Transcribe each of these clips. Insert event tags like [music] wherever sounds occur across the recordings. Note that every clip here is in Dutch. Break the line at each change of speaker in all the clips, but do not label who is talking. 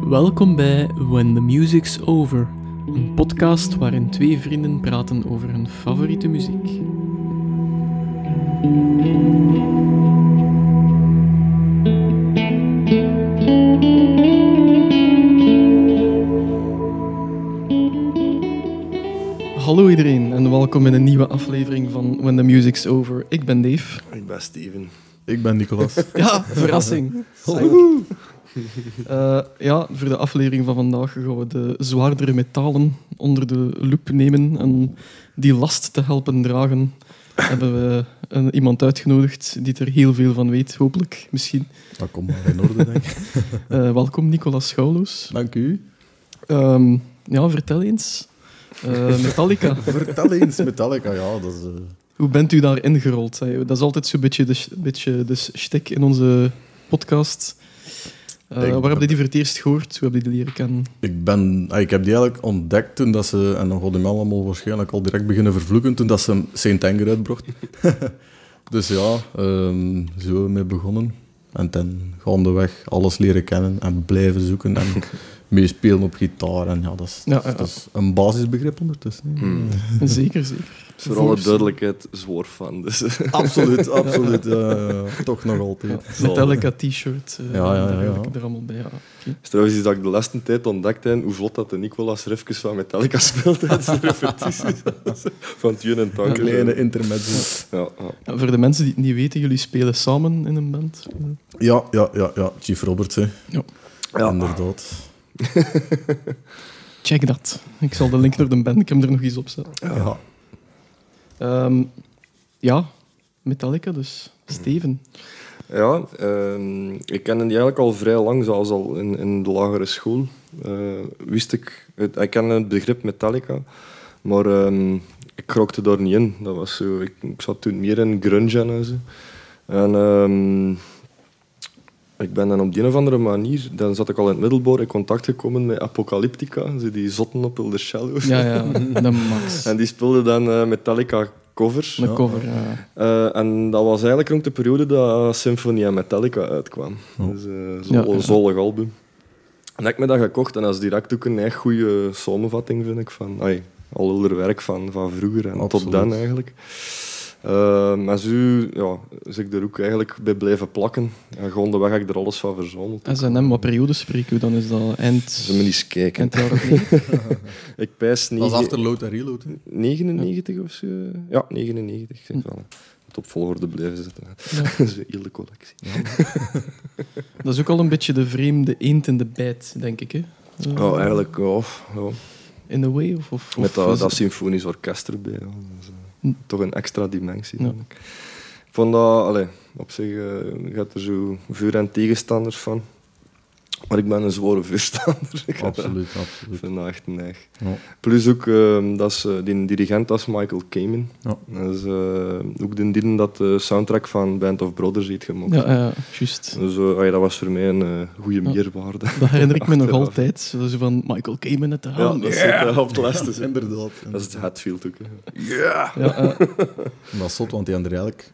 Welkom bij When the Music's Over, een podcast waarin twee vrienden praten over hun favoriete muziek. Hallo iedereen en welkom in een nieuwe aflevering van When the Music's Over. Ik ben Dave.
Ik ben Steven.
Ik ben Nicolas.
Ja, [laughs] verrassing. Eh, ja, voor de aflevering van vandaag gaan we de zwaardere metalen onder de loep nemen. En om die last te helpen [laughs] dragen, hebben we een, iemand uitgenodigd die er heel veel van weet, hopelijk. Misschien.
[laughs] Dat komt maar in orde, denk ik.
Eh, welkom, Nicolas Schouwloos.
Dank u.
Ehm, ja, vertel eens. Eh, [laughs] Metallica,
Vertel eens, Metallica. Ja, dat is... eh,
hoe bent u daar ingerold? Eh, Dat is altijd zo'n beetje de, sh- beetje de shtick in onze podcast. Eh,
Ik-
waar heb je die voor het eerst gehoord? Hoe heb je die leren kennen?
Ik, ben, ah, ik heb die eigenlijk ontdekt toen dat ze, en dan god hem allemaal waarschijnlijk al direct beginnen vervloeken, toen dat ze Saint Anger uitbracht. [laughs] dus ja, ehm, zo mee begonnen. En dan gaandeweg alles leren kennen en blijven zoeken en [laughs] meespelen op gitaar. En ja, Mm. dat is,
Ja,
dat is-
ja,
dat is een basisbegrip
[laughs]
ondertussen.
Zeker, zeker.
Hmm. Voor alle
Volgens-
duidelijkheid, zwaar fan. Dus.
[laughs]
[laughs]
Absoluut, absoluut. ja, ja, ja. toch nog altijd.
Ja, Metallica t-shirt. eh,
Ja, ja, ja,
daar heb
ja.
ik er allemaal bij. Ja, oké.
Is trouwens iets dat ik de laatste tijd ontdekt heb, hoe vlot dat de Nicolas Refkes van Metallica [laughs] speelt tijdens de repetities. [laughs] van Tune en Tank.
Kleine intermezzo.
Ja, ja.
Ja, Nou, voor de mensen die het niet weten, jullie spelen samen in een band. Eh,
Ja, ja, ja, ja. Chief Roberts, hè.
Ja.
Inderdaad.
Check dat. Ik zal de link naar de band, ik heb er nog iets op zetten.
Ja.
Ehm, ja, Metallica dus. Steven.
Ja, ehm, ik kende die eigenlijk al vrij lang, zelfs al in, in de lagere school. Eh, wist ik, het, ik kende het begrip Metallica, maar ehm, ik krokte daar niet in. Dat was zo, ik, ik zat toen meer in grunge en zo. En ehm, ik ben dan op die een of andere manier, dan zat ik al in het middelbaar in contact gekomen met Apocalyptica, zo die zotten op Elder Shallow.
Ja, ja, de Max.
En die speelden dan eh, Metallica covers.
Een cover. ja.
Eh, en dat was eigenlijk rond de periode dat Symfonia Metallica uitkwam.
Oh.
Dus eh,
Ja,
zo'n
ja, ja.
zollig album. En ik heb me dat gekocht en dat is direct ook een echt goede samenvatting, vind ik, van ai, al het werk van, van vroeger en tot
Absoluut.
dan eigenlijk. Eh, maar zo ja, is ik er ook eigenlijk bij blijven plakken. En gewoon heb ik er alles van verzameld.
S&M, wat periode spreken we dan? Is dat eind...
Ze me niet eens kijken.
eind jaren 90?
Ik pijs
Dat is
negen-
achter Load en Reload, hè.
99 of zo. Ja, 99. Ik
Hm.
denk wel. hè. Moet op volgorde blijven zitten.
Ja.
[laughs] Dat is heel de collectie.
Dat is ook al een beetje de vreemde eend in de bijt, denk ik. Hè? Eh,
Oh, eigenlijk, ja. ja.
In the way? Of, of,
Met
of
dat,
is
dat
het-
symfonisch orkest erbij. ja. Dat is, eh,
Hm.
Toch een extra dimensie.
Ja.
vind ik. Ik vond dat, allee, op zich, eh, je hebt er zo vuur- en tegenstanders van. Maar ik ben een zware vuurstander. [laughs] Ik heb-
Absoluut,
Ik
absoluut.
vind dat echt neig.
Ja.
Plus ook, eh, dat is, eh, die dirigent dat is Michael Kamen.
Ja.
Dat is eh, ook de die dat de soundtrack van Band of Brothers heeft gemaakt.
Ja, ja, juist.
Dus eh, allee, dat was voor mij een eh, goede
Ja.
meerwaarde.
Dat herinner ik me nog
Achteraf.
altijd. Zo zo van Michael Kamen het te
[laughs] Ja,
halen.
dat zit eh, op het laatste. zin.
Inderdaad.
Dat is het Hatfield ook. hè.
Ja, eh,
En Dat is zot, want die hebben er eigenlijk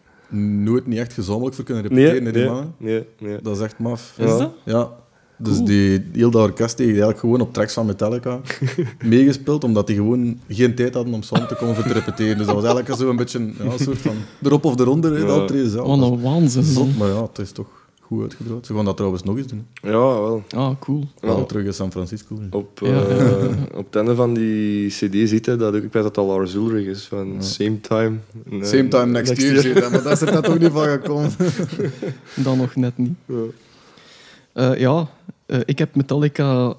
nooit niet echt gezamenlijk voor kunnen repeteren, nee, die
nee,
mannen.
nee, nee.
Dat is echt maf.
is
Ja.
dat?
Ja. Dus
Cool.
die, heel dat orkest heeft eigenlijk gewoon op tracks van Metallica meegespeeld, omdat die gewoon geen tijd hadden om samen te komen voor te repeteren. Dus dat was eigenlijk zo een beetje ja, een soort van erop of eronder, hè, dat
Ja.
optreden zelf.
Wat een waanzin.
Dat is
man.
Zot, maar ja, het is toch goed uitgedraaid. Ze gaan dat trouwens nog eens doen.
Ja, wel.
Ah, cool.
hè. Wel
Wel,
terug in San Francisco. hè.
Op,
Ja.
eh, [laughs] op het einde van die CD ziet hij dat ook, ik weet dat dat Lars Ulrich is van Same Time. Nee,
Same time next, year, [laughs] zit hij, maar dat is er net ook niet van [laughs] gekomen.
Dan nog net niet.
Ja.
Eh, ja, eh, ik heb Metallica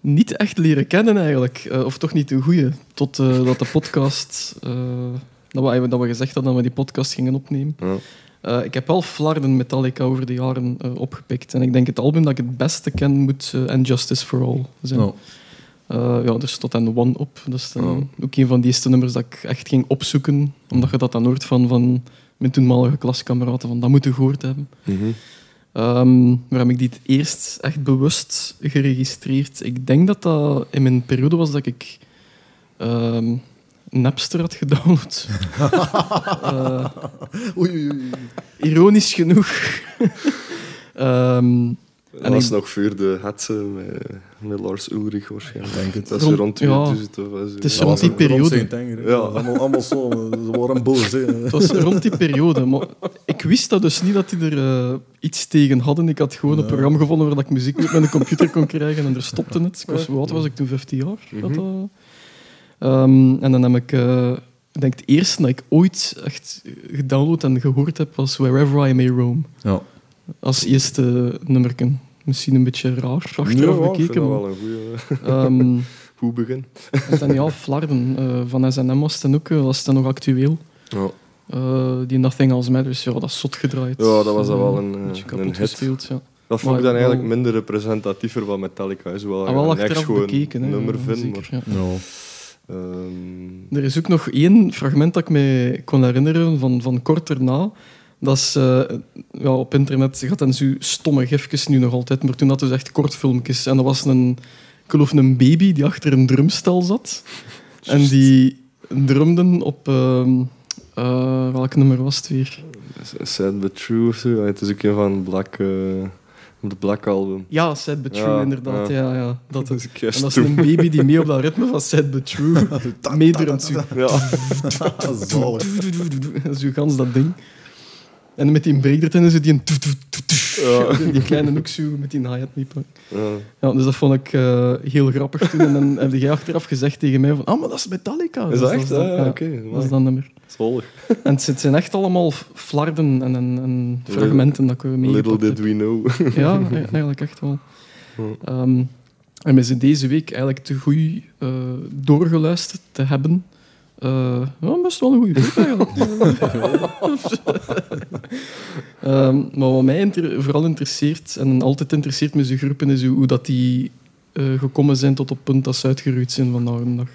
niet echt leren kennen eigenlijk. Eh, of toch niet de goede. Tot eh, dat de podcast... eh, dat, we, dat we gezegd hadden dat we die podcast gingen opnemen.
Ja.
Eh, ik heb wel flarden Metallica over de jaren eh, opgepikt. En ik denk het album dat ik het beste ken moet eh, And Justice for All zijn.
Nou,
Eh, ja, er stond dan One Up. Dat is dan
Ja.
ook een van die eerste nummers dat ik echt ging opzoeken. Omdat je dat dan hoort van, van mijn toenmalige klaskameraden. Van, dat moeten we gehoord hebben.
Mhm.
Ehm, waar heb ik dit eerst echt bewust geregistreerd? Ik denk dat dat in mijn periode was dat ik ehm, Napster had gedownload. Eh,
Oei, oei, oei.
ironisch genoeg. [laughs] Ehm,
En
En
was
ik-
nog voor de hetsen met, met Lars Ulrich waarschijnlijk.
denk het.
Dat is
Rond-
rond dus
ja.
2000 of zo.
Het is
Ja,
rond
was
die
ook rond
periode.
Sint-Enger, hè.
Ja.
Allemaal, allemaal zo. Ze waren boos. Hè.
Het was rond die periode. Maar ik wist dat dus niet dat die er eh, iets tegen hadden. Ik had gewoon een
Ja.
programma gevonden waar dat ik muziek met mijn computer kon krijgen en er stopte het. Ik was, hoe oud was ik toen? 15
Mhm.
jaar? Dat, eh. Ehm, en dan heb ik... eh, ik denk het eerste dat ik ooit echt gedownload en gehoord heb was Wherever I May Roam.
Ja.
Als eerste nummerken. Misschien een beetje raar achteraf
ja, ik vind
bekeken.
dat
Maar,
wel een goeie, eh,
ehm,
goed begin.
en dan ja, Flarden eh, van S&M was dan ook eh, was dan nog actueel.
Ja.
Eh, die Nothing Else Matters, ja, dat is zot gedraaid.
Ja, dat was dan wel
Eh,
een, eh,
beetje kapot
een hit.
gespeeld, ja.
Dat vond ik
Maar
dan eigenlijk
wel-
minder representatief voor wat Metallica is. Wel,
Ah, wel
een echt
achteraf
gewoon
bekeken. hè,
nummer
ja,
vind,
zeker,
maar...
ja.
Ja.
ehm,
Er is ook nog één fragment dat ik me kon herinneren van, van kort daarna. Dat is, eh, ja, op internet gaat dan zo stomme gifjes nu nog altijd, maar toen had dus echt kort filmpjes. En dat was een, ik geloof een baby die achter een drumstel zat. En die drumden op, ehm, eh, welk nummer was het weer?
Sad But True of zo. Het is ook een van Black, eh, de Black album.
Ja, Sad But True,
Ja,
inderdaad.
ja.
Ja. Ja, dat is.
ik juist
En dat is
toe.
een baby die mee op dat ritme van Sad But
[laughs]
True meedramt. Zo, [laughs]
Ja.
Zalig.
zo gans dat ding. En met die break erin is het die een... toet, toet, toet, toet.
Ja.
Die kleine ook zo met die hi-hat meepakken.
ja.
Ja, dus dat vond ik eh, heel grappig toen. En
[laughs]
dan heb jij achteraf gezegd tegen mij van... Ah, maar dat is Metallica.
Is
Dus
dat echt?
dan-
Ah,
ja,
Oké,
Dat is
mooi.
dan nummer.
Zalig.
En het het zijn echt allemaal flarden en, en, en fragmenten dat ik mee
Little did we [laughs] know.
[laughs] Ja, e- eigenlijk echt wel.
Ja.
Ehm, en we zijn deze week eigenlijk te goed eh, doorgeluisterd te hebben. Eh ja, best wel een goede week eigenlijk. [laughs] Ehm, maar wat mij inter- vooral interesseert, en altijd interesseert met zijn groepen, is hoe hoe dat die eh, gekomen zijn tot op het punt dat ze uitgeroeid zijn vandaag de dag.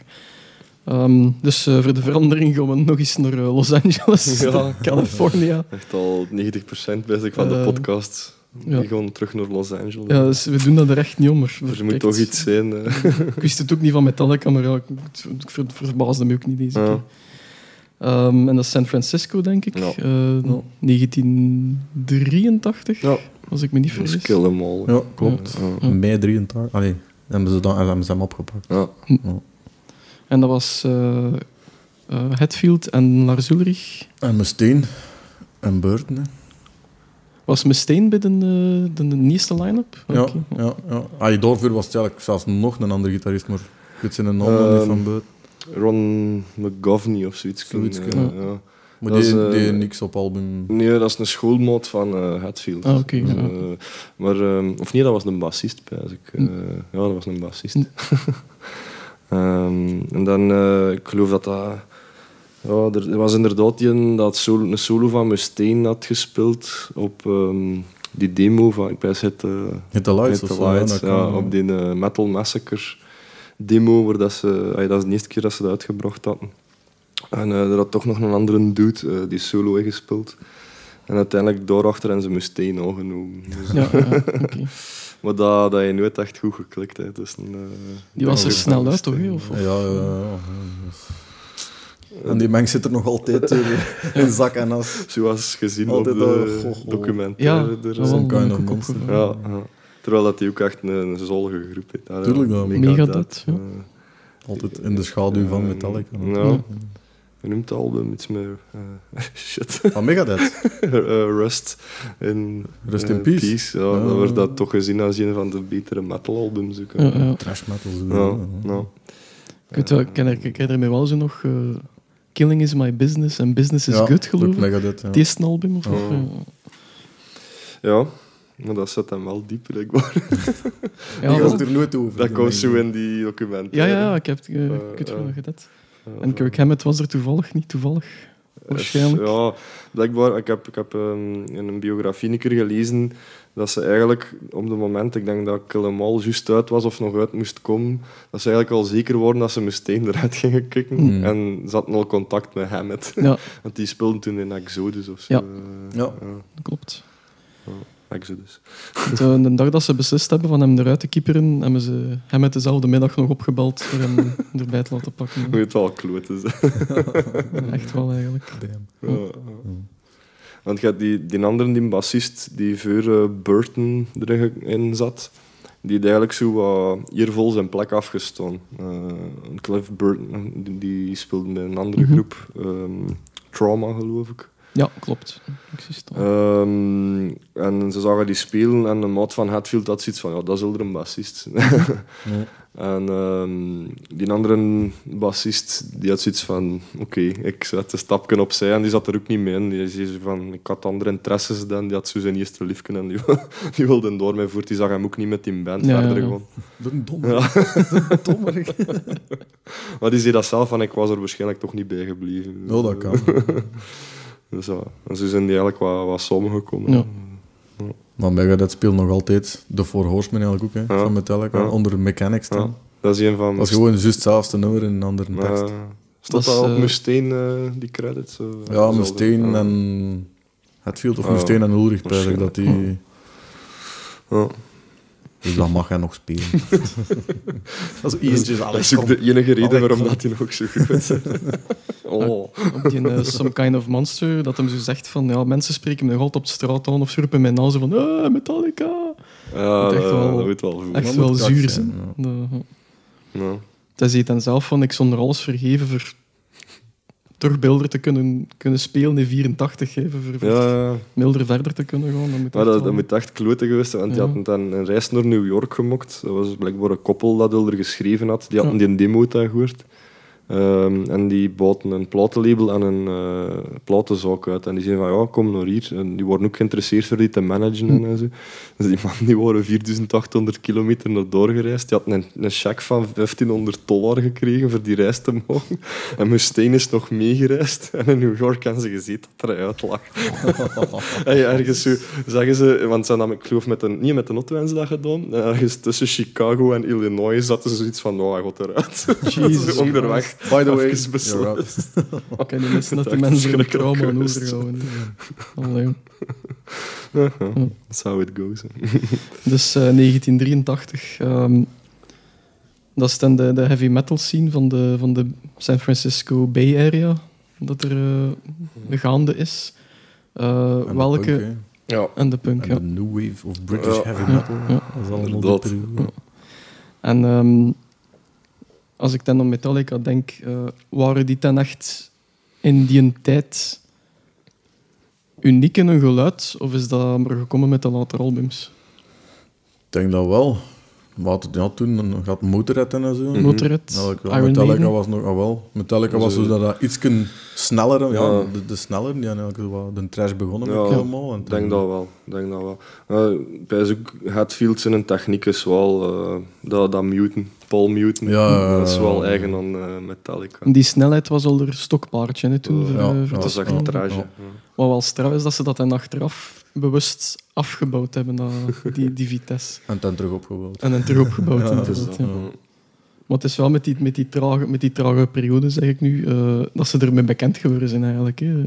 Ehm, dus eh, voor de verandering gaan we nog eens naar eh, Los Angeles,
Ja.
[laughs] California.
Echt al 90% basic van de
Eh,
podcast.
ja.
Die gaan terug naar Los Angeles.
Ja, dus we doen dat er echt niet om. maar-
Dus er moet toch
echt.
iets zijn. eh.
Ik wist het ook niet van Metallica, maar ja, ik, ik ver- verbaasde me ook niet deze
Ja.
keer. Ehm, en dat is San Francisco, denk ik.
Ja.
Eh, 1983,
Ja,
als ik me niet
dus
vergis.
kill them all.
Ja, klopt.
Ja.
In mei 83. Allee, hebben ze, dan, hebben ze hem opgepakt.
Ja.
En dat was eh, eh, Hetfield en Lars Ulrich.
En Mustaine. En Burton. hè.
Was Mustaine bij de, eh, de, de eerste line-up?
Ja,
Oké.
ja, ja. Ah, je daarvoor was het eigenlijk zelfs nog een andere gitarist, maar ik weet zijn naam nog niet
Ehm,
van buiten.
Ron McGovney of zoiets.
Zoiets,
eh,
ja.
ja.
Maar
dat
die,
is, eh,
die heeft niks op album.
Nee, dat is een schoolmaat van eh Hatfield.
Ah, oké, ja.
eh, maar, ehm, of nee, dat was een bassist. pijs Ik, eh, ja, dat was een bassist.
Hm.
[laughs] Ehm, en dan, eh, ik geloof dat dat... Ja, er was inderdaad die een, dat solo, een solo van Mustaine had gespeeld op ehm, die demo van, ik pijs het... eh,
Hit the Lights of
Hit the
zo.
Lights,
dat
ja,
kan,
op die eh, Metal Massacre demo, waar dat ze, ay, dat is de eerste keer dat ze dat uitgebracht hadden. En eh, er had toch nog een andere dude eh, die solo ingespeeld. En uiteindelijk daarachter en ze Mustaine aangenomen.
[laughs]
Dus,
Ja, ja, oké.
maar dat, dat je nooit echt goed geklikt. Hè. Het is een, eh,
Die was er
dat-
snel uit, toch? hè?
Mustaine.
Of,
Ja,
of-
ja, ja, ja. En die meng zit er nog
[laughs]
altijd eh, in zak en as.
Zoals gezien
Altijd
op de
dat- goh, goh.
ja,
documentaire.
dat
er,
was
eh,
wel
Some kind
een
of
koek
monster.
opgevallen.
ja, ja. Terwijl dat die ook echt een, een zolige groep heeft. Ah, ja,
Tuurlijk wel.
Megadeth, ja.
eh,
Altijd in de schaduw van Metallica.
Ja.
Ja.
Hoe noemt het album? Iets meer... eh, [laughs] shit.
Van Megadeth.
Eh, Rust in,
Rust
eh,
in peace.
ja,
Ja.
Dan wordt dat toch gezien als een van de betere metal-albums. ook, hè.
Ja, ja.
Trash metal.
Ja,
Zo, ja.
ja.
Ik, weet wel, ik ken er, ik ken er mij wel zo nog... eh, Killing is my business en business is
Ja,
good, geloof
ook
ik.
Megadeth, ja.
Het eerste album of
Ja.
of, eh,
Ja, maar dat zet hem wel diep, blijkbaar.
Ja,
Die
dat-
gaat er nooit over.
Dat komt zo
Nee.
in die documenten.
ja, ja, ja, ik heb het, eh,
Eh,
ik heb het
eh.
wel gedet. En Kirk Hammett was er toevallig, niet toevallig.
Eh,
waarschijnlijk.
Ja, blijkbaar. Ik heb, ik heb ehm, in een biografie een keer gelezen dat ze eigenlijk op het moment, ik denk dat Kill 'Em All juist uit was of nog uit moest komen, dat ze eigenlijk al zeker worden dat ze Mustaine eruit [laughs] gingen kicken.
Mm.
En ze hadden al contact met Hammett.
Hmm. Ja,
[laughs] Want die speelden toen in Exodus of zo.
Ja.
Eh,
Ja.
dat klopt.
Exodus.
Want, eh, de dag dat ze beslist hebben van hem eruit te kieperen, hebben ze Hammett dezelfde middag nog opgebeld om hem erbij te laten pakken.
Moet het wel kloot is.
Echt wel, eigenlijk.
Damn.
Ja. Want je had die, die andere, die bassist, die voor eh, Burton erin zat, die had eigenlijk zo wat hier vol zijn plek afgestoond. Eh Cliff Burton, die, die speelde met een andere
Mhm.
groep, ehm, Trauma geloof ik.
Ja, klopt. Ik zie het al.
Eh. Ehm, en ze zagen die spelen en de maat van Hatfield had zoiets van, ja, dat is wel er een bassist. en ehm, die andere bassist, die had zoiets van, oké, ik zet een stapje opzij en die zat er ook niet mee in. Die zei zo van, ik had andere interesses dan, die had zo zijn eerste liefje en die, [laughs] die wilde door mij voort. Die zag hem ook niet met die band
Ja, ja,
verder
ja.
gewoon.
De domme.
Ja.
De
[laughs]
domme.
Maar die zei dat zelf en ik was er waarschijnlijk toch niet bij gebleven.
Oh, dat kan.
Dus ja, en zo zijn die eigenlijk wat, wat samengekomen.
Ja.
Maar Megadeth speelt nog altijd The Four Horsemen eigenlijk ook, hè,
Ja.
van Metallica,
Ja.
onder Mechanics
Ja,
staan.
dat is een van...
Dat is gewoon juist hetzelfde nummer in een andere tekst.
Uh, staat
Dat is,
dat op
eh,
Mustaine, eh, die credits? eh,
ja,
dezelfde?
Mustaine
Ja.
en Hetfield of
Ja.
Mustaine en Ulrich, pijs ik dat
Waarschijnlijk,
die...
Ja.
Dus dat mag hij nog spelen. [laughs] dat is eentje,
Dat
alles
is ook de enige reden
Allee,
waarom
kom.
dat hij ook zo goed
[laughs]
is. oh.
Op die eh, Some Kind of Monster, dat hem zo zegt van, ja, mensen spreken me nog altijd op straat aan of ze roepen mijn naam zo van, eh, Metallica.
Ja,
Moet echt
dat,
wel-
dat weet wel goed.
Echt
moet
wel
kak
zuur
zijn,
zijn.
ja.
De-
Ja.
Hij zei dan zelf van, ik zonder alles vergeven voor toch beelder te kunnen, kunnen spelen in 84, hè, voor, voor
Ja,
milder verder te kunnen gaan. Dan moet
maar
echt
dat,
wel-
dat moet echt klote geweest zijn, want die
Ja.
hadden dan een reis naar New York gemokt. Dat was blijkbaar een koppel dat er geschreven had. Die hadden
Ja.
die demo daar gehoord. Ehm, en die boten een platenlabel en een eh platenzaak uit. En die zeiden van, ja, kom naar hier. En die waren ook geïnteresseerd voor die te managen
Hm.
en, zo. Dus die man, die waren 4800 kilometer naar doorgereisd. Die had een, een cheque van 1500 dollar gekregen voor die reis te mogen. En Mustaine is nog meegereisd. En in New York hebben ze gezien dat er uit lag. en ja, ergens zo, zeggen ze, want ze hebben, dat, ik geloof, met een, niet met een auto hebben ze dat gedaan. En ergens tussen Chicago en Illinois zaten ze zoiets van, nou, hij gaat eruit. [laughs]
Jesus
Ze onderweg.
[laughs] By the way,
Even besloten.
you're out.
Ik ken die mensen dat
[laughs] Dat
die
is
mensen een
verschrikkelijk
trauma aan
geweest.
overhouden. Allee.
That's how it goes. hè.
Dus eh, 1983. ehm, dat is dan de, de heavy metal scene van de, van de San Francisco Bay Area. Dat er eh, gaande is. Eh,
En de
welke.
punk, hè.
Ja.
en de punk,
En
ja.
de New Wave of British
Ja.
Heavy
Ja,
Metal.
ja.
Dat is allemaal
Inderdaad.
die periode.
En ehm, als ik dan aan Metallica denk, eh, waren die dan echt in die tijd uniek in hun geluid? Of is dat maar gekomen met de latere albums?
Ik denk dat wel. Maar t- ja, toen had Motorhead en zo.
Mhm.
Motorhead,
Ja, Nou, ik- ja,
Iron
Metallica
Maiden.
was nog ah, wel. Metallica
Dus,
was dus
eh,
dat, dat iets sneller. Ja,
Ja.
De, de sneller. Die hadden eigenlijk zo wat de trash begonnen
Ja,
met helemaal. En
Ik denk dat wel. ik Denk dat wel. Eh, bij zoek Hatfield zijn een techniek is wel eh, dat, dat muten, Paul muten.
Ja, ja, ja,
dat is wel
ja.
eigen aan eh, Metallica.
Die snelheid was al er stokpaardje hè, toen.
Ja,
voor,
ja,
eh, voor
Dat
te
is echt
spelen.
een trage.
Ja.
Wat wel straf is dat ze dat dan achteraf bewust afgebouwd hebben, dat, die, die vitesse.
En dan terug opgebouwd.
En dan terug opgebouwd.
Ja,
inderdaad,
dat is dat,
ja.
ja.
Maar het is wel met die, met die, trage, met die trage periode, zeg ik nu, eh, dat ze ermee bekend geworden zijn eigenlijk. Hè.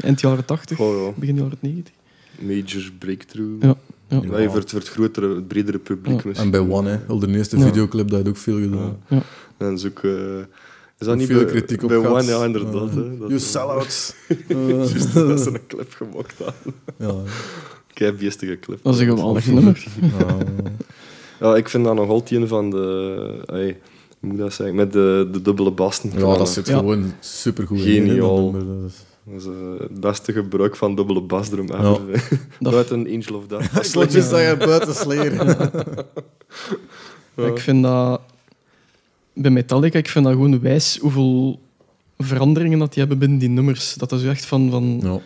Eind jaren 80,
Goh, ja.
begin jaren 90.
Major breakthrough.
Ja, ja.
Nee, voor, het, voor het grotere, het bredere publiek
Ja.
En
misschien.
bij One, hè. Al de eerste
Ja.
videoclip, dat had ook veel gedaan.
En zoek... eh, is dat niet
veel
bij,
kritiek op
bij
gehad.
One? Ja, inderdaad.
Eh,
hè, dat,
you
eh,
[laughs] sellouts.
juist, [laughs] dat ze een clip gemokt hadden.
ja,
Kei beestige clip.
Dat is een geweldig nummer.
ja.
Ja, ik vind dat nog altijd een van de... ey, hoe moet ik dat zeggen? Met de, de dubbele basten.
ja, dat zit
Ja.
gewoon supergoed in. hè,
Geniaal.
dat nummer. [laughs] Dat is-
Dat is eh, het beste gebruik van dubbele basdrum [laughs]
Ja.
ever. hè.
Dat,
Buiten Angel of
[laughs]
Death. Dat is
Slotjes dat je buiten sleren.
ik vind dat... Bij Metallica, ik vind dat gewoon wijs hoeveel veranderingen dat die hebben binnen die nummers. Dat is zo echt van... van
Ja.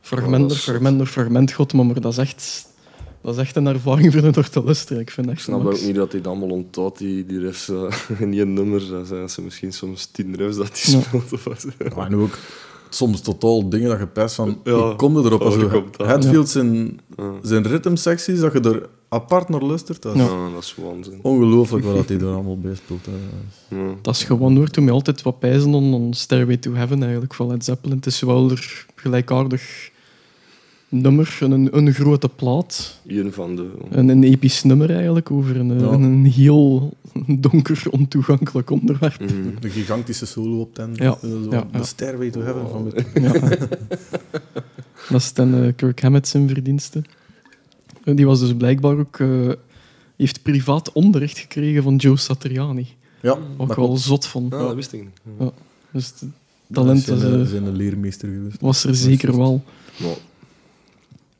Fragment
Oh,
door
dat is
fragment door fragment, god, maar, maar dat, is echt, dat is echt een ervaring voor een ortalusteren. Ik vind
Ik
echt
snap
max.
ook niet dat hij dat allemaal onthoudt, die, die refs eh, [laughs] in je nummer. Dat zijn ze misschien soms tien refs dat hij
Ja.
speelt. Of wat.
[laughs] Ja, en ook soms totaal dingen dat je pest van,
Ja,
hoe kom je erop?
waar
Als je
komt dat?
Hatfield zijn,
Ja.
zijn ritmsecties, dat je er apart naar luistert. Dat is
Ja.
Ja, dat is waanzin.
ongelooflijk wat dat hij er allemaal bij speelt. hè.
Ja.
Dat is gewoon hoor, toen mij altijd wat pijzen on, on Stairway to Heaven eigenlijk van Led Zeppelin. Het is wel een gelijkaardig nummer, een, een grote plaat,
Een van de...
een, een episch nummer eigenlijk, over een,
Ja.
een heel donker, ontoegankelijk onderwerp.
Mhm.
De gigantische solo op ten.
Ja,
Zo,
ja,
De
ja.
Mm. stairway to heaven van met
Ja. Dat is dan eh, Kirk Hammett zijn verdienste. En die was dus blijkbaar ook... eh, heeft privaat onderricht gekregen van Joe Satriani.
Ja,
Ook
dat
wel
klopt.
zot van.
Ah, dat wist ik niet. Ja.
Dus het talent
Dat is
is,
zijn,
eh,
eh, zijn een leermeester geweest.
was er zeker wel.
Maar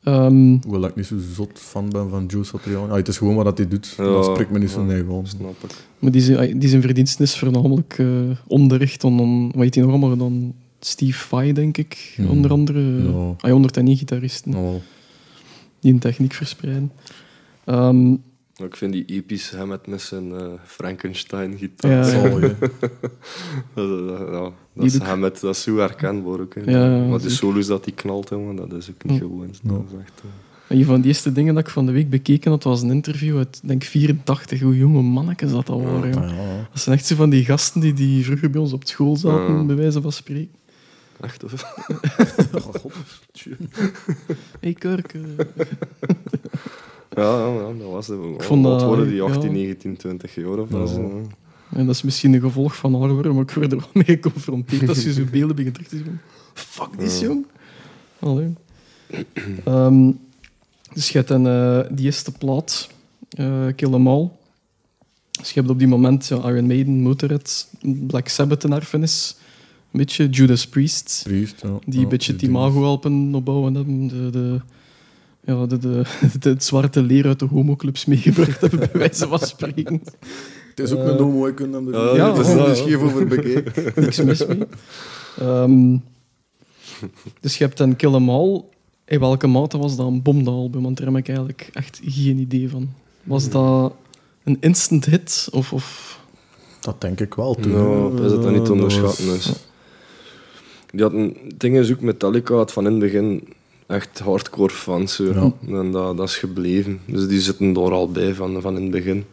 Ehm,
Hoewel dat ik niet zo zot fan ben van Joe Satriani. Ah, het is gewoon wat dat hij doet.
Ja,
dat spreekt me niet zo
ja.
nee gewoon.
snap ik.
maar die zijn, die zijn verdiensten is voornamelijk eh, onderricht. En dan, wat heet die nog allemaal? Dan Steve Vai, denk ik.
Hmm.
Onder andere.
Ja.
Ah, ja, 101 gitaristen
Nou, wel.
die een techniek verspreiden. Ehm,
Ik vind die episch Hammett met zijn eh, Frankenstein-gitaar.
Ja. [laughs]
Zalig, hè.
Dat, dat, dat- ja, dat
Die
is
doek.
Hammett, dat is zo herkenbaar ook. hè.
Ja, ja,
maar de
zeker.
solos dat hij knalt, jongen, dat is ook niet gewoon. Dat is echt, eh,
een van de eerste dingen dat ik van de week bekeken had, was een interview uit, denk ik, 84. Hoe jonge mannetjes dat al waren. joh.
Ah, ja, ja.
Dat zijn echt zo van die gasten die, die vroeger bij ons op school zaten,
Ja.
bij wijze van spreken.
echt of? [laughs]
Oh, hey, Kirk. eh,
Ja, ja, ja, dat was het. wel.
Ik vond
Wat
dat-
worden die
ja.
18, 19, 20 jaar of
Ja.
dat? Ja.
En dat is misschien een gevolg van hardware, maar ik word er wel mee geconfronteerd als je zo beelden begint terug te zien. van, Fuck this,
Ja.
jong. Allee. Ehm, dus je hebt dan, eh, die eerste plaat, eh Kill 'Em All. Dus je hebt op die moment ja, Iron Maiden, Motorhead, Black Sabbath en Arfinis. Een beetje Judas Priest,
Triest, ja.
die
Ja,
een beetje het
dingen.
imago helpen opbouwen hebben. De, de, ja, de, de, [laughs] het zwarte leer uit de homoclubs meegebracht hebben, bij wijze van spreken.
Het is ook een homo, ik kan hem er
Ja,
dat is
dat,
is
ja.
scheef over bekeken.
niks mis mee. Ehm, dus je hebt dan Kill 'Em All. In welke mate was dat een bomdealbum? Want daar heb ik eigenlijk echt geen idee van. Was dat een instant hit? Of, of...
[laughs] Dat denk ik wel. Toen,
Nou,
hè.
is dat dan niet te
was-
onderschatten is. Die had een ding is ook Metallica had van in het begin echt hardcore fans. hè.
Ja.
En dat, dat is gebleven. Dus die zitten daar al bij van, van in het begin.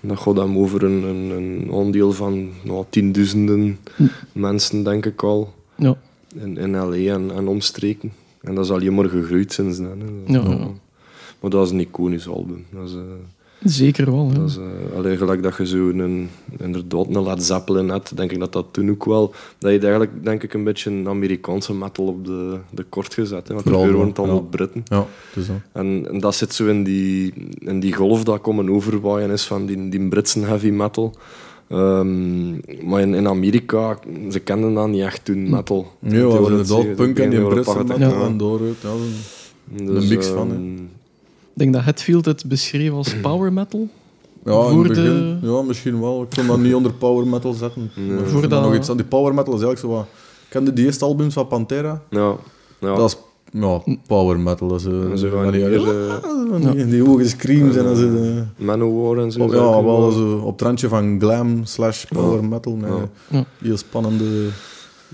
En dat gaat hem over een, een, een aandeel van nou, tienduizenden
Hm.
mensen, denk ik al,
Ja.
in, in LA en, en omstreken. En dat is alleen maar gegroeid sinds dan. hè.
Ja,
Dat-
ja.
Maar dat is een iconisch album. Dat is, eh,
Zeker wel. Ja.
dat is, eh, allee, gelijk dat je zo een, inderdaad een Led Zeppelin had, denk ik dat dat toen ook wel... Dat je het eigenlijk, denk ik, een beetje een Amerikaanse metal op de, de kort gezet. Hè, want er
Vooral,
woont het
ja.
allemaal Britten.
Ja, dus dat.
En, en dat zit zo in die, in die golf dat komen overwaaien is van die, die Britse heavy metal. Ehm, maar in, in Amerika, ze kenden dat niet echt toen, metal.
Nee,
Die
was
waren het
inderdaad
zeer-
punk en
die
die
waren
Brussel
apart,
met
ja.
ja. en dooruit. Ja, zo.
Dus,
mix van, hè.
ehm,
Ik denk dat Hetfield het beschreef als power metal.
ja, in
Voor
het begin,
de-
ja, misschien wel. Ik kon dat niet onder power metal zetten. Maar ik
Voor
vind dat
dat-
nog iets aan. Die power metal is eigenlijk zo wat... Kende die eerste albums van Pantera?
ja, ja.
Dat is ja, power metal. Dat is, eh,
En zo van
van die,
die-
Ah, van die, die hoge screams en dan zit... eh,
Manowar en zo.
op,
zou ik
Oh, ja,
wel-
wel zo op het randje van glam slash power metal. Met
Ja.
Ja.
Heel spannende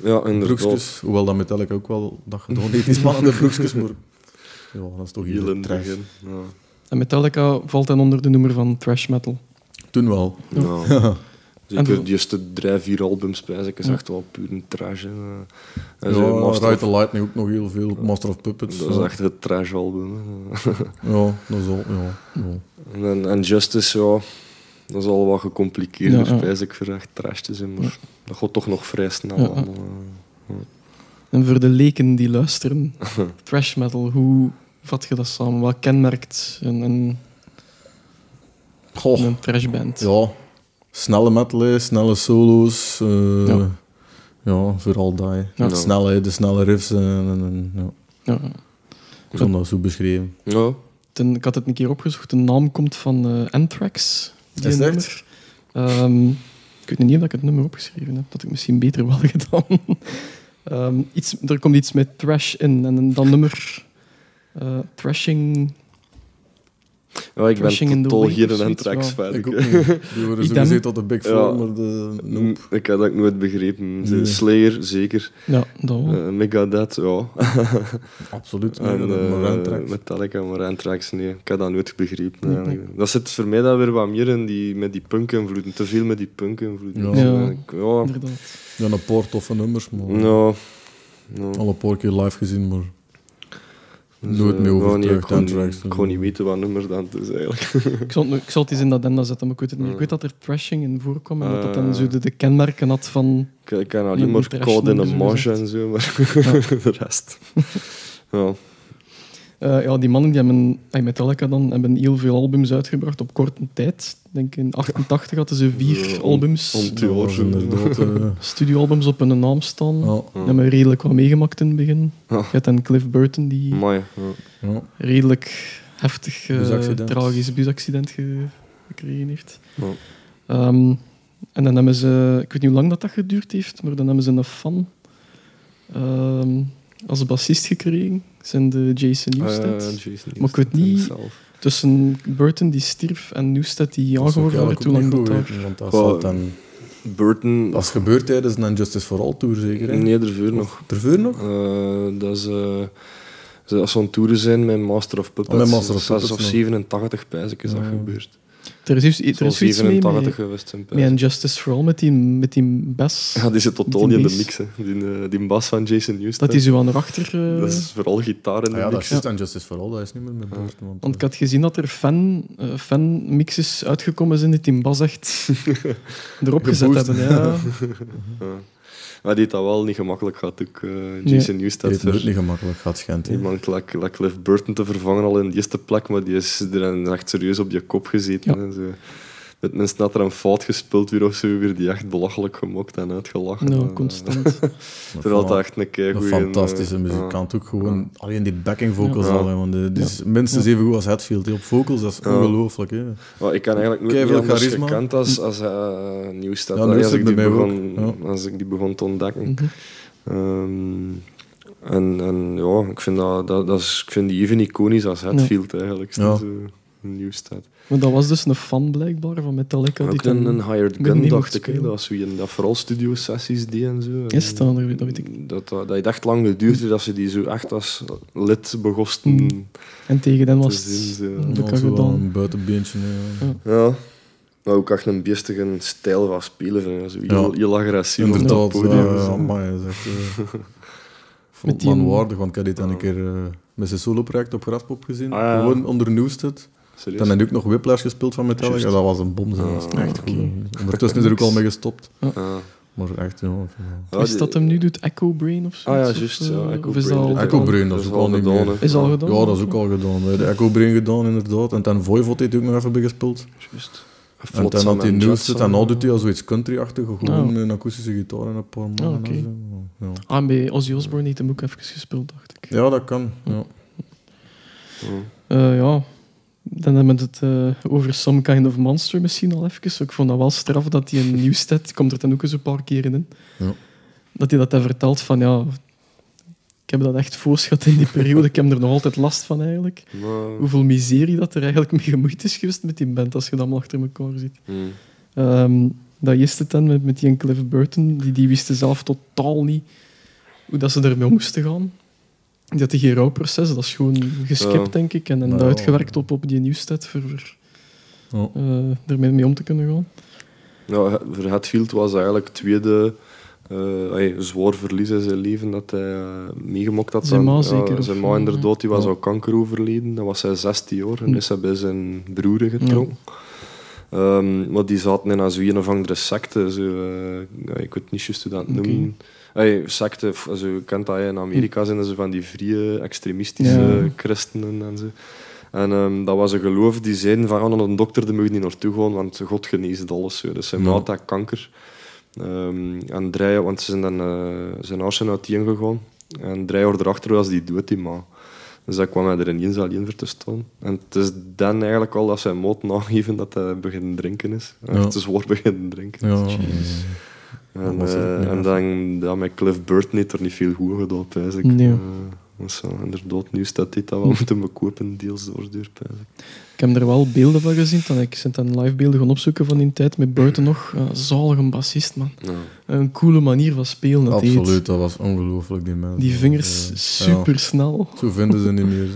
Ja, inderdaad.
broekjes. Hoewel dat Metallica ook wel dat gedaan heeft. Die
[laughs]
spannende broekjes, maar... Ja, dat is toch
Heel in
heel
het
trash.
begin. Ja.
En Metallica valt dan onder de noemer van thrash metal.
Toen
[laughs]
wel.
Ja.
En
Zeker
voor-
de eerste drie, vier albums bij ik is
Ja.
echt wel puur een trash. hè. En,
Ja,
zo Master
Ride
of-
the Lightning ook nog heel veel. Master of Puppets.
dat is
ja.
echt het trash album. hè.
Ja, dat is al... Ja, ja.
en, en Justice, ja, dat is al wat gecompliceerder,
Ja, ja.
spijs ik, voor echt trash te zijn. Maar dat gaat toch nog vrij snel.
Ja, ja.
allemaal, hè.
En voor de leken die
[laughs]
luisteren, thrash metal, hoe vat je dat samen? Wat kenmerkt een, een,
Goh,
een thrash band?
ja. Snelle metal, hè, snelle solo's. eh,
Ja.
ja. vooral dat. hè.
Ja.
Het snelle, de snelle riffs. En, en- en- ja.
Ja.
Ik vond dat zo beschreven.
Ja.
Ten- ik had het een keer opgezocht. De naam komt van eh, Anthrax. die
Is het
nummer.
echt?
Ehm, ik weet niet of ik het nummer opgeschreven heb. Dat had ik misschien beter [laughs] wel gedaan. Ehm, iets, er komt iets met trash in. En dan nummer... eh thrashing...
Ja, ik
Thrashing
ben
in the
totaal
Wind
geen
of zoiets,
Anthrax
wel.
fan. Ik,
Ik ook niet. Die worden
Ik
zo
dan-
gezeten tot de Big Four,
Ja.
maar de... nope.
ik had dat ook nooit begrepen.
Nee.
Slayer, zeker.
Ja, dat wel.
Eh, Megadeth, ja.
Absoluut.
En,
En,
eh,
maar Anthrax.
Metallica, maar Anthrax, nee. Ik heb dat nooit begrepen.
Nee,
eigenlijk. Dat zit voor mij dan weer wat meer in die, met die punk-invloeden. Te veel met die punk-invloeden.
Ja.
Dus,
Ja.
eh, ik- ja.
Inderdaad.
Ja, een paar toffe nummers, maar...
Ja. Ja.
Al een paar keer live gezien, maar...
Dus,
nooit
eh,
meer
ja,
overtuigd,
nee, ik kon-
Anthrax.
Ik kon niet weten wat nummer dat is, eigenlijk.
Ik zal, het nu- ik zal het eens in dat enda zetten, maar ik weet het niet. Ik weet dat er thrashing in voorkwam en dat dat dan
Eh.
zo de, de kenmerken had van...
Ik, ik ken
Met
alleen maar
die
Cold in a [laughs]
trash-nummers,
Marsh
zo
en zo, maar de rest. Ja.
Eh, ja, die mannen die hebben, ay, Metallica dan, hebben heel veel albums uitgebracht op korte tijd. Ik denk in 88 hadden ze vier
Ja, om-
albums,
om-
Dat was
[laughs]
inderdaad, eh,
studioalbums op hun naam staan.
ja,
Die hebben redelijk wat meegemaakt in het begin.
Ja.
Oh.
Je hebt dan Cliff Burton die
Amai, ja.
ja.
redelijk heftig, eh,
Busaccident. Oh.
tragisch busaccident ge- gekregen heeft.
Ja.
Ehm, en dan hebben ze, ik weet niet hoe lang dat, dat geduurd heeft, maar dan hebben ze een fan ehm, als bassist gekregen. Dat zijn de
Ah,
Jason Newsted.
Eh, Jason
Maar ik weet
Newsted
niet-
himself.
Tussen Burton die stierf en Newsted die
Dat is ook
aangehoord
eigenlijk
werd, hoe
ook niet
lang dat
goed
daar...
weten, want dat
Wel,
zat dan...
Burton...
Dat is gebeurd tijdens een Justice for All tour, zeker? hè?
Nee, ervoor nog.
Ervoor nog?
Eh, dat is... eh, ze- als ze aan het toeren zijn met Master of Puppets,
Oh, met Master of
zes
Puppets
of
nog.
87 pijs ik, is dat
Ja.
gebeurd.
Er is, iets- er
Zo'n
is iets mee,
87
met,
geweest zijn pijs.
eh.
met een Justice for All, met die, met die bas.
Ja, die zit totaal
Die
niet in de
bass.
mix. Hè. Die, eh, die bas van Jason Newsted.
dat is zo aan erachter... eh,
Dat is vooral gitaar in
Ah
de
ja, dat
mix.
is juist aan Justice for All, dat is niet meer met Burton. Want, eh,
Want ik had gezien dat er fan, eh, fanmixes uitgekomen zijn die Tim Bas
[laughs]
echt erop gezet
Geboost.
hebben. Ja.
Maar die heeft dat wel niet gemakkelijk gehad. Ook, eh,
Nee.
Jason
dat
Newsted.
heeft
ver-
dus-
het niet gemakkelijk gehad, schijnt. hè.
Iemand like, like Cliff Burton te vervangen al in de eerste plek, maar die is er dan echt serieus op je kop gezeten.
Ja.
hè, zo. Met mensen had er een fout gespeeld weer of zo, weer die echt belachelijk gemokt en uitgelachen. En,
Nou,
eh,
constant.
Een
Terwijl
fa-
dat echt een keer eh,
Een fantastische muzikant. Ook gewoon alleen die backing vocals
Ja.
al. hè, Want eh, die is minstens even goed als Hetfield. hè. Op vocals, dat is
Ja.
ongelooflijk. Hè.
Maar ik kan eigenlijk nooit
Keiveel
meer anders
charisma.
gekend als, als eh, Newsted.
Ja,
Allee, als,
Newsted
ik die
bij mij ook,
begon,
ja.
als ik die begon te ontdekken.
Mhm.
Ehm, en, en ja, ik vind, dat, dat, dat is, ik vind die even iconisch als Hetfield eigenlijk.
Ja.
Dus, eh, Newsted.
Maar dat was dus een fan blijkbaar van Metallica.
Ook
Die
een,
dan,
een Hired
met
Gun,
niemand
dacht ik. hè.
spelen.
Dat was wie in dat vooral studio-sessies die en zo.
is
En
dat, dat weet, dat weet ik. niet.
dat, dat, dat heeft echt lang geduurd dat ze die zo echt als lid begosten.
Mm. En tegen dan was
Te zien,
het
ze-
dat
Want
kan
zo wel
gedaan.
Een buitenbeentje. hè.
Ja.
Ja. Maar ook echt een beestige stijl van spelen. Vind ik. Zo heel,
Ja.
heel agressief op dat
Inderdaad.
podium.
Ja,
Zo.
ja, maar je
[laughs]
zegt... eh,
Met
Vond
die-
het manwaardig, want ik had dit dan een keer eh, met zijn solo-project op Graspop gezien.
Ah, ja.
Gewoon onder Newsted.
Serieus. Ah,
Dan heb ik ook nog Whiplash gespeeld van Metallica.
Juist.
Dat was een bom, dat
Ah,
was echt
oké.
goed. Ondertussen is er ook al mee gestopt.
Ja.
Maar echt, ja. ik vind dat-
Ja,
is
die-
dat hem nu doet? Echo Brain of zo?
Ah ja, juist. Ja,
of, eh,
Echo
of is dat
Brain.
al
Echo
gedaan?
Brain, dat is ook al niet
gedaan,
meer.
hè.
Is dat al gedaan?
Ja, dat is ook al gedaan. We hebben de Echo Brain gedaan inderdaad. En dan Voivod heeft ook nog even bijgespeeld.
Juist.
En
Flotsam
dan had hij
en
nieuws
Jetsam.
zit en nou doet hij al zoiets country-achtig. Gewoon
Ja.
met een akoestische gitaar en een paar man.
Oh. Ah, oké.
ja.
Ah, bij Ozzy Osbourne heeft hem ook even gespeeld, dacht ik.
ja, dat kan. Ja.
Ja.
Eh, ja, dan hebben we het eh, over Some Kind of Monster misschien al even. Ik vond dat wel straf dat hij een Newsted, komt er dan ook eens een paar keren in,
Ja.
dat hij dat dan vertelt van ja, ik heb dat echt voorschat in die periode, ik heb er nog altijd last van eigenlijk.
Maar-
Hoeveel miserie dat er eigenlijk mee gemoeid is geweest met die band, als je dat allemaal achter elkaar ziet.
Hmm.
Ehm, dat is het dan met, met die en Cliff Burton. Die, die wisten zelf totaal niet hoe dat ze ermee om moesten gaan. Dat die rouwproces, dat is gewoon geskipt,
Ja.
denk ik. En, en
Nou ja.
uitgewerkt op, op die nieuwsted voor, voor
Ja.
eh, ermee mee om te kunnen gaan.
Ja, voor Hetfield Nou, was eigenlijk het tweede eh, ay, zwaar verlies in zijn leven dat hij eh, meegemaakt had.
Zijn
Dan-
ma
ja,
zeker, of
Zijn
zo,
ma inderdaad, die was
ja.
al kanker overleden. Dat was zijn 16 jaar en
Hm.
is hij bij zijn broer getrokken. Ehm, maar die zaten in zo'n een of andere secte. Zo, eh, ik weet niet juist hoe dat
Oké.
noemen. Ay, secte, f- zo, je kent dat hè, in Amerika zijn dat zo van die vrije extremistische
Hm. Ja.
christenen en zo. En ehm, dat was een geloof die zeiden van, oh, een dokter, daar moet je niet naartoe gaan, want God geneest alles. Zo. Dus zijn
Ja.
maat had kanker. Ehm, en drie jaar- want ze zijn, dan, eh zijn ouders zijn uiteen gegaan. En drie jaar erachter was die dood, die ma. Dus dat kwam hij er ineens alleen voor te staan. En het is dan eigenlijk al dat zijn maat nageven dat hij beginnen drinken is. Hij
Ja.
is te zwaar beginnen drinken.
Ja.
En,
was er ook
eh,
niet
en
af.
dan dat met Cliff Burton heeft er niet veel goed gedaan, pijs ik.
Nee.
Eh, dat is wel inderdaad nieuws dat dit dat
[laughs]
we moeten bekopen, deels doorduur, pijs ik.
Ik heb er wel beelden van gezien. Dan ik ben dan live beelden gaan opzoeken van die tijd met Burton nog. Eh, zalig een bassist, man.
Ja.
Een coole manier van spelen. Dat hij het-
Absoluut, dat was ongelooflijk, die mensen.
Die vingers
Eh,
super snel.
ja. Zo vinden ze niet meer.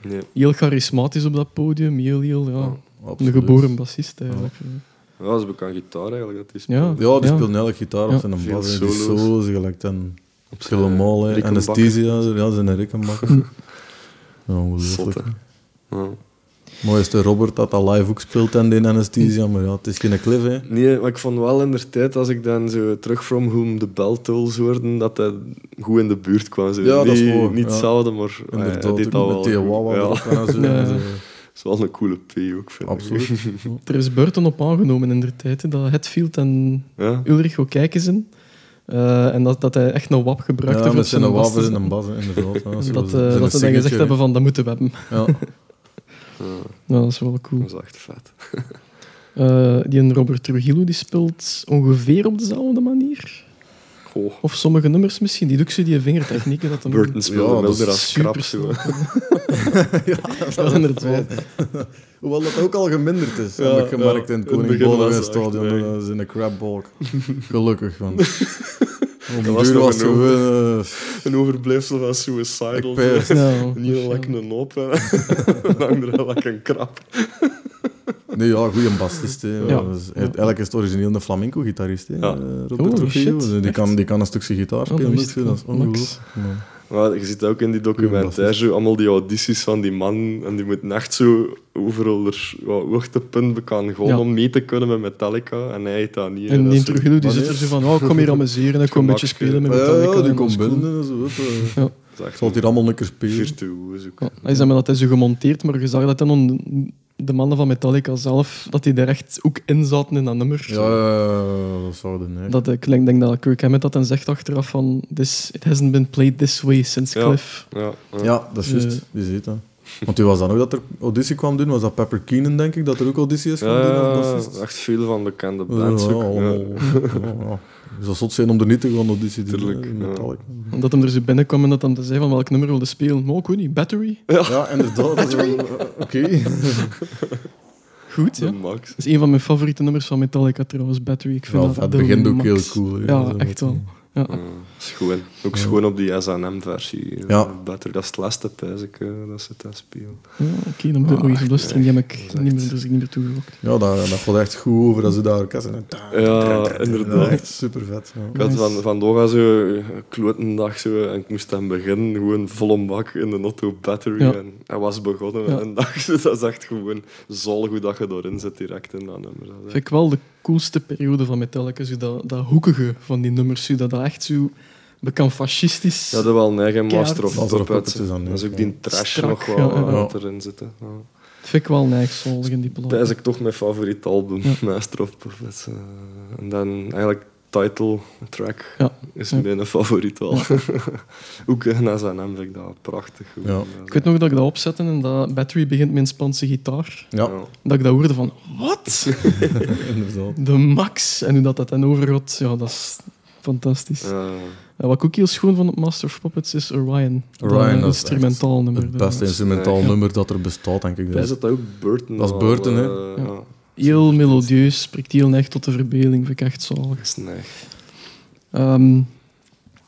hè.
Nee.
Heel charismatisch op dat podium. Heel, heel, ja. Een
Absoluut.
geboren bassist eigenlijk.
Ja, dat is bekend gitaar eigenlijk. Dat is
Ja.
Ja, die
Ja.
speelt elke gitaar
Ja.
op zijn bas.
Veel
hè. Die
solo's.
solo's, gelijk dan...
op zijn, eh,
Helemaal, hè.
Rickenbacker.
[laughs]
Anesthesia, ja, zijn Rickenbacker. ja, ongelooflijk.
Zotte. Ja.
Mooi is de Robert dat dat live ook speelt en die anesthesia, maar ja, het is geen cliff, hè.
Nee, maar ik vond wel in de tijd, als ik dan zo terug from whom the bell tolls hoorde, dat hij goed in de buurt kwam. Zo.
Ja, dat is
niet,
waar,
Niet
ja.
zouden, maar eh,
Inderdaad,
hij deed dat
ook
wel
met die
goed.
Wawa
Ja,
erop en zo.
[laughs] Ja.
en zo.
dat is wel een coole P ook, vind ik.
Absoluut.
Er is Burton op aangenomen in de tijd, hè, dat Hetfield en
[laughs] Ja.
Ulrich ook kijken zijn. Eh, en dat, dat hij echt een wap gebruikt
Ja,
heeft
met
op
zijn
bas.
wafels en een bas, hè, inderdaad. Ja, zo-
Dat, eh,
zijn een
dat ze dan gezegd
signature,
hebben van, dat moeten we hebben.
hè. Ja.
Ja,
Nou, dat is wel cool.
dat was echt vet.
Eh, die een Robert Trujillo die speelt ongeveer op dezelfde manier.
Goh.
Of sommige nummers misschien. Die doet zo die vingertechnieken. Dat hem
Burton speelde
Ja, dat
wilder
is
als krap.
supersnel.
Zo.
Ja, inderdaad.
Hoewel dat ook al geminderd is,
Ja,
heb ik gemerkt
ja.
in het
In het
Koning
begin was
Bollewijn
het echt
Stadion.
weg.
Dat is in een crapbalk.
[laughs]
Gelukkig, want... Op de
was
duur
nog
was het
een [laughs]
gewoon... eh,
Een overblijfsel van Suicidal.
Ik eh, pijs.
zo.
Ja,
Niet een lekker een op, hè. [laughs] Dan hangt er lekker een krap.
eh, Nee, ja, goeie bassist. hè.
Ja.
Dat is- Eigenlijk is het origineel een flamenco-gitarist, hè,
Ja.
eh,
Holy
Robert Trujillo.
shit,
Dus Die
echt? Oh,
kan, die kan een stukje gitaar
dat
spelen,
wist
dus,
ik
dat is
niet. Max.
ongelooflijk. Ja.
Maar je ziet dat ook in die documentaire, zo allemaal die audities van die man. En die moet nacht zo overal er ja, hoogtepunt bekan. Gewoon
Ja.
om mee te kunnen met Metallica. En hij heeft dat niet. hè.
En
Dat
die
is zo-
Trujillo die
Maar
zit
nee.
er zo van, oh, ik kom hier amuseren, ik kom een beetje spelen met
Ja,
Metallica.
ja, die
en
komt
dat is cool.
binnen en zo. hè.
dat is
Ik
echt
zal het hier allemaal een keer spelen.
virtuoos ook.
Ja, hij is dan met dat hij zo gemonteerd, maar je zag dat dan on- de mannen van Metallica zelf, dat die daar echt ook in zaten in dat nummer.
Ja, ja, ja, dat zouden hè.
Dat ik denk, denk dat Kirk Hammett dat dan zegt achteraf van this, it hasn't been played this way since
Ja.
Cliff.
Ja, ja.
Ja, dat is juist.
Eh.
Die ziet dat. Want die was dan ook dat er auditie kwam doen. Was dat Pepper Keenan, denk ik, dat er ook auditie is gaan
Ja,
doen als
ja,
bassist?
echt veel van bekende
Ja,
bands ook.
allemaal.
Ja.
Ja, ja. Het zou zot zijn om er niet te gaan auditie te doen.
Tuurlijk,
hè,
ja.
Metallic.
En dat hem er zo binnenkwam en dat dan te zeggen van welk nummer wilde spelen. Maar ik weet niet, Battery?
Ja, inderdaad. dat is wel- Oké.
Goed, ja.
De Max.
Dat is een van mijn favoriete nummers van Metallica trouwens, Battery. Ik vind
Ja,
dat
het
de
begint ook heel
max.
cool, hè.
Ja,
Dat is
echt wel. Ja.
Ja, schoon. Ook schoon op die SNM-versie.
Ja.
Better, dat is het laatste, pijs ik, eh, dat ze dat spelen.
Ja, Oké, dan moet ik nog eens
echt,
luisteren. Die heb ik
echt.
niet meer, dus ik niet meer toegevoegd.
Ja, dat, dat gaat echt goed over als ze daar elkaar zijn.
Ja,
Ja,
inderdaad.
echt super vet.
Ik had van, vandaag zo een klotendag zo, en ik moest aan beginnen, gewoon volle bak in de Otto Battery.
Ja.
En hij was begonnen
Ja.
en dacht, [laughs] dat is echt gewoon zalig hoe dat je daarin zit direct in dat nummer. Dat is echt-
Vind ik wel de coolste periode van Metallica. Zo dat, dat hoekige van die nummers. Zo dat, dat echt zo bekend fascistisch.
Je had wel een eigen
Keihard.
master of
Master of
puppets.
Puppets is dat nu,
Dat is ook
ja.
die trash
Strak,
nog wel
ja,
eh,
ja.
wat erin zitten. Ja.
Vind ik wel nijgzalig in die
Dat is
plaat.
ik toch mijn favoriet album,
Ja.
Master of Puppets. eh. en dan eigenlijk title track
Ja.
is
Ja.
mijn favoriet al. [laughs] Ook eh, in SNM vind ik dat prachtig. gewoon. eh.
Ja.
Dat is
Ik weet nog dat ik dat opzette en dat Battery begint met een Spaanse gitaar.
echt-
Ja,
Dat ik dat hoorde van, wat?
[laughs] inderdaad.
De max. En hoe dat dat dan overgaat, ja, dat is fantastisch.
Ja. Ja.
En wat ik ook heel schoon vond op Master of Puppets is Orion. Dat
Orion, dat is
instrumentaal nummer.
Het beste
Dat is
instrumentaal
Ja.
nummer dat er bestaat, denk ik.
Wij
Dat.
zat dat ook Burton.
Dat is
wel,
Burton, hè?
eh,
Ja.
ja.
Heel melodieus, spreekt heel echt tot de verbeelding. Vind ik echt zalig.
Dat is neig.
Ehm,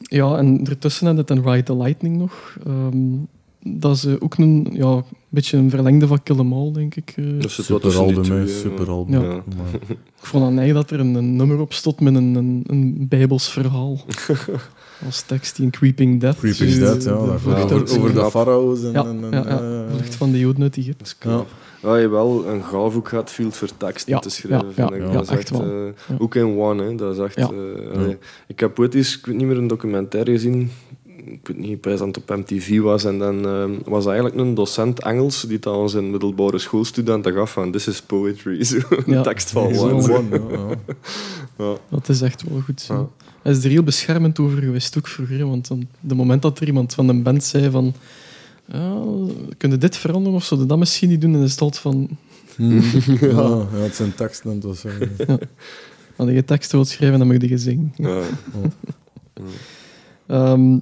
ja, en ertussen had het dan Ride the Lightning nog. Ehm, dat is eh, ook een ja, beetje een verlengde van Kill 'Em All, denk ik. eh.
Dat zit wat
Super
tussen die
album, hè,
twee, hè,
super
maar-
album.
Ja.
Ja.
Maar-
Ik vond dan eigenlijk dat er een, een nummer op stond met een, een, een bijbels
[laughs]
verhaal. Als tekst die in Creeping Death.
Creepy's
zo,
Dead, ja.
de
dat-
vlucht
ja,
uit-
Over, over de
knap.
farao's en...
Ja,
en, en,
ja, ja.
eh,
vlucht van de Joden uit Egypte.
[laughs] Dat is knap.
ja.
Ja, je wel een gaaf ook gaat Field voor teksten
Ja,
te schrijven.
ja,
vind
ja,
ik.
ja,
Dat is
echt
echt,
wel.
eh,
Ja.
Ook in One, hè. dat is echt...
Ja.
eh, allee, Ik heb ooit eens, ik weet niet meer, een documentaire gezien. Ik weet niet, bij dat het op MTV was. En dan ehm, was eigenlijk een docent Engels die dat ons in middelbare schoolstudenten gaf van This is poetry, [laughs] zo, een
Ja.
tekst van
Is
One,
One.
wel-
zo.
one, ja, ja.
Ja.
Dat is echt wel goed. zo.
Ja.
Hij is er heel beschermend over geweest, ook vroeger. hè, Want dan, de moment dat er iemand van de band zei van... Ja, kunnen dit veranderen of zouden dat misschien niet doen? En dan is het altijd van... Mm.
Hmm.
[laughs]
ja, ja, het zijn teksten en het was... eh,
Als je teksten wilt schrijven, dan mag je zingen.
Ja.
Ehm,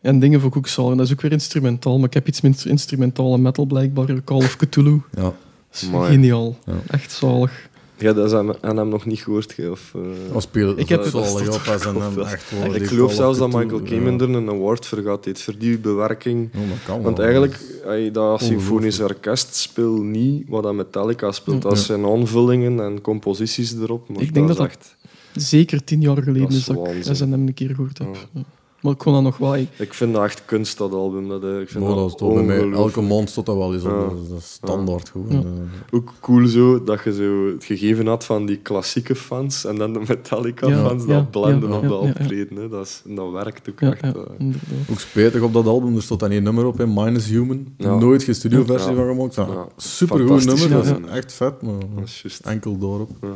en dingen voor koekzalen. Dat is ook weer instrumentaal. Maar ik heb iets met instrumentale metal blijkbaar. Call of Cthulhu.
ja.
Dat is
Mooi.
geniaal.
Ja.
Echt zalig.
Ja, dat is aan, aan hem nog niet gehoord. Gij, of, eh,
Als speler
Ik heb
dat
het-
zal
dat-
ja, pas en
dat-
hem
dat-
echt wel
Ik
die
geloof
Call
zelfs
of
dat Michael
Cthulhu,
Kamen
ja.
er een award voor gaat. Dit voor die bewerking.
Oh,
Ja, dat kan wel.
Want eigenlijk, hey, dat symfonisch orkest speelt niet wat dat Metallica speelt.
Ja.
Dat zijn aanvullingen en composities erop. Maar
Ik denk
dat
dat
is echt...
Zeker tien jaar geleden
Dat is
is dat ik
waanzin.
S&M een keer gehoord heb.
Ja.
Maar ik kon dat nog wel. Ik,
Ik vind dat echt kunst, dat album. Dat, eh, ik
Oh,
vind
Maar dat is toch bij mij,
ongelooflijk.
elke maand stond dat wel eens op.
Ja.
Dat is- Dat is standaard gewoon.
Ja.
eh.
Ook cool zo, dat je zo het gegeven had van die klassieke fans en dan de
Ja,
Metallica-fans
ja,
dat blenden
ja,
op
ja,
dat
ja, ja.
optreden. hè. Dat, is, dat werkt ook
ja,
echt.
ja,
eh.
inderdaad.
Ook spijtig op dat album, er stond dan één nummer op, hè, Minus Human.
Ja.
Nooit geen studioversie
Ja.
van gemaakt. Ja.
Ja.
Supergoed
Fantastisch
nummer, dat is
Ja.
een echt vet, maar
Dat is juist.
enkel daarop.
Ja.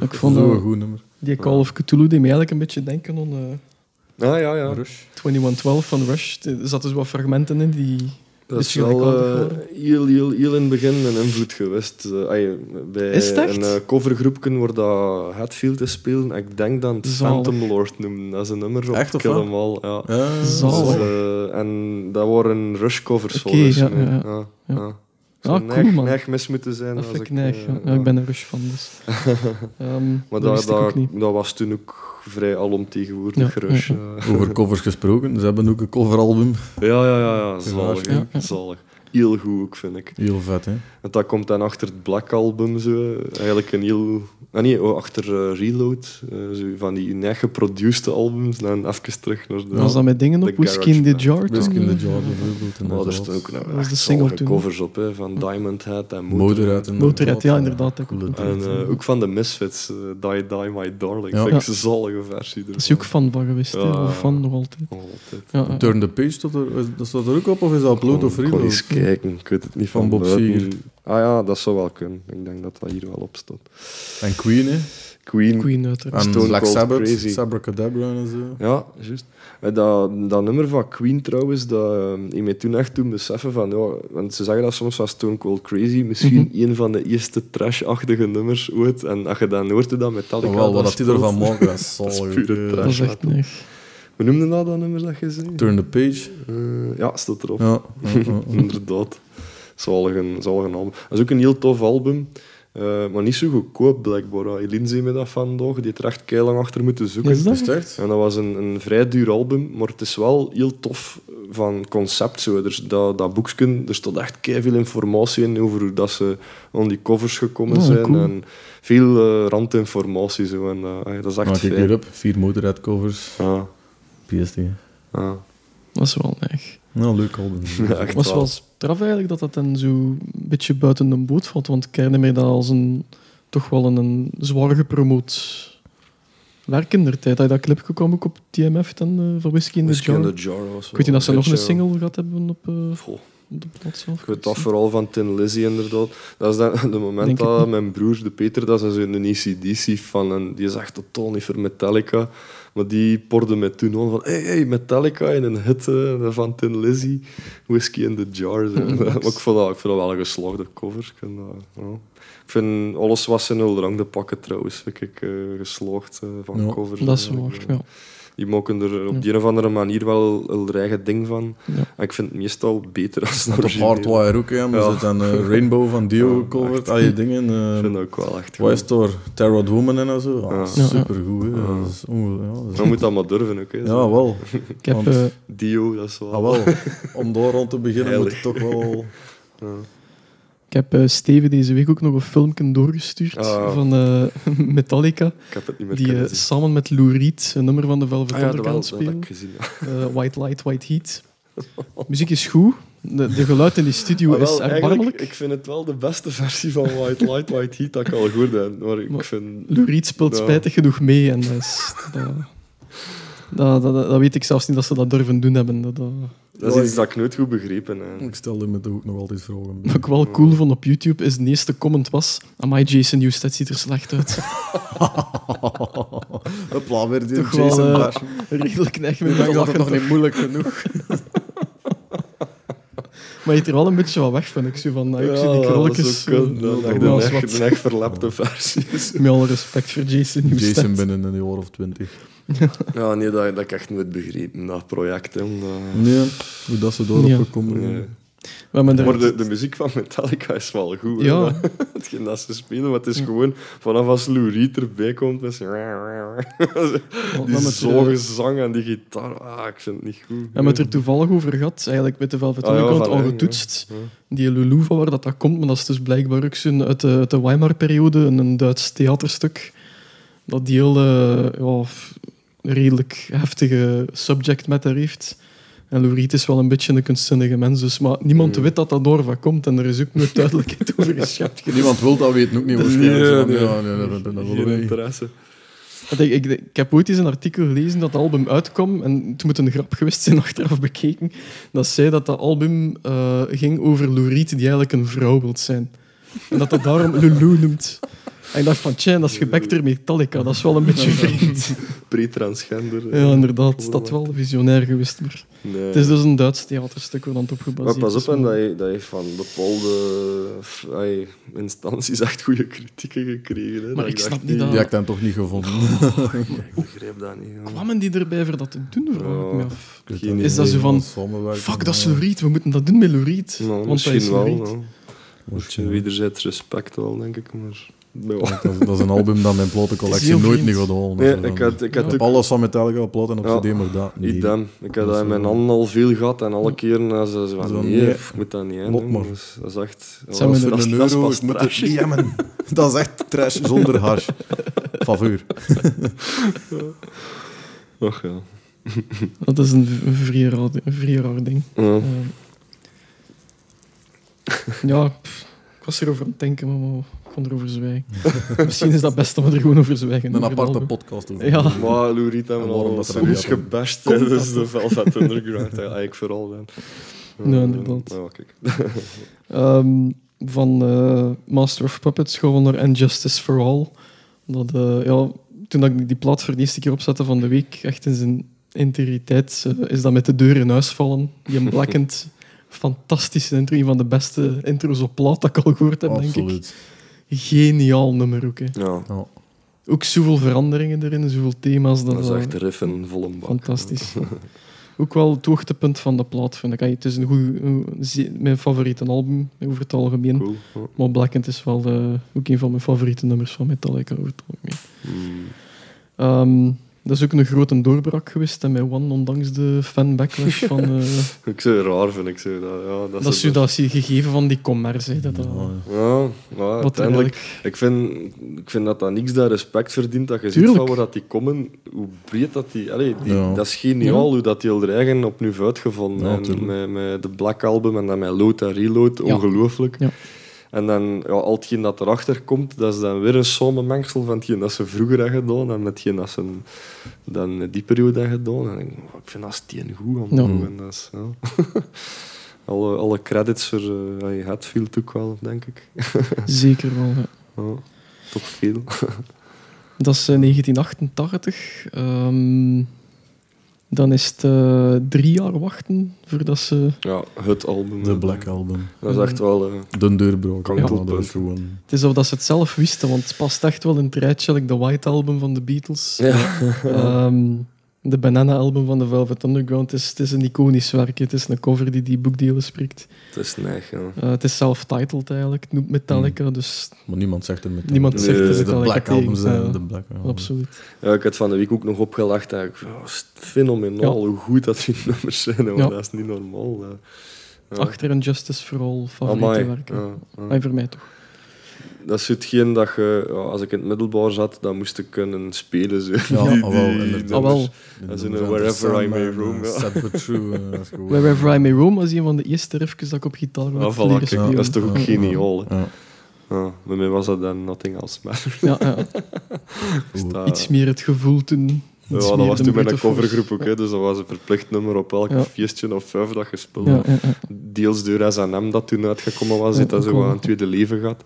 Ik vond
Zo'n
eh,
goed nummer.
die Call of Cthulhu die mij eigenlijk een beetje denken aan eh,
Ah, ja, ja.
Rush.
2112 van Rush. Er zaten dus wat fragmenten in die...
Dat is
Is gelijk
wel eh,
ouder
heel, heel, heel in het begin een invloed geweest. Eh, ai, bij
Is het echt?
een eh, covergroepje waar dat Hatfield te spelen. Ik denk dat het
Zalig.
Phantom Lord noemen. Dat is een nummer op
Echt, of
Kill
wat?
Em All. Ja.
Ja,
Zalig.
Dus, eh, en dat waren Rush covers
Oké,
volgens
ja,
mij.
ja, ja. Ja.
Zou
Ah, cool,
neig,
man.
neig mis moeten zijn.
Dat
als
vind ik
ik,
neig,
eh,
ja. Ja,
ja.
Ik ben een Rush fan,
[laughs]
dus... Ehm,
Maar
dat
dat,
wist ik ook
dat,
niet.
dat was toen ook vrij alomtegenwoordig
Ja,
Rush. eh.
ja,
Ja,
Over covers gesproken, ze hebben ook een coveralbum.
ja, ja, ja, ja, zalig.
Ja, ja.
zalig. Heel goed ook, vind ik.
Heel vet, hè.
Want dat komt dan achter het Black Album, zo. eigenlijk een heel... Ah nee, oh, achter eh, Reload, eh, zo van die net geproduceerde albums. Dan even terug naar de...
Was dat met dingen
de
op? Whiskey in the
Garage
Jar?
Risk in the
toen, eh,
Jar bijvoorbeeld.
Maar er
inderdaad.
staan ook nou
Dat is de
echt
single
zalige
toen, hè?
covers op, hè, van Diamond Head en
Motorhead. inderdaad.
Motorhead, ja, inderdaad, dat
Coole
klopt.
dingen.
En eh, ook van de Misfits, eh, Die Die My Darling.
Ja.
Dat
Ja.
is een zalige versie.
Dat is je ook fan van geweest, hè?
Ja.
Of fan nog altijd.
Oh, altijd.
Ja, ja.
Turn the Page, staat er, is- dat staat er ook op, of is dat upload of
Oh, Ik kon
reload?
eens kijken, ik weet het niet
Van
van,
Bob
buiten.
Seger.
Ah ja, dat zou wel kunnen. Ik denk dat dat hier wel op staat.
En Queen, hè.
Queen.
Queen uiteraard.
En
Stone
Black
Cold
Sabbath,
Crazy.
Sabracadabra en zo.
Ja, juist. Eh, Dat, dat nummer van Queen trouwens, dat eh, ik mij toen echt toen beseffen van, ja, want ze zeggen dat soms van Stone Cold Crazy, misschien
Mhm.
een van de eerste trash-achtige nummers ooit. En als je dan hoort, dan Metallica.
Oh, wel, wat dat die
speelt.
ervan maken, dat is
is
zalig.
pure
eh.
Dat is echt
Ashwater.
neig.
Hoe noemde dat, dat nummer dat je zei?
Turn the Page.
Eh, ja, staat erop.
Ja. ja, ja,
[laughs]
ja.
Inderdaad. Zalig een, zalig een album. Dat is ook een heel tof album. eh, maar niet zo goedkoop, blijkbaar. Eline zei me dat vandaag. Die had er echt keilang achter moeten zoeken.
Is dat?
Is het echt?
En dat was een, een vrij duur album, maar het is wel heel tof van concept. Zo. Er, dat, dat boekje, er stond echt veel informatie in over hoe dat ze aan die covers gekomen
Oh,
zijn.
cool.
En veel eh, randinformatie. Zo. En, eh, ja, dat is echt
Maak
Ah,
ik
fijn.
weer op. Vier Motorhead covers.
Ja,
PST.
ja.
Dat is wel neig.
Nou, leuk album.
Ja,
[laughs]
echt
Het was
wel.
wel straf eigenlijk dat dat dan zo een beetje buiten de boot valt. Want ik herinner me dat als een toch wel een, een zwaar gepromoot werk in der tijd. Had je dat clipje kwam ook op TMF dan eh, van Whiskey in the
Misschien
Jar.
in de
Ik
Jar was wel
weet niet of ze nog een
beetje-
single gehad hebben op, eh,
Goh.
op de plaat zelf. Dus
Ik weet dat vooral van Tin Lizzy inderdaad. Dat is dan het moment
Denk het
dat
niet.
mijn broer, de Peter, dat is een ECDC-fan en die is echt totaal niet voor Metallica. Maar die porde me toen aan van hey, hey, Metallica in een hit eh, van Tin Lizzy, Whiskey in the
[laughs]
Jar. zo. maar ik vond, dat, ik vond dat wel een geslaagde cover. Ik vind, dat, ja. ik vind alles wat ze in hun rang te pakken trouwens, vind ik eh, geslaagd eh, van
Ja,
covers.
Dat is
eigenlijk,
waar,
ja.
ja.
Die maken er op
Ja.
die een of andere manier wel hun eigen ding van.
Ja.
En ik vind het meestal beter als het
Met op
origineel.
Hardwire ook, hè. Maar
Ja.
er zit dan eh, Rainbow van Dio
Ja,
gecoverd.
echt.
Al je dingen.
Ik vind
eh
dat ook wel echt
Waar is
goed.
het door? Tarot Woman en dat zo. Ah,
Ja.
Supergoed, hè.
Ja.
Dat is onge- ja, dat is-
Dan moet dat maar durven ook. Hè,
Ja,
Zo.
wel.
Ik heb
Want-
eh,
Dio, dat is wel...
Ah, wel. Om daar rond te beginnen moet het toch wel...
Ik heb eh, Steven deze week ook nog een filmpje doorgestuurd
Ah.
van eh, [laughs] Metallica,
Ik heb het niet meer
die eh,
kunnen zien.
samen met Lou Reed een nummer van de Velvet
Ah ja, dat,
Underground
wel, dat heb
spelen.
ik gezien. ja.
Eh, white Light, White Heat. Muziek is goed. De, de geluid in die studio
Ah, wel,
is
eigenlijk,
erbarmelijk.
ik vind het wel de beste versie van White
[laughs]
Light, White Heat dat ik al goed heb. Maar ik
Maar-
vind...
Lou Reed speelt
Ja.
spijtig genoeg mee. En dat, is- dat, dat, dat, dat weet ik zelfs niet dat ze dat durven doen hebben. Dat, dat,
Dat
Ja,
is iets
ik-
dat ik nooit goed begrepen heb.
Ik stelde me toch ook nog altijd
[laughs]
vragen.
wat ik wel cool vond op YouTube is de eerste comment was Amai, Jason Newsted ziet er slecht uit.
Hopla, weer die
Toch
Jason
wel, eh,
Bash.
Redelijk neig
Ik
met
denk dat het
lachen.
nog niet moeilijk genoeg.
Maar je hebt er wel een beetje wat weg, vind ik. Zo van, nou, ik zie die
Ja,
krolletjes.
Dat is ook, eh, dat
eh,
echt
wel
een
eens
echt-
wat-
een echt verlepte versie. is.
eh, Met alle respect voor Jason Newsted.
[laughs] Jason binnen een jaar of twintig.
[laughs] Ja, nee, dat, dat heb ik echt nooit begrepen, dat project. Hè,
Mm.
omdat-
Nee, hoe dat ze daarop
Ja.
gekomen zijn.
Nee.
We hebben er-
Maar de, de muziek van Metallica is wel goed. hè. [laughs]
Ja.
Hetgeen dat ze spelen, maar het is gewoon vanaf als Lou Reed erbij komt. Met zijn-
we hebben
die
er-
zoge zang en die gitaar. Ah, ik vind het niet goed.
We hebben het er toevallig over gehad, eigenlijk met de Velvet
Ah, ja,
Underground
van
al
hen, ja.
getoetst.
Ja.
Die Lulu, van waar dat, dat komt, maar dat is dus blijkbaar ook zo'n uit de, uit de Weimar-periode, een, een Duits theaterstuk. Dat die heel eh, ja, f- redelijk heftige subject matter heeft. En Lou Reed is wel een beetje een kunstzinnige mens, dus, maar niemand
Hmm.
weet dat dat Orva komt en er is ook nooit duidelijkheid
[laughs]
over geschept.
Niemand wil dat weten, ook niet waarschijnlijk. Ja, nee, dat- dat- dat willen we
Geen
niet.
interesse.
Want ik, ik, ik heb ooit eens een artikel gelezen dat het album uitkwam. En het moet een grap geweest zijn [laughs] achteraf bekeken. Dat zei dat dat album eh, ging over Lou Reed, die eigenlijk een vrouw wilt zijn. En dat dat daarom [laughs] Lulu noemt. En ik dacht van, tja, dat is gebekter Metallica. Dat is wel een beetje vreemd.
Pre-transgender. eh.
Ja, inderdaad. Dat wel visionair geweest. Maar
Nee.
het is dus een Duits theaterstuk waar dan het op
maar
gebaseerd
pas op,
is.
en dat, je, dat heeft van bepaalde f- ay, instanties echt goede kritieken gekregen. Hè.
Maar ik
dacht
snap niet
die-
dat-
Die heb ik dan toch niet gevonden.
Ik begreep dat niet. ja.
Kwamen die erbij voor dat te doen? Vraag ik me af.
Ik weet
Geen
Is dat
idee,
zo van,
iemand samenwerken,
Fuck, dat is
maar-
Lou Reed. We moeten dat doen met Lou Reed.
Nou,
want dat is
misschien
Lou
wel.
Reed.
ja.
Misschien
Misschien wederzijds respect wel, denk ik. Maar... Ja.
Dat is, dat is een album dat mijn
Het
platencollectie
is heel
nooit
vreemd.
niet gaat halen.
Nee,
Dat is
ik had,
dan-
ik had
Ik heb
ook
alles van Metallica op plaat en op
Ja.
CD, maar dat
niet
niet.
dem. Ik had
Dat
dat
is
in mijn
wel-
handen al veel gehad en alle keren eh, ze ze van,
Zo,
nee,
nee.
ik moet dat niet hè,
Lot
doen.
maar.
Dus Dat is echt...
Zijn we
dat is-
er
dat is-
een
dat is
euro,
pas
ik moet
trash.
het niet hebben. [laughs] Dat is echt trash zonder hash. Faveur.
Och ja.
Dat is een v- een vrij raar- een vrij raar ding.
Ja.
Eh. ja, pff, ik was erover aan het denken, maar ik kon erover
[laughs]
zwijgen. Misschien is dat best dat we er gewoon over zwijgen.
Een
over het
aparte
album.
podcast. over.
Ja.
Maar Lou Reed hebben
En
we
waarom
al
dat er niet
soms
op-
gebashed dus tijdens de Velvet Underground. Ja, ik vooral
[laughs]
ben.
Ja, inderdaad.
Ja, kijk.
Ehm, van eh, Master of Puppets gaan we naar And Justice for All. Dat, eh, ja, toen dat ik die plaat voor de eerste keer opzette van de week, echt in zijn integriteit, eh, is dat met de deur in huis vallen. Die een
[laughs]
blakkend, fantastische intro. Een van de beste intro's op plaat dat ik al gehoord heb, denk ik.
Absoluut.
Geniaal nummer ook, hè.
Ja,
Ja.
Ook zoveel veranderingen erin, zoveel thema's. Dat,
dat is
dat-
echt eh, riffen vol een bak. [laughs]
fantastisch. Ook wel het hoogtepunt van de plaat, vind ik. Ay, Het is een goeie, een- ze- mijn favoriete album, over het algemeen.
Cool. Ja.
Maar Blackend is wel eh, ook een van mijn favoriete nummers van Metallica, over het algemeen.
Mm.
Ehm, dat is ook een grote doorbraak geweest en met One, ondanks de
[laughs]
fan-backlash van... eh,
Ik zou raar, vind ik. Zo, dat, ja, dat,
dat is
zo-
u dat zie- gegeven van die commerce. hè, Dat, dat,
Ja, ja.
Ja, maar
wat er
uiteindelijk...
eigenlijk-
Ik vind, ik vind dat dat niks dat respect verdient. Dat je ziet
Tuurlijk.
van waar dat die komen, hoe breed dat die... Allee, die
Ja.
Dat is geniaal hoe dat die al er eigen opnieuw heeft uitgevonden.
Ja,
En
tuurlijk.
met, met de Black Album en dan met Load en Reload,
Ja.
ongelooflijk.
Ja.
En dan, ja, al hetgeen dat erachter komt, dat is dan weer een samenmengsel van hetgeen dat ze vroeger hebben gedaan en met hetgeen dat ze dan in die periode hebben gedaan. En ik, ik vind dat steen goed. om
Ja.
te doen. En dat is, ja. [laughs] alle, alle credits voor uh, Hatfield ook wel, denk ik.
Zeker wel, ja.
Ja, toch veel.
Dat is eh, 1988. Ehm, dan is het eh, drie jaar wachten voordat ze...
Ja, het album.
De Black Album.
Dat is echt wel... eh,
De deurbrook.
Kan
Ja,
tot
dat
punt.
is gewoon...
Het is of dat ze het zelf wisten, want het past echt wel in het rijtje, like de White Album van de Beatles. Ehm, de Banana Album van de Velvet Underground. Het is, het is een iconisch werk. Het is een cover die die boekdelen spreekt.
het is neig, ja.
Eh, het is self-titled eigenlijk. Het noemt Metallica,
Hmm.
dus
Maar niemand zegt er meteen.
niemand
Nee,
zegt
Het
dat
is
ze
de
Metallica
Black Album.
tegen.
zijn
Ja,
de Black Album.
Absoluut.
ja. Ik had het van de week ook nog opgelacht. En ik, ja, is het fenomenaal hoe goed dat die nummers zijn. hè, want
Ja.
Dat is niet normaal. hè. Ja.
Achter een Justice for All favoriete
Amai,
werken.
ja, ja.
Ah, voor mij toch.
Dat is hetgeen dat je... ja, als ik in het middelbaar zat, dan moest ik kunnen spelen. Zo.
Ja,
Die-
ah, wel,
die
inderdaad.
Ah, wel.
nummers. Dat is in een Wherever I May Roam, ja.
Set but true. eh, dat is gewoon-
Wherever I May Roam was een van de eerste riffjes dat ik op gitaar
Ja,
werd
Ah, voilà,
leren
kijk, dat is toch ook
Ja.
geniaal. hè.
Ja.
Ja, bij mij was dat dan Nothing Else Matters.
Ja, ja.
Dat-
Iets meer het gevoel toen.
Ah. Ja,
iets
dat
meer
was
de
toen met een
metafoor.
covergroep ook, hè, dus dat was een verplicht nummer op elk
Ja.
feestje of vijf dat je speelde.
Ja, ja, ja.
deels door S&M dat toen uitgekomen was,
Ja,
zit dat zo
cool.
aan het tweede leven gaat.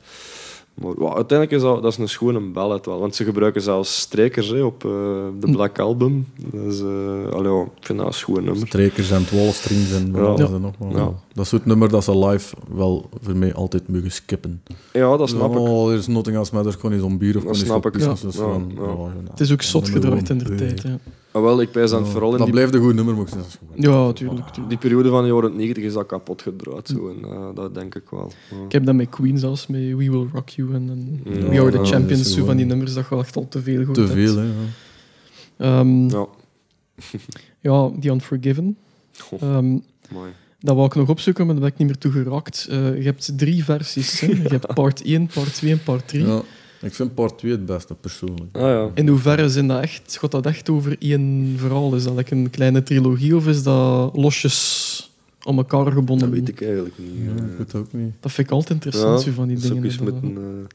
Maar wa- uiteindelijk is dat, dat is een schone ballet wel. Want ze gebruiken zelfs strijkers hè, op eh,
Hm.
de Black Album. Dus, eh, allee, ja, ik vind dat een schoon nummer.
Strekers en twaalfstrings en wat
Ja.
alles en nog.
Ja.
wel. Dat soort nummer dat ze live wel voor mij altijd mogen skippen.
Ja, dat snap ik.
Oh, er is nothing else matters, gewoon eens om bier of
Dat
gewoon eens
snap
wat
ik.
pissen.
Ja.
Dus van,
Ja,
ja,
ja.
ja.
Het is ook zot
Dat moet
gedraaid in
gewoon
de
twee.
tijd. Ja,
Ah, wel, ik wijs dan
Ja.
vooral in
Dat
die,
blijft een goed nummer, maar ik zeg, dat is gewoon-
ja tuurlijk, tuurlijk.
die periode van de jaren 90 is dat kapot gedraaid. Zo, en, eh, dat denk ik wel. Ja.
Ik heb dat met Queen zelfs, met We Will Rock You en, en
Ja,
We Are
dat
The
is
Champions. Zo
gewoon-
van die nummers dat je wel echt al te veel gehoord
Te
hebt.
veel, hè. ja.
Ehm, ja.
Ja,
die Unforgiven.
Goh.
Ehm,
mooi.
dat wou ik nog opzoeken, maar daar ben ik niet meer toe geraakt. Eh, je hebt drie versies. Hè? Je hebt part 1, part 2 en part 3.
Ja. Ik vind part 2 het beste, persoonlijk.
Ah ja.
In hoeverre zijn dat echt, gaat dat echt over één verhaal? Is dat like een kleine trilogie of is dat losjes aan elkaar gebonden?
Dat weet ik eigenlijk niet.
Ja,
eh.
ik weet het ook niet.
Dat vind ik altijd interessant, zo van die
dat is ook
dingen.
iets
hè,
met
dat-
een, eh,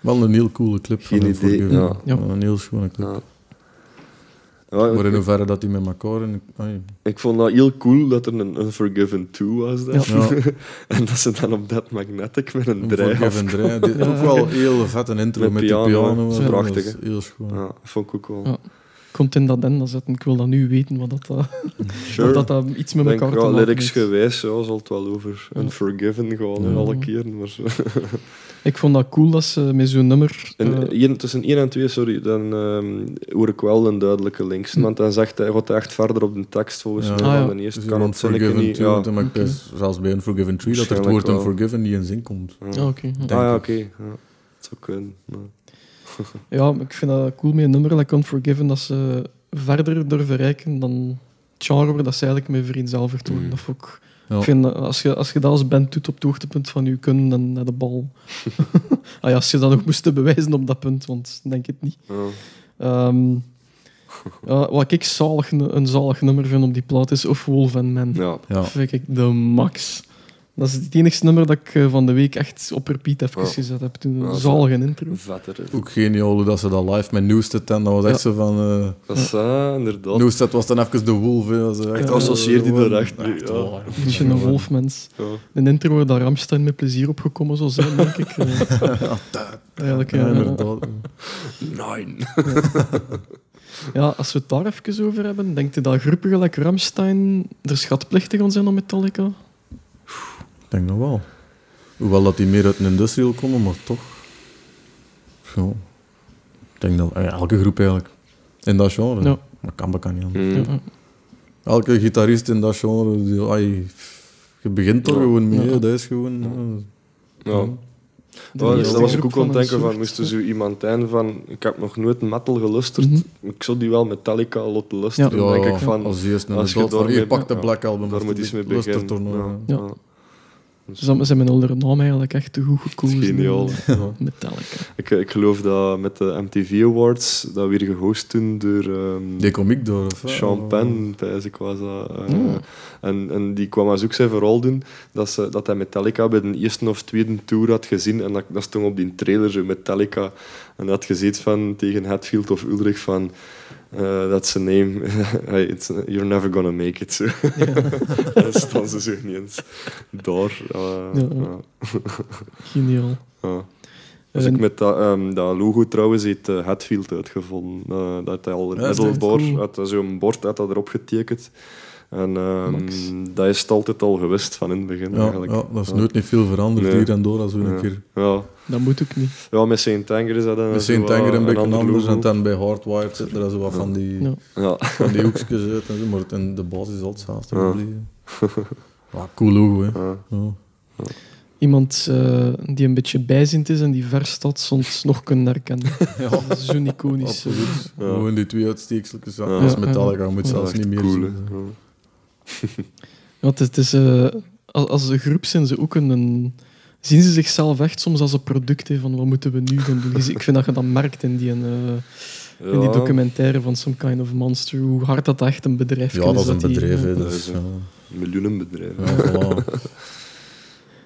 Wel een heel coole clip
Geen
van hem
idee,
vorige
ja.
Ja.
Een heel schone clip.
ja. Ja, ik-
Maar in hoeverre dat hij met elkaar... In... Ai,
Ik vond dat heel cool dat er een Unforgiven 2 was. daar.
Ja. Ja.
[laughs] en dat ze dan op dat magnetic met een draai
Forgive and Dry. Dit- Ook wel een heel vet een intro met,
Met
die
piano,
piano.
dat is
en
prachtig,
dat is Heel schoon.
Ja, vond ik ook wel.
Ja. Komt in dat dan zetten. Ik wil dat nu weten, wat dat, [laughs] dat,
Sure.
of dat, dat iets met
denk,
elkaar te
ja,
maken
lyrics
heeft.
gewijs ja, zal het wel over
Ja.
Unforgiven gaan
Ja.
alle keren. Maar, zo.
Ik vond dat cool dat ze met zo'n nummer...
en,
eh,
één- tussen 1 en 2, sorry, dan ehm, hoor ik wel een duidelijke links.
Hm.
Want dan zegt hij, gaat hij echt verder op de tekst volgens
Ja.
mij.
Ah, ja.
dan de eerste
Dus
kan het zeker niet. Ja.
Too, maar ik
Oké.
wist zelfs bij Unforgiven 3 dat er het woord
Waarschijnlijk wel.
Unforgiven niet in zin komt.
Ja.
ah, oké, ja.
Ah ja,
ik.
oké. Ja. Het zou kunnen. ja.
Ja, maar ik vind dat cool met een nummer like Unforgiven, dat ze verder durven reiken dan het genre waar dat ze eigenlijk met vriend zelf doen.
Mm.
Dat vond ik-
Ja.
ik vind dat als, je, als je dat als band doet op het hoogtepunt van je kunnen, dan naar de bal. ah ja, als je dat nog moest bewijzen op dat punt, want ik denk het niet.
Ja.
Ehm, ja, wat ik zalig, een zalig nummer vind op die plaat is Of Wolf and Man.
Ja.
Ja.
Dat vind ik de max. Dat is het enigste nummer dat ik eh, van de week echt op repeat even
Ja.
gezet heb. Toen
Ja,
een
dat-
zalige intro.
Vetter. hè.
Ook geniaal hoe dat ze dat live met Newstead en dat was echt
Ja.
zo van... eh
Dat is ah, inderdaad.
Newstead was dan even de wolf. hè. Dat was echt,
Ik
associeer die
eh,
er echt mee, ja.
wel,
Een beetje een wolfmens. Een intro waar dat Ramstein met plezier op gekomen zou zijn, denk ik. Eh, Eigenlijk, eh,
Ja,
ja,
inderdaad.
Nein.
ja, als we het daar even over hebben, denkt u dat groepen gelijk Ramstein er schatplichtig aan zijn om Metallica?
Ik denk nog wel. Hoewel dat die meer uit een industrial komen, maar toch. Ja. Ik denk dat eh, elke groep eigenlijk. In dat genre.
Ja.
Maar kan bekend niet. anders.
Mm.
Ja.
Elke gitarist in dat genre, die, ai, je begint er
Ja.
gewoon mee.
Ja.
hè. Dat is gewoon. eh,
Ja.
De
Ja, dus
eerste
dat was ik
groep
ook aan het
van een
denken van,
soort, Mhm.
moest er
eh,
zo iemand zijn van, ik heb nog nooit metal gelusterd, ik zou die wel Metallica laten lusteren,
Ja,
dan denk ik van,
als eerste
als je
inderdaad. Van,
daarmee-
hier, pak de
ja,
Black Album.
daar moet iets mee beginnen. Ja.
beginnen.
Ja. Dus dan zijn mijn oudere naam eigenlijk echt te goed gekozen.
Geniaal.
[laughs] Ja. Metallica.
Ik, eh, ik geloof dat met de MTV Awards, dat weer gehost toen door ehm,
Die kom ik door. of, hè?
Champagne, pijs ik was dat. eh,
Mm.
en, en die kwam als ook zijn vooral doen dat, ze, dat hij Metallica bij de eerste of tweede tour had gezien. En dat, dat stond op die trailer, zo Metallica. En dat had gezegd van, tegen Hatfield of Ulrich van... eh, that's a name. [laughs] Hey, it's, you're never gonna make it. [laughs] Zo. Dan staan ze zich niet eens door. eh,
Ja.
ja,
Geniaal.
ja. Dus ik
En-
met dat, ehm, dat logo trouwens heeft eh, Hatfield uitgevonden. Eh, dat hij al in
Ja, dat is echt
middelbaar
cool.
had hij zo'n bord had dat erop getekend. En ehm,
Max.
dat is het altijd al gewist van in het begin
Ja,
eigenlijk.
ja, dat is nooit niet veel veranderd
Nee.
hier en door als we een
Ja.
keer
Ja.
Dat moet ook niet.
ja, met Saint Anger is dat dan
Met
zo,
Saint
eh,
Anger een beetje
ander
anders.
logo.
En dan bij Hardwired zitten er zo wat van die,
Hmm.
Ja.
Ja.
van die hoekjes uit. En zo, maar het- en de basis is altijd hetzelfde
Ja.
gebleven. Ja, cool logo, hè.
Ja.
Ja.
Iemand eh, die een beetje bijzind is en die ver staat, soms nog kunnen
[laughs]
herkennen. Dat is zo'n iconisch.
Absoluut.
Ja.
Gewoon die twee uitsteekseltjes. Ja.
Ja.
Dat is Metallica, je moet
Ja,
zelfs
echt
niet meer eh.
cool,
zien.
hè. Ja.
Ja, het is, het is, eh, als, als een groep zijn ze ook een, een- Zien ze zichzelf echt soms als een product hè, van wat moeten we nu gaan doen? Je ziet- Ik vind dat je dat merkt in die, eh, in die
Ja.
documentaire van Some Kind of Monster, hoe hard dat echt een bedrijf
Ja, dat is een
die-
bedrijf. hè.
ja.
Dat is, ja.
Miljoenenbedrijf.
Ja, voilà.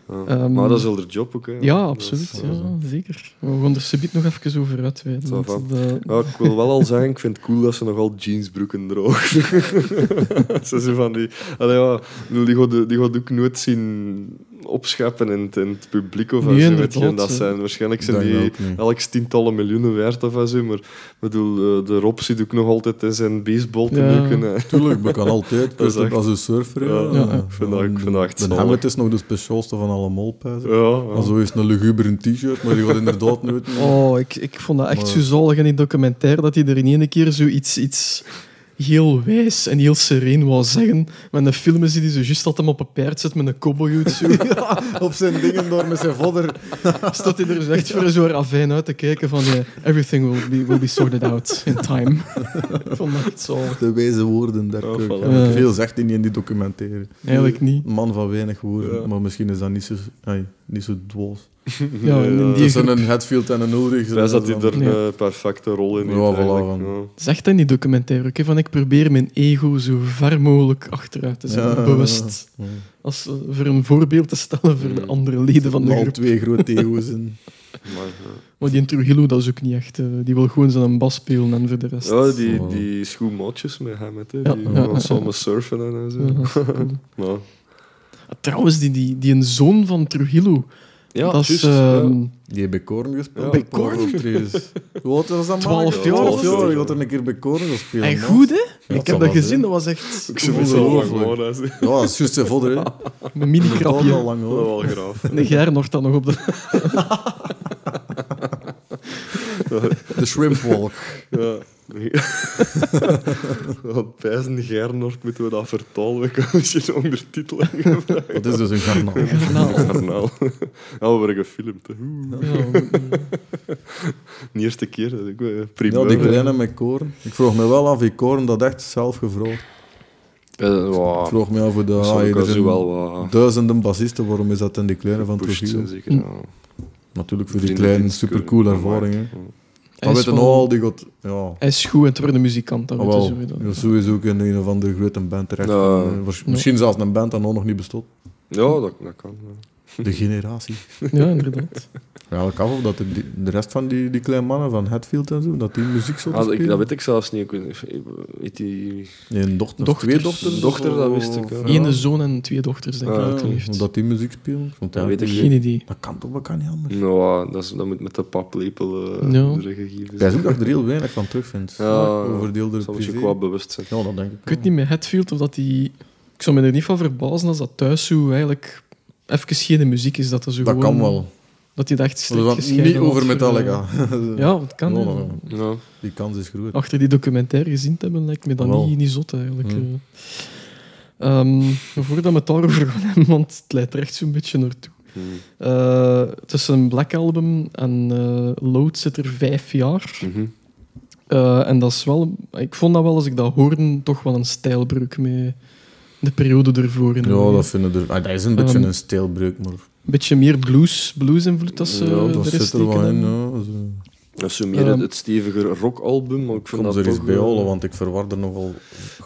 Ja.
Ehm,
maar dat is wel de job ook. Hè.
Ja,
Dat
absoluut.
is-
eh,
ja, zeker. We gaan er subiet nog even over uitweiden.
Ça
want
va.
dat-
Ja, ik wil wel al zeggen, ik vind het cool dat ze nogal jeansbroeken drogen. [laughs] ze zijn van die... Allee, ja, ik bedoel, die gaat die gaat ook nooit zien opscheppen in het, in het publiek of
Nee,
zo. Weet
inderdaad,
je, dat
hè.
zijn, waarschijnlijk zijn
Denk
die
dat ook niet.
elk tientallen miljoenen waard of zo. Maar ik bedoel, eh, de Rob zit ook nog altijd in zijn baseball te
Ja.
neuken. hè.
Tuurlijk, we kan altijd.
Dat is
Kurt
echt-
als een surfer.
Ja,
ja, ik
vind dat- ik vind dat echt
De
zalig.
helmet is nog de speciaalste van allemaal. pijzen.
Ja, ja.
Zo is een luguber t-shirt, maar die gaat inderdaad nooit meer.
Oh, ik, ik vond dat echt
Maar-
zo zalig in die documentaire dat hij er in één keer zoiets iets heel wijs en heel sereen wou zeggen. Maar in de film zie je zo juist dat hem op een paard zit met een cowboyhoed. Zo.
[laughs] op zijn dingen door met zijn vodder.
Staat hij er zo echt voor zo'n ravijn uit te kijken van eh, everything will be, will be sorted out in time. [laughs] ik vond dat echt zalig.
De wijze woorden daar.
Ja,
Kirk.
voilà.
Ja,
Ja.
Veel zegt hij niet in die documentaire.
Eigenlijk niet.
Een man van weinig woorden,
Ja.
maar misschien is dat niet zo, ai, niet zo dwaas.
Ja, en in die
Tussen
groep.
een Hetfield en een Ulrich.
Daar zat hij
dat is
er-
er een
Ja.
eh, perfecte rol in.
Ja,
heeft
voilà,
eigenlijk,
want-
ja.
Zegt dat in die documentaire ook, hè, van ik probeer mijn ego zo ver mogelijk achteruit te zetten,
Ja.
bewust.
Ja.
Als, eh, voor een voorbeeld te stellen voor de
Hmm.
andere leden van de
Al
groep.
twee grote ego's in.
Maar, ja.
Maar die Trujillo, dat is ook niet echt... eh, die wil gewoon zijn bas spelen en voor de rest...
Ja, die,
Wow.
die schoenmaatjes met hem, hè, die
Ja, ja,
gaan
ja, ja.
samen surfen en- en zo.
Ja, dat [laughs]
Oh.
is cool.
Nou,
Ah, Trouwens, die, die, die een zoon van Trujillo,
Ja,
dat is
juist,
ehm,
ja.
Die heeft bij Korn gespeeld.
Ja.
Bij Korn? Hoe oud was dat?
Twaalf
man?
jaar.
Twaalf
Twaalf
jaar.
jaar.
Ik had er een keer bij Korn gespeeld.
en
man.
goed, hè?
dat
ik heb
was,
dat
hè.
gezien, dat was echt
Ik zou
Ongelooflijk.
zo lang hoor, hè.
Ja, dat is juist
[laughs]
zijn vader. hè.
een
Dat al [laughs]
mini-krapje.
lang
[laughs] Dat is
hoor.
wel graaf.
En de Gernot dan nog op de...
De shrimpwalk.
Ja. Nee. Wat Pijzen Gernord moeten we dat vertalen. We kunnen misschien ondertitelen. [laughs]
Dat is dus een garnaal.
Garnaal.
Garnaal. Ja, we worden gefilmd. hè. Oeh.
Ja,
[laughs] De eerste keer dat ik eh,
Ja,
primeur.
die kleine met Korn. Ik vroeg me wel af, die Korn dat echt zelf gevraagd.
Eh,
Ik
wow.
vroeg me af hoe dat...
Zo
ah,
kan
er
ze
zijn
wel
eh,
wat
Duizenden bassisten, waarom is dat in die kleine van
gepusht zijn,
Trujillo?
zeker. Ja.
Natuurlijk voor
Ik
die
denk dat
kleine,
iets
supercool
kunnen maken.
ervaring. hè.
Hij
Dat
is
weten
wel-
al die god... Ja.
Hij is goed en het wordt een muzikant, dat
Ah,
weten
wel,
ze weer dan.
ja, sowieso ook in een of andere grote band terecht.
Ja.
Eh, waars- Misschien zelfs een band dat nog niet bestond.
Ja, dat, dat kan. ja.
De generatie.
Ja, inderdaad.
Ja, ik af of dat de, die- de rest van die, die kleine mannen van Hetfield en zo, dat die muziek zo
Ah, ik,
spelen.
dat weet ik zelfs niet. Ik weet niet, ik- weet die...
Nee, een dochter.
Dochters.
Twee dochters.
Dochter,
of-
dat wist ik,
of-
ja.
Eén zoon en twee dochters, denk ik.
Ja,
dat
Ja,
hij heeft.
omdat die muziek speelt. Want
Dat weet ik
eigenlijk-
Geen idee.
Dat kan toch, dat kan niet anders.
Nou, dat, is, dat moet met de paplepel eh
Ja.
erin gegeven
Hij is ook
zijn.
dat ik er heel weinig van terugvindt.
Ja, ja.
Over deel
Dat
door
zal
privé.
misschien qua bewust zijn.
Ja, dat denk ik.
Ik weet niet met Hetfield of dat hij... Ik zou me er niet van verbazen als dat thuis zo eigenlijk even geen muziek is. Dat, dat, zo
Dat
gewoon,
kan wel.
Dat hij dat echt strikt
We gaan
gescheiden
niet
houdt
over
voor,
Metallica.
eh, [laughs] Ja, dat kan.
Ja,
hè.
dat wel.
Ja.
Die kans is groot.
Achter die documentaire gezien te hebben, lijkt me dat
Wel.
niet, niet zot eigenlijk.
Hmm.
eh. Ehm, maar voordat we het daarover gaan [laughs] hebben, want het leidt er echt zo'n beetje naartoe.
Hm.
Eh, tussen Black Album en eh Load zit er vijf jaar.
Mhm.
Eh, en dat is wel, ik vond dat wel als ik dat hoorde, toch wel een stijlbreuk met de periode ervoor. In
Ja, dat vinden er... ah, dat is een beetje
Ehm,
een steelbreuk, maar...
beetje meer blues, blues invloed als ze
Ja,
de
dat
rest
zit er wel
tekenen.
in, ja. Zo.
Dat is zo meer
Ehm.
het stevige rockalbum, maar ik vind
Kom
dat
er eens
toch,
bij
eh,
halen, want ik verwar er nogal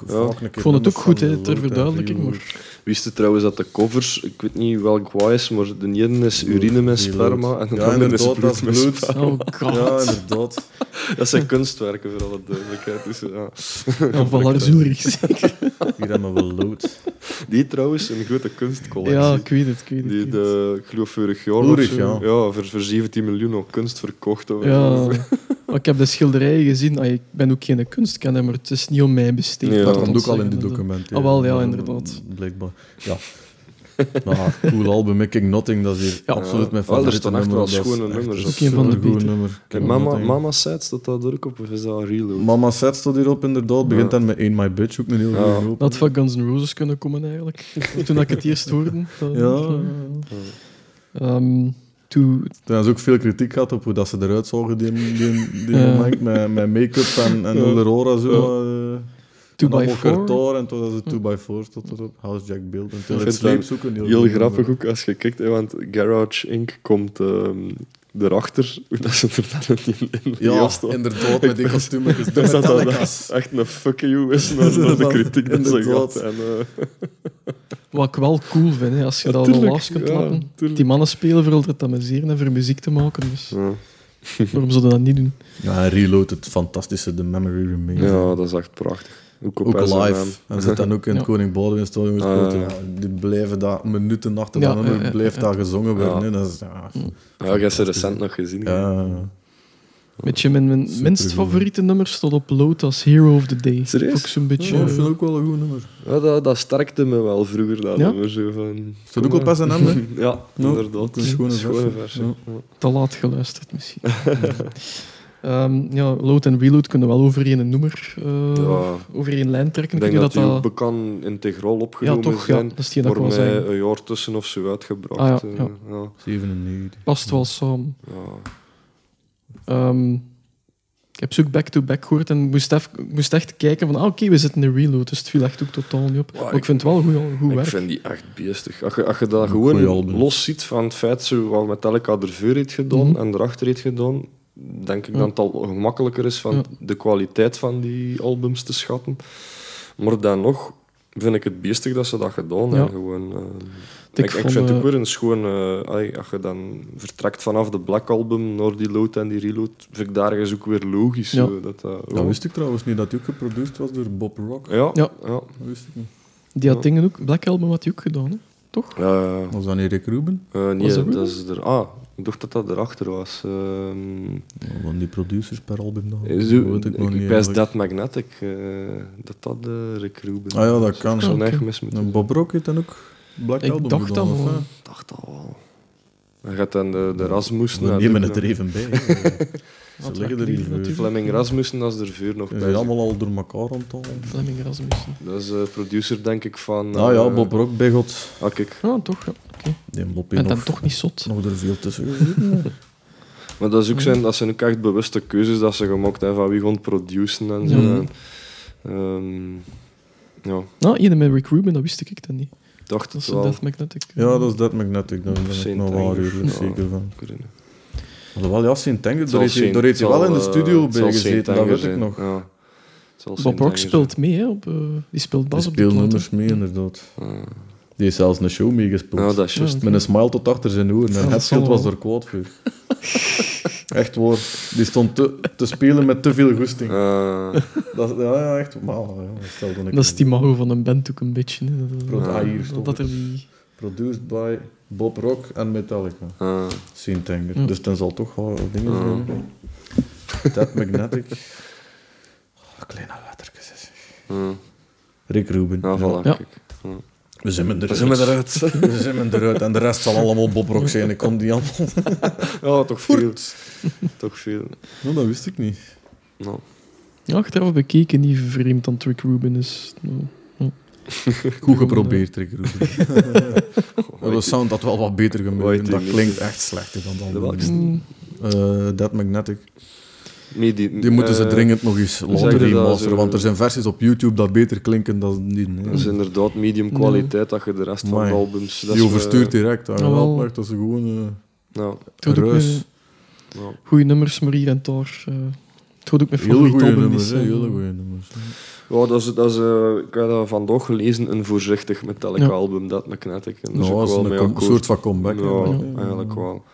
Ja.
vaak een keer
Ik vond het ook
nummers
goed,
van
hè,
de
ter
Lord en
verduidelijking.
Rio.
Maar...
Wist je trouwens dat de covers, ik weet niet welk waar is, maar de ene is urine met
Die
sperma
Lord.
en de
Ja,
andere is
inderdaad, dat
bloed
is
met
bloed.
sperma.
Oh god.
[laughs] Ja, inderdaad.
Dat zijn kunstwerken voor alle duidelijkheid. Dus, ja.
Ja, van Lars Ulrich [laughs] zeker.
Hier hebben we lood.
Die trouwens een grote kunstcollectie.
Ja, ik weet het, ik weet het.
die
ik weet het.
de, ik geloof vorig jaar of
Vorig
zo,
jaar.
voor, voor 17 miljoen op kunst verkocht.
eh,
of-
[laughs]
Ja,
[laughs]
maar ik heb de schilderijen gezien. Ah, ik ben ook geen kunstkenner, maar het is niet om mij besteed.
Nee,
dat
ja.
komt ook al in die
Zeggen, dat-
documenten.
Ah, wel, ja, inderdaad.
Blijkbaar. Ja. Maar cool album, Making Nothing, dat is hier
Ja.
absoluut mijn
Oh, daar
favoriete
staan echt
nummer.
wel
dat is
schone
echt
nummers
een
op.
Ook een van de
supergoed
betere.
nummer.
Kijk, mama, mama Sites staat dat er ook op, of is dat Reload?
Mama Set staat hierop, inderdaad. Begint
Ja.
dan met Ain't My Bitch, ook een heel
Ja.
goede groep.
Dat had van Guns N' Roses kunnen komen eigenlijk. Toen ik het eerst hoorde. dat-
Ja.
Ehm, toen,
Er is ook veel kritiek gehad op hoe dat ze eruit zagen, die, die, die
Ja.
moment, met, met make-up en, en onder oren zo. eh,
Two
en
by
allemaal
Four.
kartoor en totdat ze 2 by 4 tot erop. House Jack Build. En
Ik
Till It
vind dat
Sleeps ook een heel,
Heel
goed
grappig
nummer.
ook als je kijkt, hè, want Garage Inc. komt ehm erachter [laughs] hoe dat ze er dan in, in de
Ja,
jas staan.
inderdaad, [laughs] met die kostuumetjes. De
[laughs] Dus dat dat
Metallica's.
echt een fuck you
[laughs]
is naar, naar de kritiek dat ze
Inderdaad.
gehad. En, eh,
Wat ik wel cool vind, hè, als je dat al
tuurlijk,
last kunt
ja,
lappen.
tuurlijk.
Die mannen spelen vooral te amuseren en voor muziek te maken.
[laughs]
Dus
ja.
waarom zouden we dat niet doen?
Ja, en Reload, het fantastische The Memory Remains.
Ja, dat is echt prachtig. Ook op
Ook live.
SNM.
En zit dan ook in
[laughs]
het
Ja.
Koning Boudewijn Stadion gespeeld.
Ah,
ja. Die blijven daar minuten achter
Ja,
dat
[laughs]
nummer
ja, ja,
blijft
ja.
daar gezongen worden.
Ja.
hè. Dat is, ja,
Ja, ik heb ze recent nog gezien.
ja.
Beetje mijn, mijn
Supergoed.
minst favoriete nummer stond op Load als Hero of the Day.
Serieus?
Ook zo'n beetje... eh,
Ja, ik vind het ook wel een goed nummer.
Ja, dat, dat sterkte me wel vroeger, dat
Ja?
nummer zo van...
Staat ook op SNM, hè?
Ja,
Ja,
inderdaad.
dat is een schone versie.
versie.
Ja.
Ja.
Te laat geluisterd misschien. [laughs] Ehm, ja, load en reload kunnen wel over één nummer, eh,
Ja.
over één lijn trekken.
Ik denk dat
dat
die
dat...
ook bekend integraal
Ja,
opgenomen
toch, ja,
zijn.
dat is die dat ik
Voor
wil
mij eh,
zeggen.
een jaar tussen of zo uitgebracht.
Ah, ja,
eh,
ja.
ja.
97.
Past wel samen.
Ja.
Ehm, Ik heb ze ook back-to-back gehoord en moest, ef- moest echt kijken van, ah, oké, we zitten in reload, dus het viel echt ook totaal niet op.
Wow,
maar
ik-
ik vind het wel goed, goed
Ik
werk.
vind die echt beestig. Als je, als je dat
Een
gewoon
goeie album.
los ziet van het feit zo wat Metallica ervoor heeft gedaan
Mhm.
en erachter heeft gedaan, denk ik
Ja.
dat het al gemakkelijker is van
Ja.
de kwaliteit van die albums te schatten. Maar dan nog vind ik het beestig dat ze dat gedaan
Ja.
hebben. Gewoon, eh,
Ik
ik, ik
vond,
vind het ook
eh,
weer een schoon... eh, ai, als je dan vertrekt vanaf de Black Album naar die load en die reload, vind ik daar is ook weer logisch.
Ja.
zo, dat, dat-
Dat wist ik trouwens niet, dat die ook geproduceerd was door Bob Rock.
Ja, ja.
Ja.
ja.
Dat wist ik niet.
Die had
Ja.
dingen ook, Black Album had die ook gedaan, hè? toch?
Eh,
Was dat niet Rick Rubin?
eh, nee,
Was dat
dat,
goed?
is er... Ah, ik dacht dat dat erachter was. Ehm, eh,
Ja, Van die producers per album nog.
Zo,
Dat weet
ik
nog
ik
niet
pijs
eigenlijk.
dat Magnetic, eh, dat dat de Rick Rubin
Ah ja, dat
was.
kan. Nou.
Ik zou
Oké.
echt mis moeten
En Bob Rock heeft dan ook Black
Ik
Album
dacht
gedaan,
dat
of,
wel.
hè?
zijn. Ik dacht dat wel. Hij gaat dan de, de Rasmussen...
We
naar
nemen
de-
het er
[laughs]
even bij. hè.
Had
liggen
Black
er hier
Leaf
voor.
Fleming Rasmussen, dat is er vuur nog
Ze
bij.
zijn allemaal al door elkaar aan het halen.
Fleming Rasmussen.
Dat is eh, producer, denk ik, van...
Nou ja,
eh,
Bob Rock, bij god.
Ah, kijk.
Ja, toch, ja.
Die Bob
Ik ben
heeft
dan
nog,
toch niet zot.
nog er veel tussen
[laughs]
gezeten.
Maar dat, is ook zijn, dat zijn ook echt bewuste keuzes dat ze gemaakt hebben van wie gewoon produceren en zo.
Ja.
En, ehm, ja,
Nou, hier met Rick Rubin, dat wist ik dan niet.
ik dacht
Dat
het
is een
wel.
Death Magnetic. eh,
Ja, dat is Dead Magnetic, daar ben ik
Saint
nog wel
Anger,
redelijk
ja.
zeker van.
Ik weet het niet.
Alhoewel, ja, Sint Anger, daar
Het
heeft
zal
hij- daar heeft hij
Saint-
wel in de
zal, eh,
studio
het
bij
zal
gezeten,
Saint
dat
Anger
weet ik
zijn.
nog.
Ja. Het zal
Bob
Saint
Rock
Anger
speelt mee, hè, op, eh, die speelt
Die
bas op de
speelnummers
platen.
mee, inderdaad.
zijn. Ah.
Die heeft zelfs een show meegespeeld.
Ja, dat is juist.
Ja.
Met een smile tot achter zijn oren.
Ja,
En
dat
Hetfield
zal
was
wel.
er kwaad voor. [laughs] Echt waar. Die stond te, te spelen met te veel goesting.
Eh,
Dat, ja, ja, echt. Maar, ja, stel dan ik
Dat is die mago van een band ook een beetje. Hè. Dat,
Pro-
dat-
ah, hier
dat,
stond
dat er
het.
die...
Produced by Bob Rock en Metallica.
eh.
Saint Anger.
Ja.
Dus dan zal toch wel dingen
Ja.
zijn. Ted Magnetic. Oh, kleine lettertjes. hè, zeg.
Ja,
Rick Rubin.
ja, voilà,
Ja.
kijk.
We zijn met
We zijn met eruit.
We zijn met eruit. En de rest zal allemaal Bob Rock zijn. Ik kon die allemaal...
Ja, toch veel. toch veel.
Nou, dat wist ik niet.
Nou,
Ja, achteraf bekeken, niet vreemd aan Rick Rubin is. Nou, ja.
Goed geprobeerd, Rick Rubin.
[laughs] wat
De sound had wel wat beter
White
gemaakt. Dat
Team.
klinkt echt slechter dan
De
dat.
welke?
Mm,
Eh Dead Magnetic.
nee, die,
Die moeten ze
eh,
dringend nog eens laten
zeker dat
remasteren,
ze- Mm,
want er zijn versies op YouTube dat beter klinken dan die.
Dat is inderdaad medium kwaliteit dat je de rest van
Amai.
de albums... dat
Die
is,
overstuurt
eh,
direct. Dat
Jawel.
maakt dat ze gewoon eh,
Nou,
het wordt ook
Ruis.
met
nou.
goede nummers, maar hier en daar. eh, het wordt ook met
eh hele
favoriete
goede
album
nummers. hè,
zijn.
Hele goede nummers.
Ja, dat is, dat is, eh, ik heb dat vandaag gelezen, een voorzichtig Metallica
Ja.
album, dat Magnetic. En daar
Nou,
is
dat
ook
is
wel
een
mee
com-
akkoord.
soort van comeback. hè,
Ja,
want, eh,
eigenlijk wel.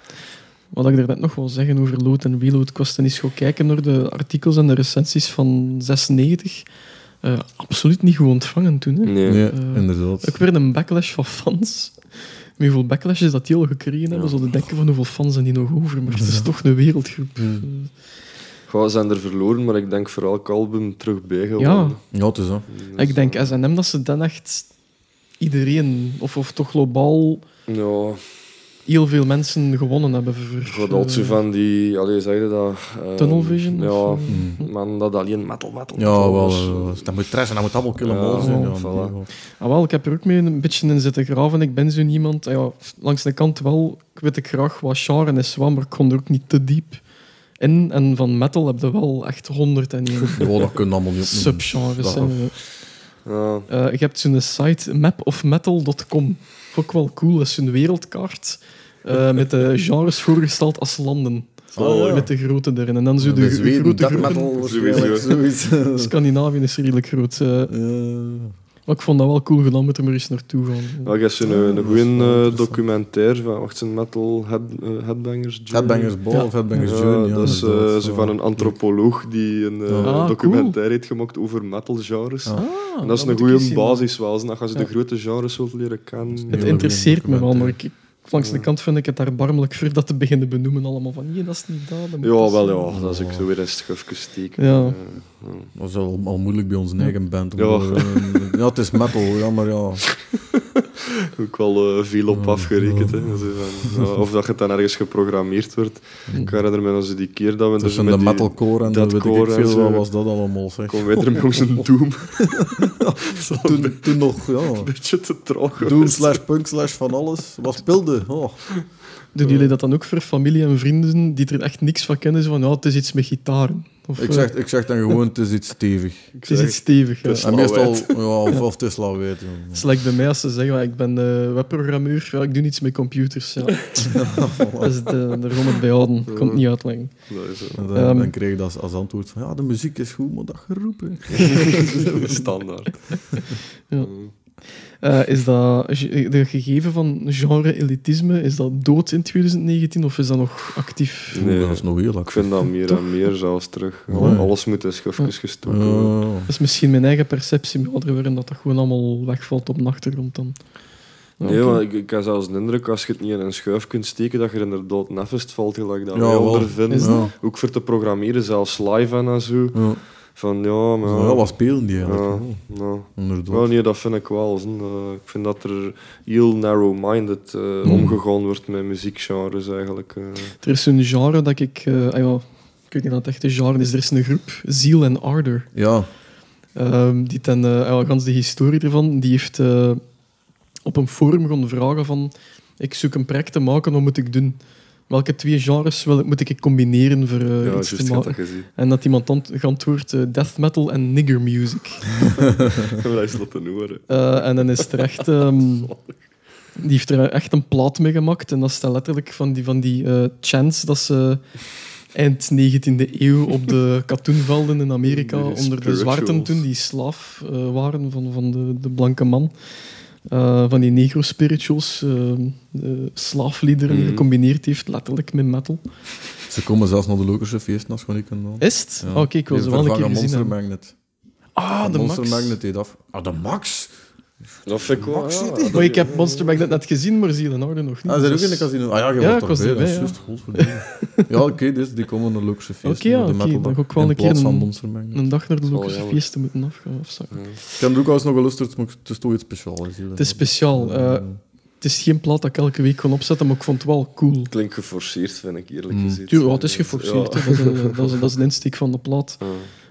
Wat ik er net nog wil zeggen over load en reload, ik was dan eens gaan kijken naar de artikels en de recensies van 96. Eh, absoluut niet goed ontvangen toen. Hè.
Nee.
Nee,
Eh,
inderdaad.
Ook weer een backlash van fans. Maar hoeveel backlash is dat die al gekregen hebben?
Ja.
Zouden denken van hoeveel fans zijn die nog over? Maar het is toch een wereldgroep.
Hmm.
Eh,
Ja, ze zijn er verloren, maar ik denk voor elk album terug
Ja.
bijgewonnen.
Ja, het is zo.
ik denk S&M dat ze dan echt iedereen, of, of toch globaal,
Ja,
heel veel mensen gewonnen hebben. Voor,
Wat had ze
eh,
van die, allee, zeg je dat? eh,
Tunnel vision?
Ja,
Of, eh,
Mm.
man, dat alleen metal, metal.
Ja,
metal
wel.
was.
eh, Dat moet stress en dat moet allemaal
Ja,
killen zijn. ja,
voilà.
nee,
Ah, wel, ik heb er ook mee een beetje in zitten graven. Ik ben zo niemand. Ah Ja, langs de kant wel, ik weet ik graag wat genre is, wat, maar ik kon er ook niet te diep in. En van metal heb je wel echt honderd en één
ja. [laughs] Ja, dat kunnen allemaal niet opnemen.
subgenres.
Dat-
hè.
Ja.
Eh, je hebt zo'n site mapofmetal.com. Ook wel cool, dat is een wereldkaart.
[laughs]
eh, met de genres voorgesteld als landen.
Oh, ja.
Met de grote erin. En dan zo de,
Bij
gro-
Zweden,
grote
death
groepen.
metal, waarschijnlijk, [laughs] zoiets.
Scandinavië is redelijk groot. eh,
Eh,
maar ik vond dat wel cool gedaan, moet er maar eens naartoe gaan.
Ja, ik heb zo'n eh, een,
dat is wel
goede
interessant.
documentaire van wacht, zijn metal head, eh, headbangers. Journey.
Headbangers Ball
Ja.
of Headbangers
Ja,
Journey.
dat is eh,
inderdaad,
zo
ja.
van een antropoloog die een eh,
Ah,
cool.
documentaire heeft gemaakt over metalgenres.
Ja.
Ah,
En dat is
moet
een
ik eens
goede
zien.
basis wel, dan gaan ze de
Ja.
grote genres wilt leren kennen.
Het
Ja,
interesseert me wel,
documentaire.
maar ik, ik- langs de
Ja.
kant vind ik het erbarmelijk voor dat te beginnen benoemen allemaal van nee, dat is niet dat. dat moet
Ja,
dat zijn."
wel ja, dat is ook zo weer een schufje steken.
Ja.
Eh,
Dat is al, al moeilijk bij onze eigen band.
Ja. Dus
omdat
[laughs]
we- ja, het is metal, ja, maar ja.
ook wel eh, veel op
Ja,
afgerekend.
ja.
Hè. Zo van, ja, [laughs] of dat het dan ergens geprogrammeerd wordt. Ik herinner me als die keer dat we... dus
Tussen
met
de
die-
metalcore en de weet ik
deathcore en
veel,
zo.
wat was dat allemaal, zeg.
Kom weer met onze Doom. Zo een
[laughs] Toen, toen nog, ja.
beetje te traag.
Doom slash punk slash van alles. Wat speelde? Oh.
Doen jullie dat dan ook voor familie en vrienden die er echt niks van kennen? Zo van, ja, het is iets met gitaren. Of,
Ik
eh,
zeg, ik zeg dan gewoon, het is iets
[laughs]
stevig.
het is iets stevig. Ja.
het is-
En
Tesla
meestal,
weet.
ja, of, of Tesla weet. ja.
Het is like bij mij als ze zeggen, maar ik ben eh, webprogrammeur, ja, ik doe niets met computers.
[laughs]
Ja. dat is het, eh, daar gaan we het bij houden. Komt niet uitleggen.
Dat is zo.
En dan,
Ehm.
dan kreeg ik dat als, als antwoord van, ja, de muziek is goed, maar dat geroepen.
standaard.
Ja. Eh, is dat ge- de gegeven van genre elitisme, is dat dood in 2019 of is dat nog actief?
Nee.
Dat is nog heel
Ik
actief.
vind dat meer en meer zelfs terug.
Mooi.
Alles moet eens even
Oh,
gestoken worden.
Ja.
Dat is misschien mijn eigen perceptie, maar er weer dat dat gewoon allemaal wegvalt op de achtergrond dan. Ja,
Nee,
oké.
maar ik, ik heb zelfs de indruk, als je het niet in een schuif kunt steken, dat je er inderdaad nefest valt, heel ik dat
Ja,
wij
wel.
ondervinden.
Is
Ja.
Ook voor te programmeren, zelfs live en en zo.
Ja.
Van ja, maar...
Ja, wat spelen die eigenlijk?
ja,
Ja.
ja.
Inderdaad.
Wel, nee, dat vind ik wel. zo. Eh, ik vind dat er heel narrow-minded eh,
Hmm.
Mm.
omgegaan wordt met muziekgenres eigenlijk. eh.
Er is een genre dat ik... eh, ah ja, ik weet niet of het echt een genre is. Er is een groep, Ziel en Ardor.
Ja,
Ehm, die ten, eh, ja, gans de historie ervan, die heeft eh, op een forum gaan vragen van ik zoek een project te maken, wat moet ik doen? Welke twee genres wil, ik- moet ik combineren voor eh,
ja,
iets
juist,
te
ik had
maken?
dat gezien. [laughs]
En dat iemand dan geantwoord eh, death metal en nigger music.
dat is laten horen.
Eh, en dan is er echt... ehm,
[laughs]
die heeft er echt een plaat mee gemaakt. En dat staat letterlijk van die, van die eh, chance dat ze eind 19e eeuw op
[laughs]
de katoenvelden in Amerika
Die
onder de zwarten
spirituals.
toen, die slaaf eh, waren van, van de, de blanke man. eh, van die negro-spirituals, eh, de slaafliederen
Mhm.
gecombineerd heeft, letterlijk met metal.
ze komen zelfs naar de Lokerse feest naar Schonikendaal.
Is het?
Ja.
Ah, Oké, ik wil
Die
ze wel een keer
vervangen
gezien
Monster
hebben.
Magnet.
Ah, de
Monster
Max.
Magnet deed af. Ah, de Max?
Dat vind ik wel,
Max
ja,
zit
dat-
Maar ik heb Monster Magnet net gezien, maar Ziel en Orde nog niet.
Ah, ze zijn ook
Dus-
in de casino. Ah ja, je
Ja,
was
ik
toch
was
bij, dat
erbij,
is
ja.
juist godverdomme.
[laughs]
Ja, oké, dus die komen naar de Luxe Feest.
Oké, ja,
naar de
oké,
metaldag.
dan ga ik wel
In
een keer
plaats van
een-
Monster Magnet.
een dag naar de
is wel
Lokerse
jammer.
feesten moeten afgaan. afzakken.
Ik heb er ook wel eens nog gelusterd, maar het is toch iets speciaals.
Het is speciaal. eh, het is geen plaat dat ik elke week kon opzetten, maar ik vond het wel cool.
Klinkt geforceerd, vind ik eerlijk
Mm.
gezegd.
Tuur, ja, Hmm. het is geforceerd.
Ja. [laughs]
hè. Dat, is een, dat, is, dat is een insteek van de plaat.
Ja.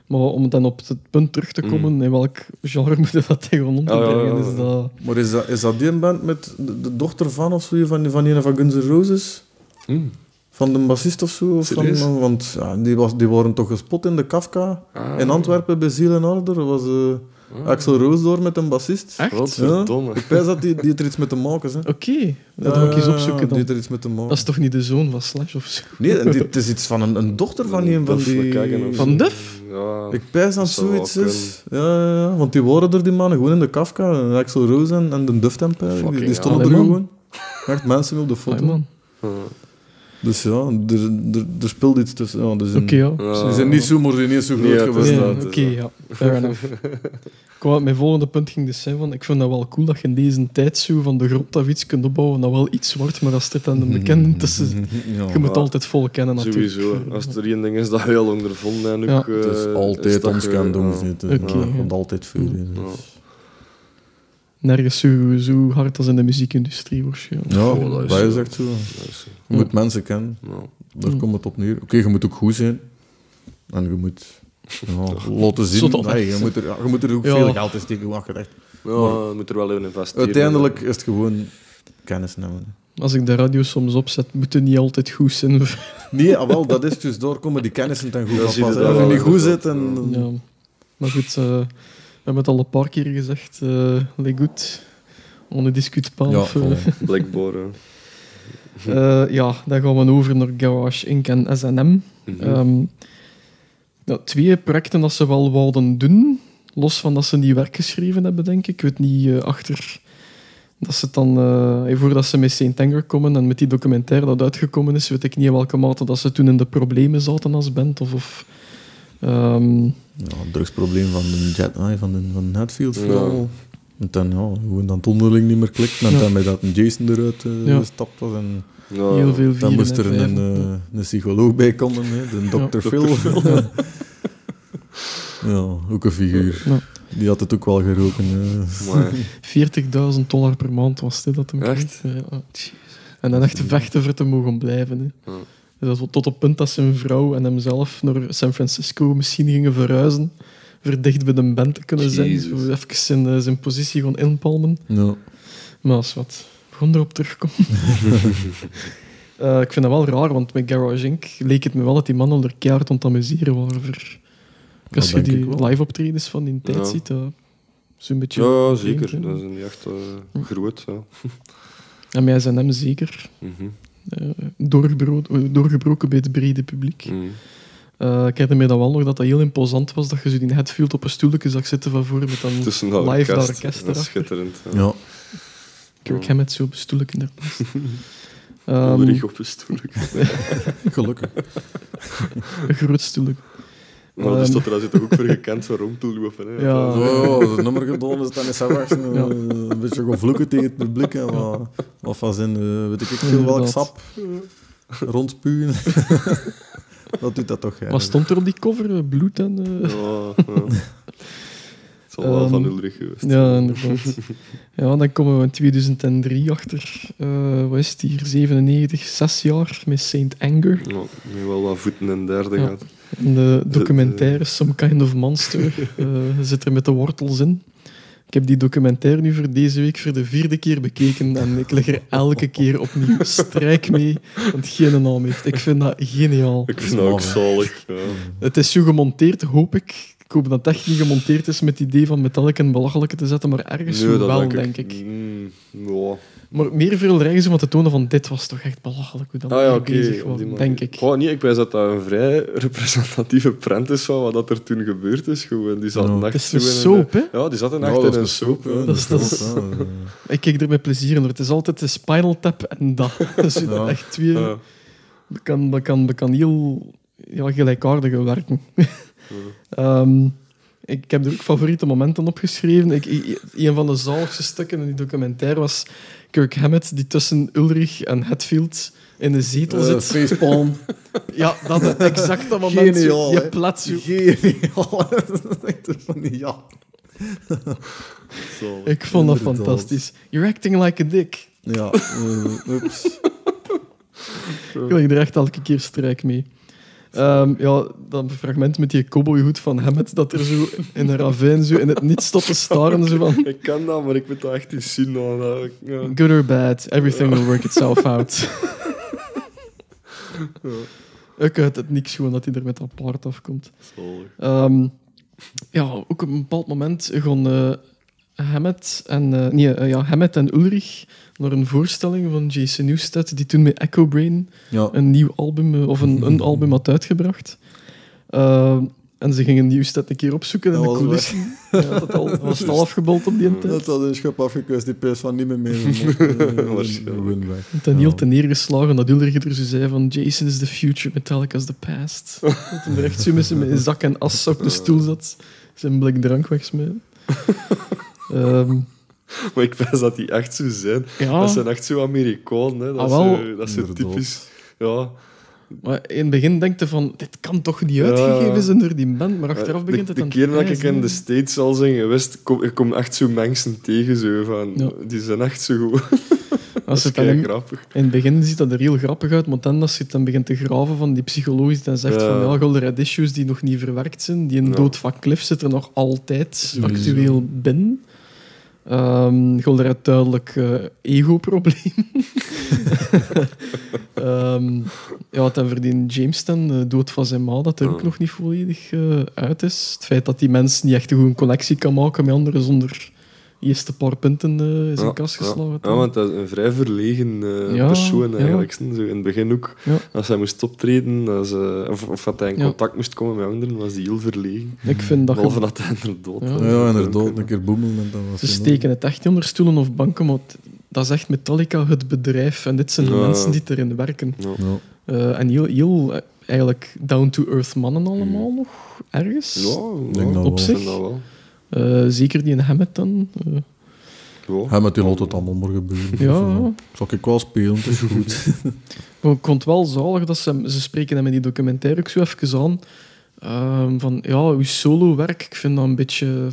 Maar om dan op het punt terug te komen, in welk genre [laughs] moet je dat tegen onderbrengen?
Mm. Ja, ja, ja, ja.
Is dat...
maar is dat, is dat die band met de, de dochter van of zo, van, van een van Guns N' Roses?
Hmm.
Mm.
Van de bassist of zo? Of van,
Serieus?
want ja, die, was, die waren toch gespot in de Kafka
Ah.
in Antwerpen bij Ziel en Order. was eh, Axel Roosdoor met een bassist.
Echt?
Wat
Oké,
verdomme.
Ik weet dat die, die er iets mee te maken zijn.
dat ga ik eens
Ja,
opzoeken
Die
dan.
er iets mee te maken.
Dat is toch niet de zoon van Slash of zo?
Nee, en dit het is iets van een, een dochter van een van
Duff
die...
McKagan of zo.
Van Duff?
Ja.
Ik pijs dat
Dat zou
zoiets
wel
is. Ja, ja, ja, want die waren er, die mannen, gewoon in de Kafka. en Axel Rose en, en de Duff Temple. Die,
Fucking
die stonden
hell.
er
Allee,
gewoon. Echt mensen op de
Ah,
foto.
man.
dus ja, er, er, er speelt iets tussen. Ja, dus
Oké, ja.
Ze zijn niet zo, maar ze zijn niet zo groot
Nee, het is
geweest.
Ja,
Dus dat,
Oké,
is dat.
ja. Fair
[laughs]
enough. Ik wou- Mijn volgende punt ging dus zijn van, ik vind dat wel cool dat je in deze tijd zo van de grond af iets kunt opbouwen dat wel iets wordt, maar als dit aan de
Mm-hmm.
bekenden tussen...
[laughs] Ja.
Je moet
Ja.
altijd vol kennen natuurlijk.
Sowieso. Als er één ding is dat je al ondervonden en
Ja.
ook... eh,
Het Eh, is eh, altijd ons kan doen.
Ja.
Oké, ja.
komt altijd veel in.
Ja.
Nergens zo, zo hard als in de muziekindustrie waarschijnlijk.
Ja,
Oh, dat is
dat is
zo.
echt zo. Je
Dat is-
moet mensen kennen.
ja.
Daar komt het op neer. Oké, je moet ook goed zijn. En je moet [laughs] ja, laten zien.
Zot op.
Nee, je, moet er, ja, je moet er ook
Ja.
veel geld in steken. Wat je echt
Ja, je moet er wel even investeren.
Uiteindelijk is het gewoon kennis nemen.
Als ik de radio soms opzet, moet het niet altijd goed zijn. [laughs]
Nee, ah, wel, dat is dus door komen die kennissen ten goede
Dat zie je
pas.
daar
Als je
wel
niet goed zit,
inderdaad,
en...
Ja. Maar goed, eh, we hebben het al een paar keer gezegd. eh le goed. On discute pas.
Ja,
of, eh,
voilà.
Blackboard, hè.
eh, ja, dan gaan we over naar Garage Inc. en SNM.
Mhm.
Ehm, ja, twee projecten dat ze wel wouden doen, los van dat ze niet werk geschreven hebben, denk ik. Ik weet niet eh, achter dat ze het dan, eh, voordat ze met St. Anger komen en met die documentaire dat uitgekomen is, weet ik niet in welke mate dat ze toen in de problemen zaten als band. Of, of, ehm,
Ja, het drugsprobleem van de Jet, ah, van de van Hatfield
Ja.
vooral. En dan, ja, gewoon dan het onderling niet meer klikt. En
Ja.
dan met dat een Jason eruit eh,
Ja.
gestapt was. En
Ja.
heel veel vieren
Eh, dan moest
en
er een,
vijven.
eh, een psycholoog bij komen, hè, de Dr.
Dr.
Phil. [laughs] ja. ook een figuur.
Ja.
Die had het ook wel geroken. hè.
[laughs]
Maar,
40.000 dollar per maand was dit dat hem kreeg.
Echt?
Ja, ja. En dan echt vechten voor te mogen blijven. Hè.
Ja.
Dus dat was tot op het punt dat zijn vrouw en hemzelf naar San Francisco misschien gingen verhuizen. Verdicht bij de band te kunnen zijn.
Jezus.
Zo even zijn, eh, zijn positie gewoon inpalmen.
Ja.
[laughs]
Maar als wat, we gaan erop terugkomen. Eh, ik vind dat wel raar, want met Garage Inc. leek het me wel dat die mannen onder keihard aan het amuseren waren. over- Als je
denk ik
die
wel.
live optredens van die tijd
Ja.
ziet, dat is een beetje...
Ja,
vreemd,
zeker.
hè.
Dat is niet echt eh, groot. Ja.
En bij S&M zeker.
Mhm,
eh, doorgebro- eh, doorgebroken bij het brede publiek.
mhm.
Eh, ik herinner me dan wel nog dat dat heel imposant was, dat je zo die Hetfield op een stoeltje zag zitten van voor met dan
Tussen dat
live dat
Dus orkest.
orkest
dat is
erachter.
schitterend. Ja.
Ja.
Kirk Hammett zo op een stoeltje ernaast. Ehm,
Ulrich op
[laughs]
een stoel.
Gelukkig.
een groot stoeltje.
Maar dus dat
Ehm.
is tot daar zit toch ook voor gekend, zo'n rompellopen. Hè.
Ja. [laughs]
Dat is-
Wow, het nummer gedaan is dan is hij wacht, eh,
Ja.
Een beetje gaan vloeken tegen het publiek. En wat, wat van zin, eh, weet ik ook veel welk
Inderdaad.
sap. Rondpuwen. [laughs] dat doet dat toch.
Wat stond er op die cover? Eh, Bloed en... eh,
Ja, ja. Het zal wel
Ehm,
van Ulrich geweest.
Ja, inderdaad. ja, dan komen we in 2003 achter. eh wat is het hier? 97, 6 jaar met Saint Anger.
Ja, nu wel wat voeten en derde
Ja.
gaat.
En de documentaire Some Kind of
[laughs]
Monster eh, zit er met de wortels in. Ik heb die documentaire nu voor deze week voor de vierde keer bekeken en ik lig er elke keer opnieuw strijk mee, want geen naam heeft. Ik vind dat geniaal.
Ik vind dat ook
Small,
zalig. Ja.
Het is zo gemonteerd, hoop ik. Ik hoop dat het echt niet gemonteerd is met het idee van Metallica een belachelijke te zetten, maar ergens
Nee, dat
wel, denk ik.
Mm, ja.
Maar meer veel dreigen ze om te tonen van dit was toch echt belachelijk hoe dat
Ah ja,
hier
oké.
bezig
op
was,
die manier.
denk ik.
Goh, nee, ik wijs dat dat een vrij representatieve prent is van wat dat er toen gebeurd is. Gewoon. Die zaten
Ja.
echt
Het is een
zo in een-
soap, hè?
Ja, die zaten
Ja,
echt
dat
in
is
een
een
soap. hè.
Dat is- dat is- Ik kijk er met plezier naar. Het is altijd de Spinal Tap en dat. [laughs] Dus je dat
Ja.
echt twee...
Ja.
Dat kan, dat kan, dat kan heel ja, gelijkaardige werken. [laughs] Ehm, ik ik heb er ook favoriete momenten opgeschreven. Ik, ik- een van de zaligste stukken in die documentaire was Kirk Hammett, die tussen Ulrich en Hetfield in de zetel
Uh,
zit.
facepalm.
[laughs] Ja, dat is exact dat [laughs] moment. zo-
Geniaal,
je
hè?
plaats je
Geniaal. [laughs] Dat is echt van die ja.
Zalig.
Ik vond dat
Inderdaad.
fantastisch. You're acting like a dick.
Ja. eh, ups.
Ik leg er echt elke keer strijk mee. Ehm, ja, dat fragment met die cowboyhoed van Hammett, dat er zo in een ravijn zo in het niet stopt te staren. Zo van,
Ik kan dat, maar ik moet dat echt niet zien. man. Ja, ik- ja.
good or bad, everything will work itself out. Ook uit het niks gewoon dat hij er met dat paard afkomt.
Zalig.
Ehm, ja, ook op een bepaald moment gaan eh Hammett, en, eh, nee, eh, ja, Hammett en Ulrich naar een voorstelling van Jason Newsted, die toen met Echo Brain
Ja.
een nieuw album eh, of
[laughs]
een, een album had uitgebracht. Ehm, en ze gingen Nieuwstad een keer opzoeken in
Dat
de
was
coulissen. [laughs] Ja, dat al, dat was het al afgebold op die tijd.
Dat had een schop afgekust, die pers van niet
[laughs]
meer mee. Eh,
Waarschijnlijk.
win weg.
Het had heel
Ja.
te neergeslagen dat Ulrich er zo zei van Jason is the future, Metallica is the
[laughs]
past. Dat hij er echt zo met zijn met zak en as op de stoel zat. Zijn blik drank
[laughs]
wegsmijden. Ehm,
Maar ik wijs dat die echt zo zijn.
ja,
Dat zijn echt zo Amerikanen. Hè. Dat,
Ah, wel.
zijn, dat zijn
Inderdaad.
typisch. Ja,
maar in het begin denkt hij van dit kan toch niet
Ja.
uitgegeven zijn door die band, maar achteraf
Eh,
begint
de,
het
de
dan te
keer dat ik
prijzen,
in
hè.
de States al zijn geweest, kom, ik kom echt zo mensen tegen. Zo, van,
Ja.
Die zijn echt zo goed.
Als
Dat
het
is kei
dan
grappig.
In het begin ziet dat er heel grappig uit, maar dan als je het dan begint te graven van die psychologisch, dan zegt
Ja.
van ja, Golden Red Issues die nog niet verwerkt zijn, die een
Ja.
dood van Cliff zit er nog altijd
Sowieso.
actueel binnen. Ehm Golden Red duidelijk eh, ego-probleem. [laughs] Ehm, ja, ten verdient James dan eh, dood van zijn ma, dat er ook
Ja.
nog niet volledig eh, uit is. Het feit dat die mens niet echt een goede connectie kan maken met anderen zonder eerste paar punten eh, in zijn
Ja,
kast
ja.
geslagen. te
Ja, want dat is een vrij verlegen eh,
Ja,
persoon
ja.
eigenlijk. Zo, in het begin ook,
Ja.
als hij moest optreden, als, eh, of, of dat hij in
Ja.
contact moest komen met anderen, was hij heel verlegen.
Ik vind dat je-
Behalve dat hij inderdaad...
Ja.
was.
Ja, inderdaad. Een keer boemelen en dan was
Ze
het
steken het echt niet onder stoelen of banken, maar het- dat is echt Metallica, het bedrijf. En dit zijn de
Ja.
mensen die erin werken.
Ja.
Eh, en heel, heel eh, eigenlijk down-to-earth mannen
Hmm.
allemaal nog, ergens.
Ja,
Denk
ja,
dat
ik
Op
wel.
vind
zich.
dat wel.
Eh, zeker die in Hammett dan. Eh,
Ja.
Hij met die altijd allemaal morgen buren.
ja,
eh, Zal ik wel spelen, het is
[laughs]
goed.
Maar ik vond het wel zalig dat ze, hem- ze spreken hem in die documentaire ook zo even aan. ehm, van ja, uw solo-werk, ik vind dat een beetje.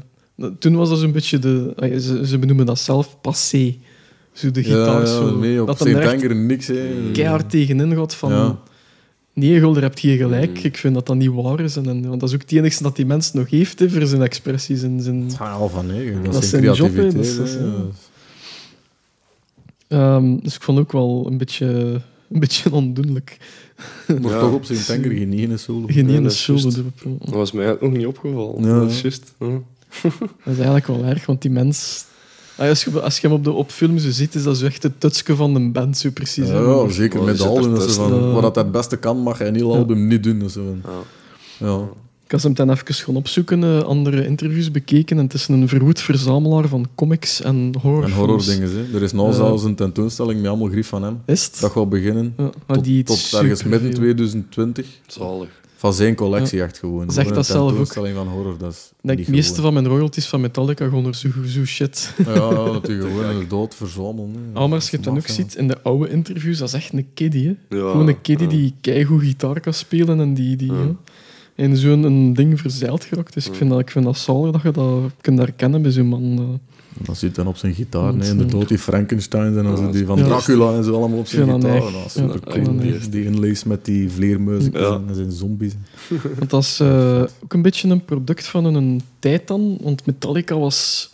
Toen was dat zo'n beetje de. ah, Ze, ze benoemen dat zelf passé. Zo de gitaar.
ja, nee, op
dat hem
St.
er echt
Anger niks, hè.
keihard tegenin gaat van...
Ja.
Nee, Gulder, heb je gelijk.
Hmm.
Mm.
Ik vind dat dat niet waar is. En, en- want dat is ook het enige dat die mens nog heeft hè, voor zijn expressies. En zijn,
verhaal van, hè.
Dat
Dat, is
zijn
zijn
job, hè,
creativiteit.
dat is-
hè.
Ehm, dus ik vond ook wel een beetje een beetje ondoenlijk. [laughs]
Wordt
Ja.
toch op zijn tanker geen ene solo.
Geen
Ja,
ene
dat is
solo
juist.
erop. ja.
Dat was mij ook nog niet opgevallen.
Ja.
Dat is juist. Ja.
Dat is eigenlijk wel erg, want die mens... Ah, als, je, als je hem op, de, op films zo ziet, is dat zo echt het tutsje van de band, zo precies.
Ja,
hè.
ja, zeker
Oh,
met de
die zit
album.
er
Dat ze
tussen.
van,
Ja.
wat dat het beste kan, mag hij een heel
Ja. Oh,
album niet doen. Dat ze van,
Ja.
ja.
Ik was hem dan even gaan opzoeken, eh, andere interviews bekeken. En het is een verwoed verzamelaar van comics en horror.
En horrordingen. hè. Er is nou
Ja.
zelfs een tentoonstelling met allemaal grief van hem.
Is het?
Dat gaat beginnen
Ja, maar
tot,
die iets
tot ergens midden
superveel.
2020.
Zalig.
Van zijn collectie echt gewoon.
Zegt
Gewoon
dat zelf ook.
Een tentoonstelling van horror, dat is
Dat ik
niet
de meeste van mijn royalties van Metallica gewoon door zo, zo shit. [laughs]
gewoon. Ja, ja, dat hij gewoon in de dood verzamelt. hè.
Ah, maar als je het dan ook
Maf, ja.
ziet in de oude interviews, dat is echt een kiddie. Hè?
Ja,
Gewoon een kiddie
Oh, ja.
die keigoed gitaar kan spelen en die, die
Ja.
ja, in zo'n een ding verzeild geraakt. Dus ik vind dat, ik vind dat zalig dat je dat kunt herkennen bij zo'n man. eh.
Dat zit dan op zijn gitaar,
Dat
nee,
is
inderdaad, die Frankenstein en
Ja,
zo,
dat
die
is
van
cool.
Dracula en zo, allemaal op zijn
Ja, dan
gitaar.
echt.
Dat is
Ja,
super
dan
Die,
echt.
die inlays met die vleermuizen
Ja.
en zijn zombies.
Want dat is eh, ook een beetje een product van een tijd dan. Want Metallica was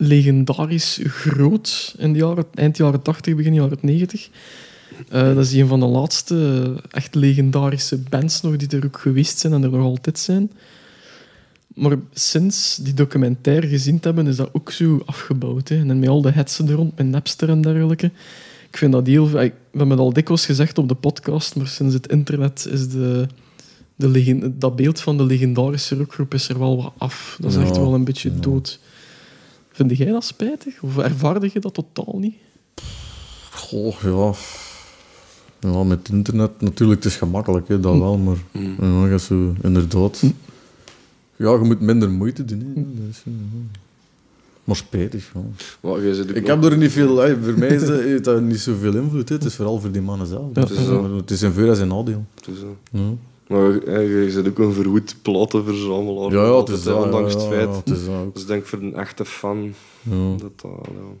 legendarisch groot in de jaren, eind jaren 80, begin jaren 90. Eh, dat is een van de laatste eh, echt legendarische bands nog die er ook geweest zijn en er nog altijd zijn. Maar sinds die documentaire gezien te hebben, is dat ook zo afgebouwd. Hè. En dan met al de hetsen er rond, met Napster en dergelijke. Ik vind dat heel... ik- We hebben het al dikwijls gezegd op de podcast, maar sinds het internet is de, de legen- dat beeld van de legendarische rockgroep is er wel wat af. Dat is echt
Ja,
wel een beetje
ja.
dood. Vind jij dat spijtig? Of ervaarde je dat totaal niet?
Goh, ja. Ja, met het internet natuurlijk, het is gemakkelijk, hè, dat
Hm.
wel, maar
Mm.
ja, je gaat zo, inderdaad. Ja, je moet minder moeite doen.
Hm.
hè. Dat is, eh, ja. Maar spijtig, ja.
Maar jij zit ook
Ik
nog-
heb er niet veel, hè, voor mij is dat, heeft dat niet zoveel invloed. hè. Het is vooral voor die mannen zelf.
Ja.
Het is, ja, het is een voor- en een nadeel.
Het is, eh,
Ja.
Maar eh, je zit ook een verwoed platenverzamelaar.
Ja, ja, het
Altijd,
is
hè,
dat.
Ondanks
ja,
het
ja,
feit.
ja, het is dat ook.
Dus ik denk voor een echte fan
Ja.
dat dat ja,
hebben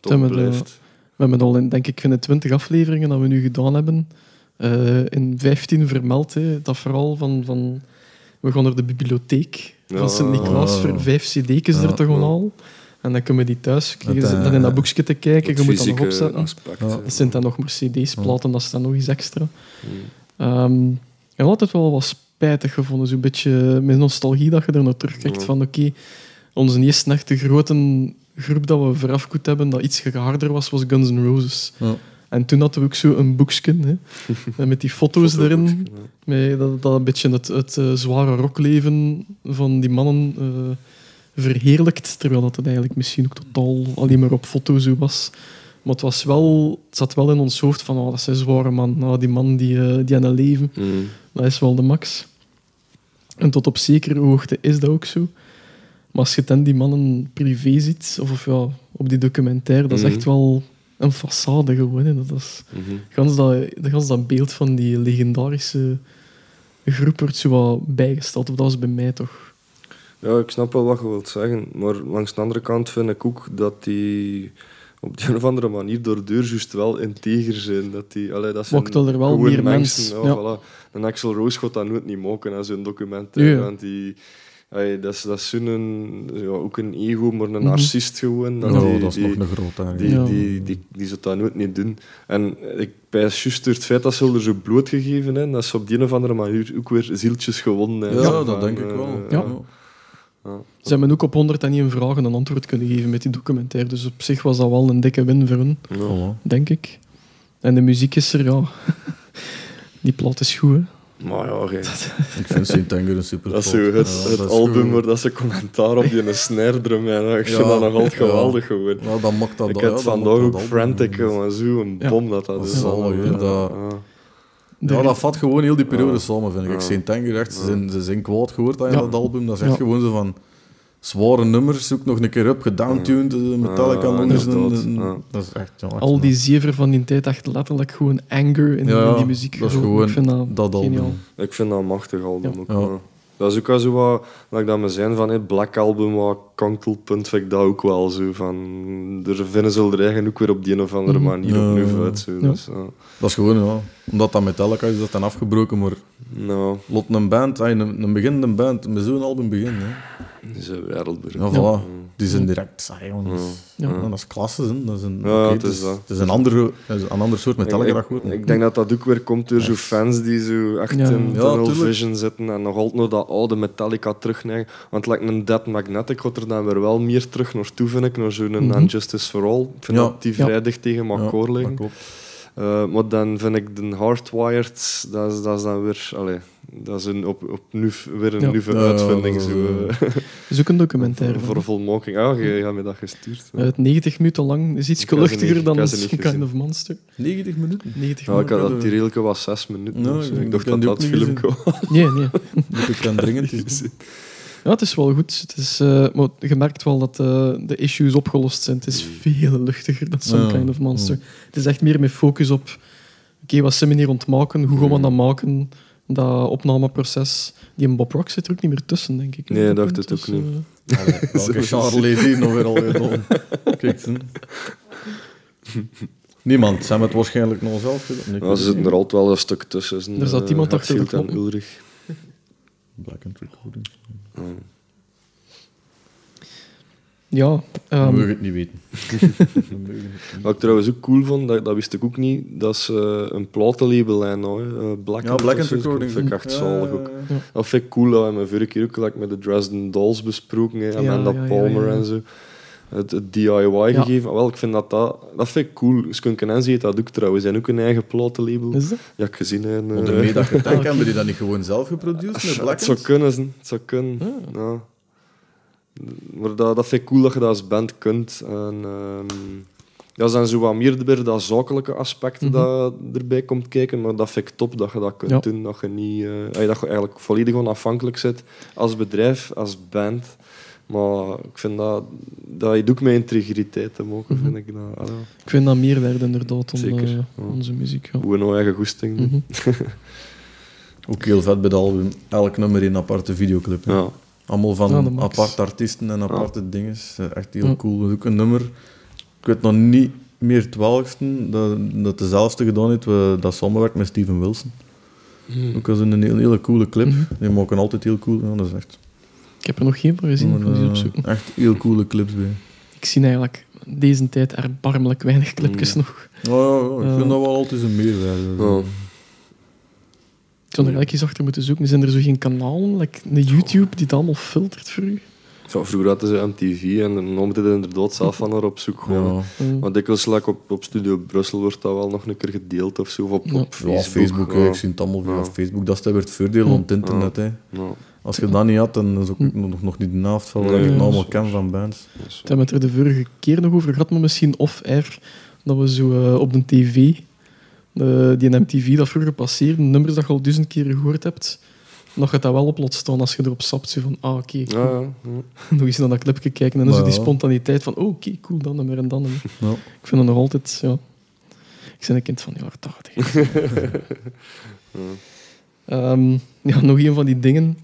toch
we
blijft.
We hebben al, in, denk ik, in de 20 afleveringen dat we nu gedaan hebben, eh, in 15 vermeld hè, dat verhaal van, van. We gaan naar de bibliotheek
Ja.
van Sint-Niklaas
Ja.
voor vijf cd's
Ja.
er toch
Ja.
al. En dan kunnen we die thuis krijgen.
Dat,
ze
eh,
dan in dat boekje te kijken,
Het
je moet dat nog
fysieke
opzetten.
aspect.
Ja.
hè.
Dat zijn dan nog maar cd's,
Ja.
platen, dat is dan nog iets extra.
Mm.
Ehm ik heb altijd wel wat spijtig gevonden, zo'n beetje met nostalgie dat je er naar terugkijkt.
Ja.
Van oké, onze eerste echte grote groep dat we vooraf goed hebben, dat iets harder was, was Guns N' Roses.
Ja.
En toen hadden we ook zo een boekskin, hè,
[laughs]
En met die foto's erin.
Fotoboekje,
Met dat, dat een beetje het, het eh, zware rockleven van die mannen eh, verheerlijkt. Terwijl dat het eigenlijk misschien ook totaal alleen maar op foto zo was. Maar het, was wel, het zat wel in ons hoofd van, oh, dat zijn zware man. Oh, die man die, eh, die aan het leven.
ja. Mm.
Dat is wel de max. En tot op zekere hoogte is dat ook zo. Maar als je dan die mannen privé ziet, of, of ja, op die documentaire, dat is
Mhm.
echt wel een façade gewoon. hè. Dat is,
Mhm.
gans dat, gans dat beeld van die legendarische groep wordt zo wat bijgesteld. Of dat was bij mij toch.
Ja, ik snap wel wat je wilt zeggen. Maar langs de andere kant vind ik ook dat die op de een of andere manier door deur juist wel integer zijn. Dat die, allee, dat zijn
Maakt dat er wel
gewoon
meer
mensen.
mens,
ja,
ja.
voilà. Een Axel Rose gaat dat nooit niet maken als een documentaire.
Ja.
Want die, allee, dat is, dat is zo'n een- ja, ook een ego, maar een
Mhm.
narcist gewoon.
Ja,
Dat die-
dat is
die-
nog een grote. eigenlijk.
Die,
Ja.
die, die, die zou dat nooit niet doen. En ik pijs juist door het feit dat ze er zo blootgegeven hebben, dat ze op die een of andere manier ook weer zieltjes gewonnen
Ja,
hebben. Zo
dat
van,
denk ik
eh,
wel.
ja.
Ja.
ja.
Ze hebben ook op 101 vragen een antwoord kunnen geven met die documentaire. Dus op zich was dat wel een dikke win voor hun,
Ja.
Voilà.
denk ik. En de muziek is er, ja. [laughs] Die plaat is goed, hè.
Maar ja, gij-
Ik vind Sint Anger een super
dat is zo het, het album waar dat ze commentaar op die snare drum en ik vind
Ja.
dat nog altijd
Ja.
geweldig gewoon.
Ja, dan mag dat
ik
ja,
heb
dan
vandaag
mag dat
ook
album.
Frantic, maar zo een
Ja.
bom dat dat
Dat
is.
is zalig, hè, dat-
Ja.
Ja,
Er-
dat vat gewoon heel die periode
Ja.
samen, vind ik.
Ja.
Ik Sint Anger, echt, ze zijn, ze zijn kwaad gehoord aan
Ja.
dat album. Dat is echt
Ja.
gewoon zo van zware nummers, zoek nog een keer up, gedowntuned, eh, Metallica
Ja,
nummers. en-
inderdaad.
en-
Ja.
Dat is echt, ja,
Al die zever van die tijd echt letterlijk gewoon anger in, in die muziek.
dat is
gegoten.
gewoon
Ik vind dat,
dat
geniaal.
album.
Ik vind dat een machtig album
Ja.
ook.
Ja.
ja. Dat is ook wel zo wat, dat ik dat me zijn van het Black Album, wat kankelpunt, vind ik dat ook wel zo van. Er vinden ze er eigen ook weer op die een of andere
Mhm.
manier
Ja.
opnieuw uit. Zo. Dus, ja.
Dat is gewoon, ja. Omdat dat Metallica is, dat dan afgebroken, maar
Nou,
ah, lot een band, ay, een, een beginnende band, met zo'n album beginnen. hè.
die zijn wereldberoemd.
Ja, voilà.
Mm.
Die zijn direct, zeg, jongens.
Ja.
Ja, dat is klasse, hè. dat is een,
Ja,
oké,
het
het
is
is-
dat.
het is een andere- het is een ander soort metallica dat je
ik,
hoort.
ik denk dat dat ook weer komt door zo'n fans die zo echt
Ja.
in
Ja,
tunnel
tuurlijk.
vision zitten en nog altijd naar dat oude Metallica terugneigen. Want lijkt een Dead Magnetic gaat er dan weer wel meer terug naartoe, vind ik, naar zo'n
Mhm.
And Justice for All. Ik vind
Ja.
dat die
Ja.
vrij dicht tegen mijn
Ja,
koor liggen.
dat klopt.
Eh, maar dan vind ik de Hardwired, dat is, dat is dan weer... Allee, dat is een, op, op nu, weer een
Ja.
nieuwe
Ja, ja,
uitvinding.
dat is,
zo,
eh,
eh,
Het is ook een documentaire.
[laughs] voor, voor volmaking. Ah, je hebt me dat gestuurd.
van. Uit 90 minuten lang. is iets
Ik heb ze
luchtiger
niet-
dan
ik heb ze niet
Kind
gezien.
of Monster.
90 minuten.
90
Ja, ik had
minuten.
dat die reelke was zes minuten.
Ja,
of zo.
ik
ik dacht dat
ken die ook
dat
niet
film
gezien.
kwam.
Nee, nee.
Moet ik dan
[laughs]
dringend eens doen.
Ja, het is wel goed. Het is, eh, maar je merkt wel dat eh, de issues opgelost zijn. Het is
Mm.
veel luchtiger dan Some
Ja.
Kind of Monster. Het is echt meer met focus op... Oké, wat zijn we hier ontmaken? Hoe
Mm.
gaan we dat maken? Dat opnameproces. Die in Bob Rock zit er ook niet meer tussen, denk ik.
Nee,
Op dat
dacht
punt.
het ook
Dus,
niet.
eh,
Allee, Welke genre lees hier nog weer al gedaan? Kijk, hè. Niemand. Ze hebben het waarschijnlijk nog zelf gedaan. Nee, ik
Ja, ze
weet het
zitten er altijd wel een stuk tussen. Dus
dus Er zat
eh,
iemand achter de
Hetfield en
knoppen.
Ulrich.
niet. Black and Recording.
ja,
We
ehm,
mogen het niet weten. We mogen het niet.
Wat ik trouwens ook cool vond, dat, dat wist ik ook niet, dat ze eh, een platenlabel hebben. nou, hè. Eh, Black
Ja, Black and
tussen, Dat
Recording.
vind ik echt
Ja,
zalig ook.
ja, ja.
Dat vind ik cool, dat we hebben vorige keer ook gelijk met de Dresden Dolls besproken. Hè, en
Ja,
Amanda
ja, ja,
Palmer
ja.
en zo. Het, het DIY
Ja.
gegeven. Wel, ik vind dat, dat, dat vind ik cool. Skunk Nancy heeft dat ook trouwens. En ook een eigen platenlabel.
is dat?
Ja, ik gezien. hè, En,
Want
eh,
[laughs] ermee dat je denkt, hebben die dat niet gewoon zelf geproduceerd met
Ja,
Black
het zou kunnen, ze. het zou
Hm?
kunnen.
Ah.
Ja. Maar dat, dat vind ik cool dat je dat als band kunt. En, ehm, dat zijn zo wat meer weer dat zakelijke aspect dat erbij komt kijken, maar dat vind ik top dat je dat kunt
Mhm. Ja.
doen. Dat je, niet, eh, ay, dat je eigenlijk volledig onafhankelijk zit als bedrijf, als band. Maar ik vind dat, dat heeft ook met integriteit te maken,
Mhm.
vind ik. Dat, ah, ja.
Ik vind dat meerwaarde inderdaad om
Zeker,
eh,
ja.
onze muziek. Ja.
Hoe een eigen goesting. doen.
Mhm.
Ook heel vet bij dat album. Elk nummer in een aparte videoclip. hè.
Ja.
Allemaal van
Ja, dat maakt-
aparte artiesten en aparte dingen. Eh, Echt heel cool. Dat is ook een nummer. Ik weet nog niet meer het welkste dat, dat dezelfde gedaan heeft. We, dat samenwerkt met Steven Wilson. Ook als een hele, hele coole clip. Die maken altijd heel cool. Ja, dat is echt,
Ik heb er nog geen van gezien,
Oh,
ik moet die
eh,
opzoeken.
echt heel coole clips bij.
Ik zie eigenlijk deze tijd erbarmelijk weinig clipjes
Mm.
nog.
Oh, ja, ja, ik
Ja.
vind dat wel altijd een meerwaarde.
Ja.
Ik zou er eigenlijk eens achter moeten zoeken. Zijn er zo geen kanalen, like een YouTube, die het allemaal filtert voor u?
Ja, vroeger hadden ze MTV en dan noemden ze inderdaad zelf van haar op zoek.
Ja.
gewoon.
Eh,
Maar dikwijls like, op, op Studio Brussel wordt dat wel nog een keer gedeeld of zo. Of op,
Ja.
op
Ja,
Facebook.
Facebook, eh,
ja.
ik zie het allemaal via
Ja.
Facebook. Dat is weer het voordeel van het internet. Hè.
Ja,
Als je dat niet had, dan is ook nog, nog niet de naaf van wat
Nee,
ik
ja,
nou
dat
allemaal
is
ken van bands.
dat is
We hebben het er de vorige keer nog over gehad, maar misschien off-air, dat we zo eh, op de tv, eh, die MTV dat vroeger passeerde, nummers dat je al duizend keer gehoord hebt, nog gaat dat wel op lot staan als je erop sapt. Zo van, ah, oké, ik
wel- ja, ja,
[laughs]
ja.
nog eens naar dat clipje kijken. En dan zo die
Ja.
spontaniteit van, oh, oké, cool, dan nummer en dan nummer.
Ja.
Ik vind dat nog altijd, ja... Ik ben een kind van de jaren 80. Ehm, ja, nog een van die dingen.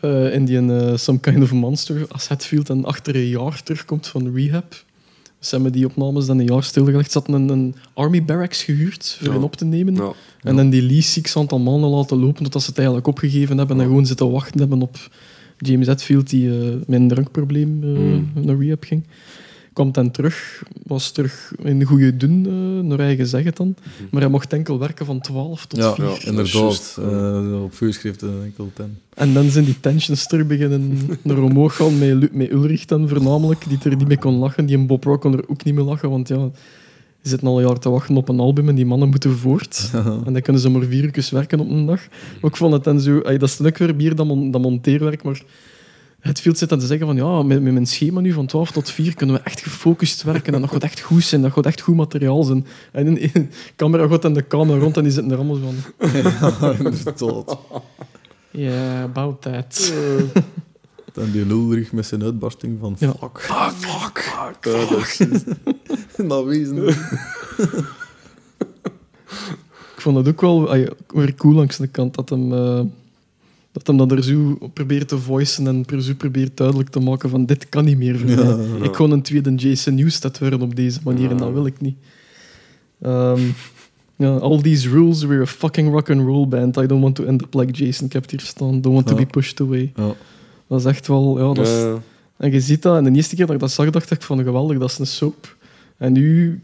eh, in die eh, Some Kind of Monster, als Hetfield dan achter een jaar terugkomt van rehab. Ze hebben die opnames dan een jaar stilgelegd. Ze hadden een, een army barracks gehuurd voor
Ja.
hen op te nemen.
Ja.
En dan die lease six aantal maanden laten lopen totdat ze het eigenlijk opgegeven hebben. En gewoon zitten wachten hebben op James Hetfield, die eh, met een drankprobleem eh,
Mm.
naar rehab ging. Kwam dan terug, was terug in goede doen, eh, naar eigen zeggen dan. Maar hij mocht enkel werken van 12 tot
Mhm. Ja,
4.
ja.
inderdaad.
Juist.
Eh, op vuurschriften enkel [laughs] ten.
En dan zijn die tensions terug beginnen naar omhoog gaan met, Lu- met Ulrich dan voornamelijk, die er niet mee kon lachen. Die in Bob Rock kon er ook niet mee lachen, want ja, die zitten al een jaar te wachten op een album en die mannen moeten voort. En dan kunnen ze maar vier uur werken op een dag. Maar ik vond het dan zo... ay, dat is dan ook weer meer dan, mon- dan monteerwerk, maar... Het viel zit dan te zeggen van ja, met, met mijn schema nu van 12 tot 4 kunnen we echt gefocust werken en dat gaat echt goed zijn, dat gaat echt goed materiaal zijn. En in, in- camera gaat aan de camera rond en die zitten er allemaal zo van...
Ah, [laughs] inderdaad.
Ja, yeah, about that.
En die Lulrich met zijn uitbarsting van [laughs]
Ja.
fuck.
Ja, dat is-
dat wezen.
Ik vond dat ook wel ah ja, weer cool langs de kant dat hem, eh, dat hem dat er zo probeert te voicen en per zo probeert duidelijk te maken van dit kan niet meer voor mij. Ik kon een tweede Jason Newsted worden op deze manier en dat wil ik niet. Ehm, ja, all these rules, we're a fucking rock and roll band. I don't want to end up like Jason. Ik heb het hier staan. Don't want to
Ja.
be pushed away.
Ja.
Dat is echt wel... Ja, dat is,
Ja,
En je ziet dat. En de eerste keer dat ik dat zag, dacht ik van geweldig, dat is een soap. En nu,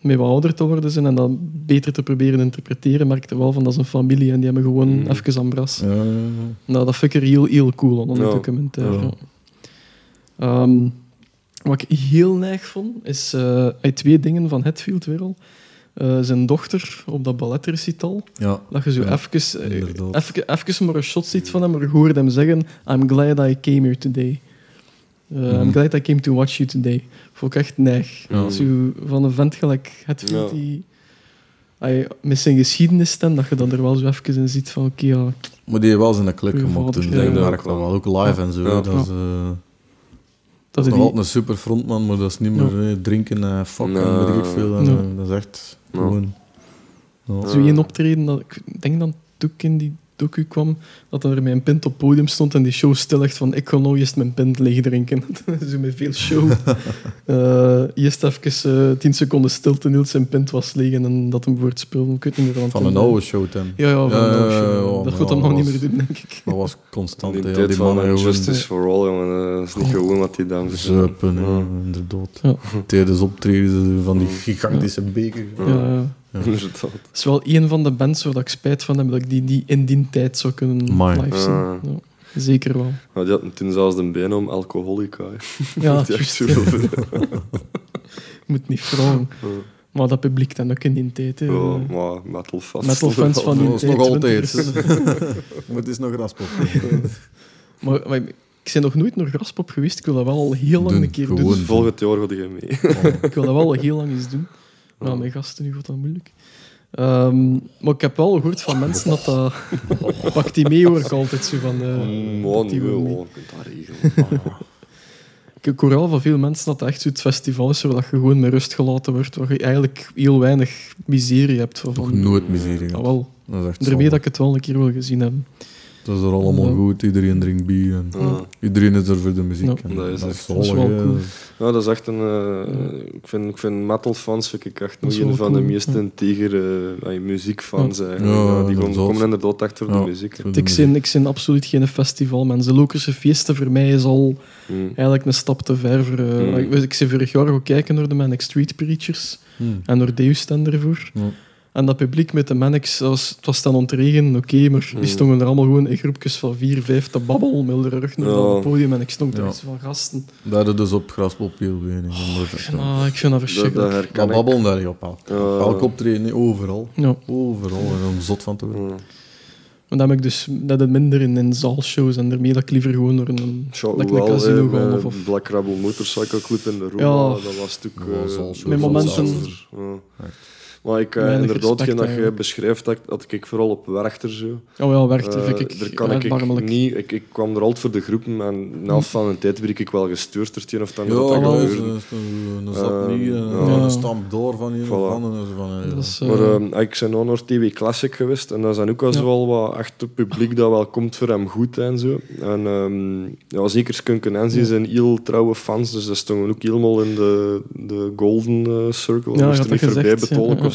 met wat ouder te worden zijn en dat beter te proberen te interpreteren, merk ik er wel van, dat is een familie en die hebben gewoon
Mm.
even aan bras.
Ja, ja, ja.
Nou, dat vind ik er heel, heel cool aan, aan
Ja.
het documentaire.
Ja.
Ehm, wat ik heel neig vond, is eh, uit twee dingen van Hetfield weer al. Eh, zijn dochter op dat balletrecital.
ja.
Dat je zo
Ja,
even, eh,
inderdaad.
even, even maar een shot ziet van hem, maar je hoort hem zeggen I'm glad I came here today. Eh, I'm
Mhm.
glad I came to watch you today. Vond ik echt neig.
Ja.
Zo van een vent gelijk Hetfield
Ja.
die... Ay, met zijn geschiedenis dan, dat je dan er wel zo even in ziet van oké, ja,
Maar die heeft wel zijn klik
Goeie
gemaakt
vader,
en
ja.
ik merk dat wel. Ook live en zo.
Ja.
hè. Dat is, eh,
dat is
dat is
die-
nog altijd een super frontman, maar dat is niet meer eh, drinken en fuck en
Nee.
weet ik veel. En,
Nee.
eh, dat is echt
Ja.
gewoon... Ja.
Zo één optreden, dat, ik denk dat toen ik in die docu kwam, dat er mijn pint op het podium stond en die show stil echt van ik ga nou eerst mijn pint leeg drinken. [laughs] Zo met veel show.
[laughs]
Eh eerst even eh, tien seconden stilte, Niels zijn pint was leeg en dan dat hem voor het spul. Ik weet niet meer wat
Van
het
een
is.
oude show, Tim.
Ja, ja, van
Ja,
een oude
ja, ja,
show.
ja,
dat
ja,
gaat hem
dat
nog niet
was-
meer doen, denk ik.
Dat was constant,
Die
hè, al
tijd
die
van
mannen gewoon
Justice for All, jongen. Dat is niet gewoon wat die dan
zuipen, hè,
Ja.
inderdaad.
Ja.
Tijdens optreden van die gigantische beker.
Ja.
Inderdaad.
Het is wel één van de bands waar dat ik spijt van heb dat ik die niet in die tijd zou kunnen
Amai.
live zien.
Ah.
Ja, zeker
[laughs]
wel.
Maar die hadden toen zelfs de benen om alcoholica. [laughs] hè.
Ja,
Dat is echt
juist, ja.
zoveel.
moet niet
[laughs]
vragen.
Ja.
Maar dat publiek dan ook in die tijd. hè.
Ja, Oh, maar metal vast.
Metalfans van die
Dat is nog
tijd,
altijd.
20.
maar het is nog raspop.
[laughs] Maar, maar ik ben nog nooit naar Graspop geweest. Ik wil dat wel al heel lang
Doen,
een keer
gewoon.
doen.
[laughs] Volgend jaar ga je mee.
Ik wil dat wel al heel lang eens doen. Maar ja, mijn gasten, nu wordt dat moeilijk. Ehm, maar ik heb wel gehoord van mensen dat
[laughs]
dat... Pak die mee hoor ik altijd zo van... eh,
Mm,
Man,
dat die
nu
wel
wel.
mee.
Je kunt dat regelen.
Ik hoor wel van veel mensen dat dat echt zo'n festival is waar dat je gewoon met rust gelaten wordt, waar je eigenlijk heel weinig miserie hebt. Van,
Nog
van,
nooit miserie
ah,
gehad.
wel,
Dat is echt
daarmee dat
zonde.
ik het wel een keer wil gezien hebben.
Het is er allemaal
Ja.
goed, iedereen drinkt bier en
Ja.
iedereen is er voor de muziek.
Ja.
en
Dat is echt-
dat is
zalig,
wel
hè.
cool.
Ja, dat is echt een. eh, ik, vind, ik vind metalfans vind ik echt
Dat
nog
is
een
wel
van de
cool,
meest
ja.
integere eh, muziekfans. eigenlijk.
Ja,
Ja, die komen,
inderdaad.
komen inderdaad achter
Ja.
de muziek. hè.
Voor de
Ik
muziek.
ben, ik ben absoluut geen festivalmens. De Lokerse feesten voor mij is al
Mm.
eigenlijk een stap te ver. Voor, eh,
Mm.
ik, was- ik zei vorig jaar ook kijken naar de Manic Street Preachers
Hmm.
en naar Deus Ten ervoor.
Ja.
En dat publiek met de Manics, dat was, het was dan ontregen, oké, maar
Mm.
die stonden er allemaal gewoon in groepjes van vier, vijf te babbel, met de rug naar
Ja.
dat podium en ik stond er
Ja.
iets van gasten.
Dat hadden dus op graspop heel weinig.
Ik vind, dat- ik vind dat
Dat, dat
verschrikkelijk.
herken
Maar
ik.
babbelen daar niet op elk.
Ja.
Elk optreden, niet overal.
Ja.
Overal, en om zot van te worden.
Ja.
Maar dan heb ik dus dat het minder in, in zaalshows en daarmee dat ik liever gewoon door een,
Tja,
dat ik naar
hoewel,
een casino
eh,
ga.
met
Of, of,
Black Rebel Motorcycle Club in de Roma,
Ja.
dat was natuurlijk...
Dat was
eh,
al
dat
zo
Met
was
momenten.
zuiver, ja.
Echt.
Maar ik, eh,
Weinig
inderdaad,
respect
geen dat jij
eigenlijk.
beschrijft, dat, dat ik vooral op Werchter zo.
oh ja, werkt,
Eh,
vind ik
daar kan ik,
erbarmelijk.
niet... Ik, ik kwam er altijd voor de groepen en na afloop van een tijd werd ik wel gestuurd er het een of het
Ja,
ander dat dat
dat is
gebeurde.
een, een, een zat
Eh,
niet, een,
ja.
een stamp door van hier of
Voilà.
van. En zo van eh, ja.
Dat is, eh,
Maar eh, ik ben ook naar TV Classic geweest en dat is dan ook wel
Ja.
wel wat echt het publiek dat wel komt voor hem goed en zo. En ehm, ja, zeker Skunk en Nancy
Ja.
zijn heel trouwe fans, dus dat stonden ook helemaal in de, de golden eh, circle.
Ja,
Ja,
je
moesten
had dat
niet voorbij
gezegd, ja.
betalen, kosten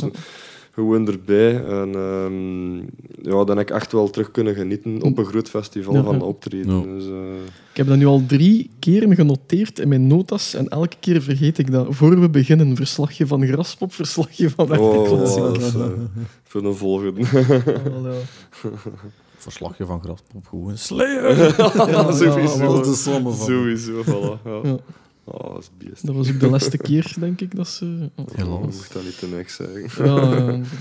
gewoon erbij. En ehm, ja, dan heb ik echt wel terug kunnen genieten op een groot festival
Ja.
van de optreden.
Ja.
Dus, eh,
Ik heb dat nu al drie keer genoteerd in mijn notas en elke keer vergeet ik dat. Voor we beginnen, verslagje van Graspop, verslagje van Echte
oh,
Klassiek.
dat is, eh, voor de volgende. [laughs]
Ah, wel, ja.
Verslagje van graspop gewoon.
[laughs]
Slayer!
ja,
sowieso.
wel,
Dat is de somme van.
Sowieso, voilà. Ja.
Ja.
Oh, dat is beest.
Dat was ook de laatste keer, denk ik, dat ze...
Oh,
Helaas.
mocht dat niet te niks zeggen.
Ja, ja, inderdaad.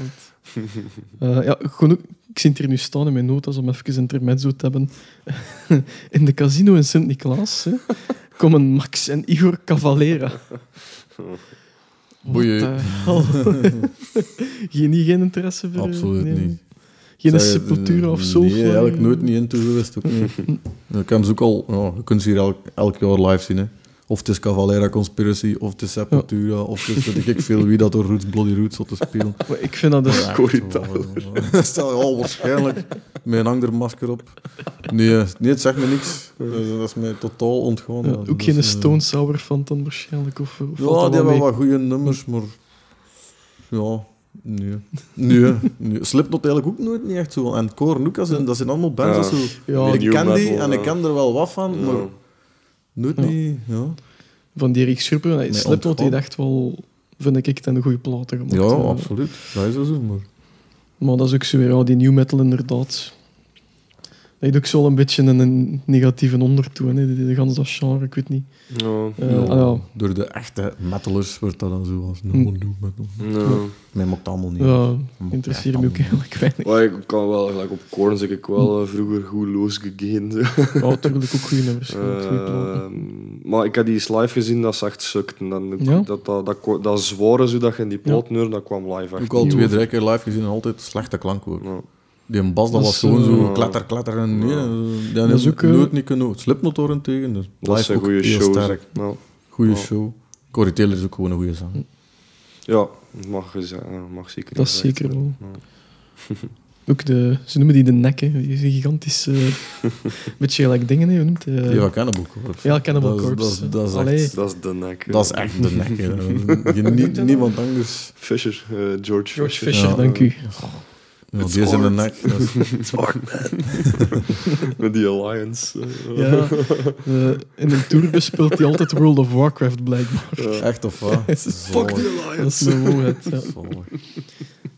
Eh, ja, gewoon ook- ik zit hier nu staan in mijn notas om even een intermezzo te hebben. [laughs] In de casino in Sint-Niklaas hè, komen Max en Igor Cavalera.
Boeien.
What the hell? [laughs] geen, niet- geen interesse voor... eh,
Absoluut
nee.
niet.
Geen
Zij-
Sepultura of zo? eh?
Nee, eigenlijk nooit niet into geweest. Ook niet.
[laughs]
ik heb ze ook al... Ja, je kunt ze hier elk, elk jaar live zien. Hè. Of het is Cavalera Conspiracy, of het is Sepultura, of het is weet ik veel wie dat door Roots Bloody Roots zat te spelen.
Maar ik vind dat dus...
Corrie
Echt wel, ja. [laughs] Stel je al waarschijnlijk met een ander masker op. Nee, eh, nee, het zegt me niks. Dat is- dat is mij totaal ontgaan.
Ja,
Ja, dat
ook
is,
geen
eh,
Stone Sour fan dan waarschijnlijk. Of, of valt dat
Ja,
wel
die hebben
mee?
wel goede nummers, maar. Ja, nee. Nee, nee. Slipknot eigenlijk ook nooit niet echt zo. En Core Lucas, en dat zijn allemaal bands.
Ja.
dat zo,
Ja,
ik
new
ken die
metal,
en
ja.
ik ken er wel wat van, maar Nooit
Ja.
niet, ja.
Van die Rick Schurper, nee,
Met
Slipknot, die
ontgaan.
dacht wel, vind ik, het een goede platen gemaakt.
Ja,
hebben.
absoluut. Dat is zo, maar...
Maar dat is ook zo weer, ja, die new metal inderdaad. Dat heeft ook zo een beetje een negatieve ondertoon, hè, die, die ganse dat genre, ik weet niet.
Ja.
Eh, ah,
Door de echte metalers wordt dat dan zo als een
Hm.
new metal.
Ja.
Mij maakt het allemaal niet.
ja, ja, interesseer me ook
heel
eigenlijk
[laughs]
weinig.
Maar ik kan wel, gelijk op Korn zeg ik wel, eh, vroeger goed losgegaan. zo.
Ja, natuurlijk ook goede nummers,
Eh,
gewoon goede platen.
Ehm, maar ik had die eens live gezien, dat is echt sukt. En dan,
Ja?
dat, dat, dat, ko- dat zware zo dat je in die plot neurde, dat kwam live echt
Ook al
niet
twee,
over.
drie keer live gezien en altijd slechte klank hoor.
Ja.
Die een bas, dat
Dat
was
is,
gewoon zo
eh,
kletter, kletter en nee. eh, Die
is
hebben
ook, eh,
nooit niet kunnen. Slipmotoren tegen. Dus
Dat zijn goede shows. Ja.
Goede
Ja.
show. Corey Taylor is ook gewoon een goede zanger.
ja, dat mag, geze- ja, mag zeker.
Dat is
gezegd
zeker
worden.
wel. [laughs] Ook de, ze noemen die de nek, hè. Die is een gigantische... beetje gelijk dingen, hè. Hoe noemt hij?
Die van Cannibal Corpse.
Ja, Cannibal
Dat is-
Corpse,
dat is- Dat is
Allee.
echt-
Dat is de nek. hè.
dat is echt de
[laughs]
nek. hè. Je- nie- Niemand anders.
Fisher, eh, George,
George
Fisher.
Fisher,
Ja.
dank u.
Ja,
It's
die is in de
hard.
nek. Dat is-
[laughs] Met die Alliance. eh.
[laughs]
Ja, eh, in een tour speelt hij altijd World of Warcraft,
[laughs]
blijkbaar.
Echt of wat?
Fuck the Alliance.
Dat is een woord, ja.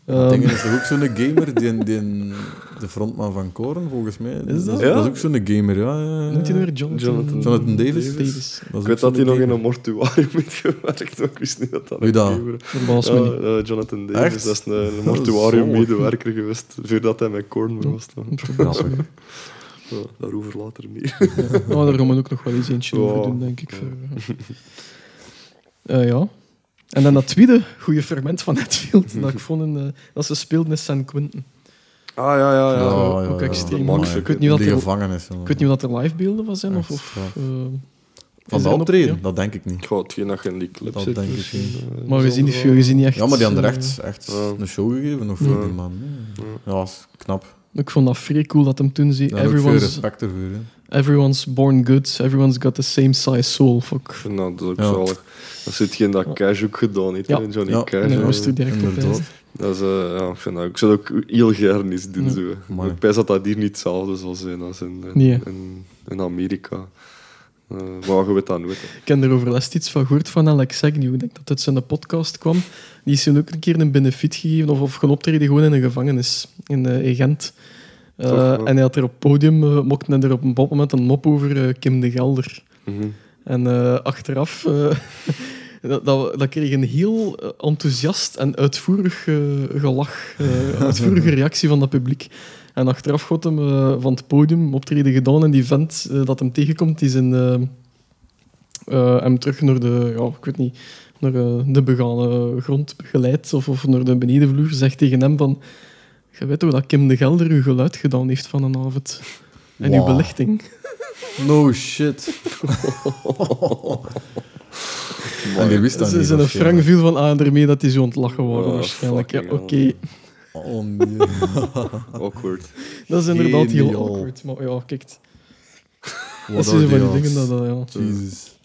Ik
Ehm,
denk is er ook zo'n gamer, die, die, de frontman van Koren, volgens mij.
Is dat?
Ja.
Dat is ook zo'n gamer, ja. ja, ja.
noemt hij nu weer Jonathan?
Jonathan
Jonathan Davis?
Davis.
Dat is
Ik
ook
weet dat hij
zo'n
nog in
gamer.
een mortuarium [laughs] heeft gewerkt, maar ik wist niet dat dat...
Wie dat?
gebeurde.
Verbaas
Ja,
me niet.
eh, Jonathan Davis,
Echt?
dat is een, een
Dat is
mortuarium-medewerker geweest, voordat hij met Korn was. dan.
[laughs]
Grappig.
Ja, daarover later meer.
Nou, daar gaan we ook nog wel eens eentje
Ja.
over doen, denk ik. Voor, eh. Eh, ja. En dan dat tweede goede ferment van Hetfield, dat ik vond in, eh, dat ze speelden in San Quentin.
Ah, ja, ja, ja.
Ja. ook extreem.
Ik weet
niet wat
die
er-
gevangenis.
Ik weet niet of dat er livebeelden van zijn, of...
Echt,
of
ja.
eh,
Van
is
de
er een
optreden?
op-
Dat denk ik niet.
Ik ga hetgeen dat je in die clip
Dat
zit
denk ik
misschien,
niet.
eh,
Maar we zien die
zal
we
wel-
zien niet echt...
Ja, maar die aan de
eh,
recht echt
Ja.
een show gegeven of
Ja.
voor die man. Ja, dat is knap.
eh, Ik vond dat vrij cool dat hem toen zei...
Daar heb ik veel
Everyone's,
respect ervoor. hè.
everyone's born good, everyone's got the same size soul. Fuck.
Ik vind Nou, dat ook
Ja.
zalig. Dat zit geen dat Cash ook gedaan heeft, hè,
Ja.
Johnny
Ja.
Cash.
En
eh.
daar was toen direct op
Inderdaad.
wijzen.
Dat is, eh, ja, ik, vind dat, ik zou dat ook heel gern eens doen.
Ja.
Zo.
Amai.
Ik pijs dat dat hier niet hetzelfde zal zijn als in, in,
Nee.
in, in Amerika. Eh, maar je weet dat nooit. hè.
Ik heb er overlast iets van gehoord van Alex Agnew. Ik denk dat het zijn de podcast kwam. Die is toen ook een keer een benefit gegeven of, of gaan optreden gewoon in een gevangenis in, eh, in Gent. Eh,
Tof, ja.
En hij had er op het podium, eh, mokte hij er op een bepaald moment een mop over eh, Kim de Gelder.
Mhm.
En eh, achteraf, eh, [laughs] dat, dat, dat kreeg een heel eh, enthousiast en uitvoerig eh, gelach, eh, uitvoerige reactie van dat publiek. En achteraf got hem eh, van het podium optreden gedaan en die vent eh, dat hem tegenkomt, die zijn eh, eh, hem terug naar de, ja, ik weet niet, naar eh, de begane grond geleid of, of naar de benedenvloer, zegt tegen hem van, je weet toch dat Kim de Gelder uw geluid gedaan heeft van een avond en uw
Wow.
belichting.
No shit. [laughs] en die wist dat
Ze
niet.
zijn een frank
waarschijnlijk.
viel van aan ermee dat die zo ontlachen worden
Ah,
waarschijnlijk. Ja, Oké,
fucking hell.
Oh
[laughs]
nee.
Awkward.
dat is inderdaad heel
Geniaal.
awkward. Maar ja, kijk,
What
dat zijn
are
zo van die
the
dingen dat...
odds?
dat, eh, ja.
Jezus.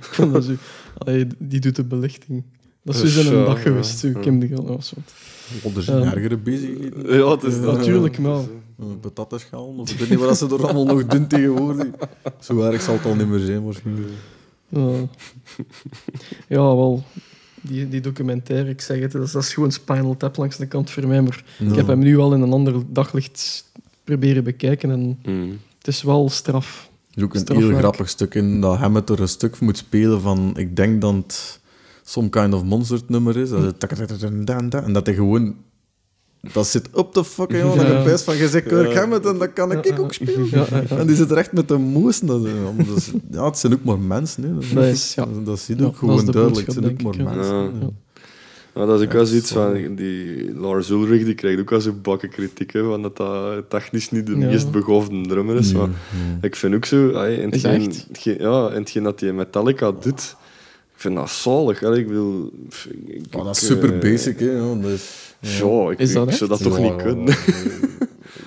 Ik vond dat zo, allee, die doet de belichting. Dat is zo
Dus,
zijn een
ja,
dag geweest,
ja,
zo Kim de Gelder of zo.
Oh, er zijn
Ja.
ergere bezigheden.
Ja, het is dat.
Natuurlijk, maar...
Eh, Patatenschalen, of ik weet niet wat ze er allemaal nog doen tegenwoordig. Zo erg zal het al niet meer zijn, waarschijnlijk.
Ja, ja wel... Die, die documentaire, ik zeg het, dat is, dat is gewoon Spinal Tap langs de kant voor mij, maar ik
Ja.
heb hem nu al in een ander daglicht proberen bekijken en
Mhm.
het is wel straf.
Er is ook een
Strafwerk.
heel grappig stuk in dat Hammett er een stuk moet spelen van, ik denk dat het Some Kind of Monster het nummer is. Dat het takatatatatatatata, en dat hij gewoon... Dat zit op de fucking jongen.
Ja.
En je pijst van, je zegt Kirk Hammett en dat kan ik ook spelen.
Ja, ja, ja.
En die zit er echt met de moes. Dat, ja, maar dat is- ja, het zijn ook maar mensen. Hè. Dat,
Dat is, ja.
dat zie je
Ja,
ook
dat is
gewoon
de
duidelijk. Het
boodschap,
zijn ook
denk
maar
ik, ja.
mensen.
Ja. Maar dat is ook
Ja,
wel zoiets
dat is
van... Die Lars Ulrich die krijgt ook wel zo'n bakken kritiek. Hè, van dat dat technisch niet de
Ja.
meest begaafde drummer is. Maar ik vind ook zo... ah, Ay, in
Is
hetgeen,
echt?
hetgeen- ja, in hetgeen dat die Metallica doet... Ik vind dat zalig. Hè, ik wil...
Ja, dat is Oh, super basic. Hè, ja, dat is,
Ja, ik,
Is dat
ik zou dat
Ja,
toch
ja,
niet
ja.
kunnen.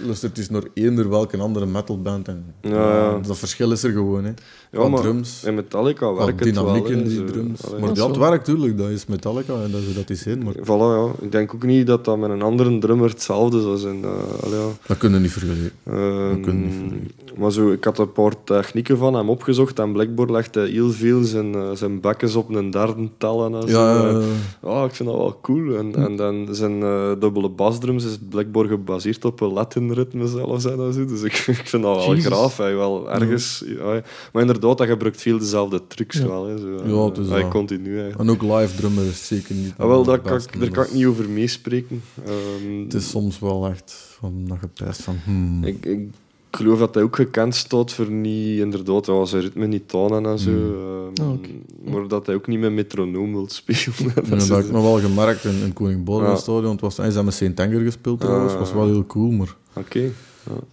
luistert dus naar eender welke andere metalband. En,
Ja, ja.
Dat verschil is er gewoon. Hè.
[laughs] Ja,
Qua
maar
drums,
in Metallica
qua
werkt het wel.
dynamiek in
hè,
die
zo.
drums.
Allee.
maar
Dat is
ja, het
wel-
werkt tuurlijk, dat is Metallica en dat is, dat is in. Maar
Voilà, ja. Ik denk ook niet dat dat met een andere drummer hetzelfde zou zijn. eh, allee, ja.
dat kunnen we niet vergelijken.
Ehm,
kunnen niet verliezen.
maar zo, ik had een paar technieken van hem opgezocht en Blackboard legde heel veel zijn, eh, zijn bekjes op een derde tellen. En zo.
Ja, Hm.
En,
eh,
ah, ik vind dat wel cool. En, en dan zijn eh, dubbele basdrums is Blackboard gebaseerd op een Latin-ritme zelfs. En dat zo. Dus ik, [laughs] ik vind dat wel
Jezus.
graaf. Hij wel ergens, ja. Maar inderdaad, dat gebruikt veel dezelfde trucs
Ja.
wel. Hè, zo.
Ja, het is
hij
dat.
continu eigenlijk.
en ook live drummer is zeker niet.
Ah, wel, daar
het
kan,
beste,
ik,
maar
daar kan ik niet over meespreken. Ehm,
Het is soms wel echt van dat je pijst van. hmm.
Ik, ik geloof dat hij ook gekend staat voor niet, inderdaad, wel zijn ritme niet tonen en zo.
Hmm.
ehm,
Ah, oké.
Maar dat hij ook niet met metronoom wil spelen. [laughs] dat
Ja, dat
is-
heb ik me wel gemerkt in, in Koning Boudewijn
Ja.
Stadion. Het was, hij is dat met St. Anger gespeeld trouwens.
Ah.
was wel heel cool, maar
Oké.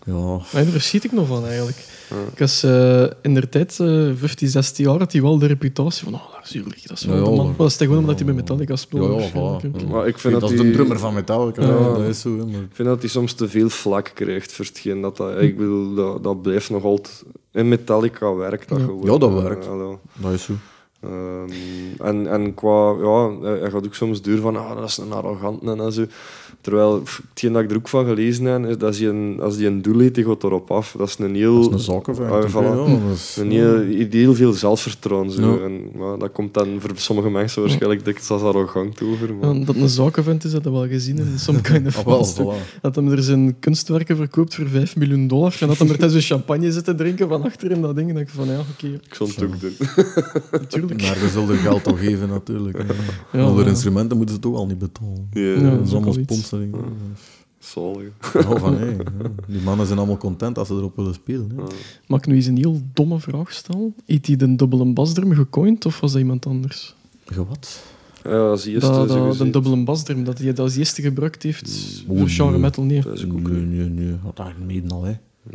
ja.
Maar daar schiet ik nog van eigenlijk.
Ja.
Ik was eh, in der tijd, eh 15, 16 jaar, had hij wel de reputatie van, oh, Lars Ulrich, dat is wel
Ja,
de
ja,
man. Maar dat is toch gewoon
ja.
omdat hij met Metallica speelde.
Ja, ja,
waarschijnlijk,
voilà.
hè.
Ja.
Maar ik vind dat,
dat is
die-
de drummer van Metallica,
Ja.
ja, dat is zo. Hè, maar...
Ik vind dat hij soms te veel vlak krijgt voor hetgeen dat
Hmm.
hij... Ik bedoel, dat, dat blijft nog altijd... In Metallica werkt dat
Ja.
gewoon.
Ja, dat
Eh,
werkt.
hallo.
Dat is zo.
Ehm, en, en qua, ja, hij hij gaat ook soms duur van, ah, dat is een arrogant en zo. Terwijl, pff, hetgeen dat ik er ook van gelezen heb, is dat hij een, als hij een doel heeft, die gaat erop af. Dat is een heel...
Dat is een zakkenvang.
Ah,
toch,
voilà.
hè, ja, dat is-
Een heel, eh, heel veel zelfvertrouwen. Zo.
Ja.
En, maar dat komt dan voor sommige mensen waarschijnlijk dikwijls als arrogant over. Maar...
Ja, Dat een zakenvent is, dat hebben we wel gezien in
[laughs]
Some Kind of
Ah,
[laughs]
wel,
Monster.
voilà.
Dat hem er zijn kunstwerken verkoopt voor 5 miljoen dollar. En dat hem er tijdens de champagne zit te drinken van achter in dat ding. En dan denk ik van, ja, oké,
Ik zal het ook doen. [laughs]
natuurlijk.
Maar ze zullen geld al geven, natuurlijk. hè.
Ja,
Andere
ja.
instrumenten moeten ze toch al niet betalen.
Ja,
Ja.
Dat is allemaal
ook al iets.
sponsoring.
Zalig.
Ja, van, hey, ja. Die mannen zijn allemaal content als ze erop willen spelen. Hè.
Mag ik nu eens een heel domme vraag stellen? Heeft hij de dubbele basdrum gecoind of was dat iemand anders?
Je wat?
Ja, als eerste
dat,
eh, zo
dat, de
gezien.
dubbele basdrum, dat hij dat als eerste gebruikt heeft
Oeh,
voor genre
nee.
metal. Nee,
Dat is ook
Nee, nee, nee. Had daar meden al, hè.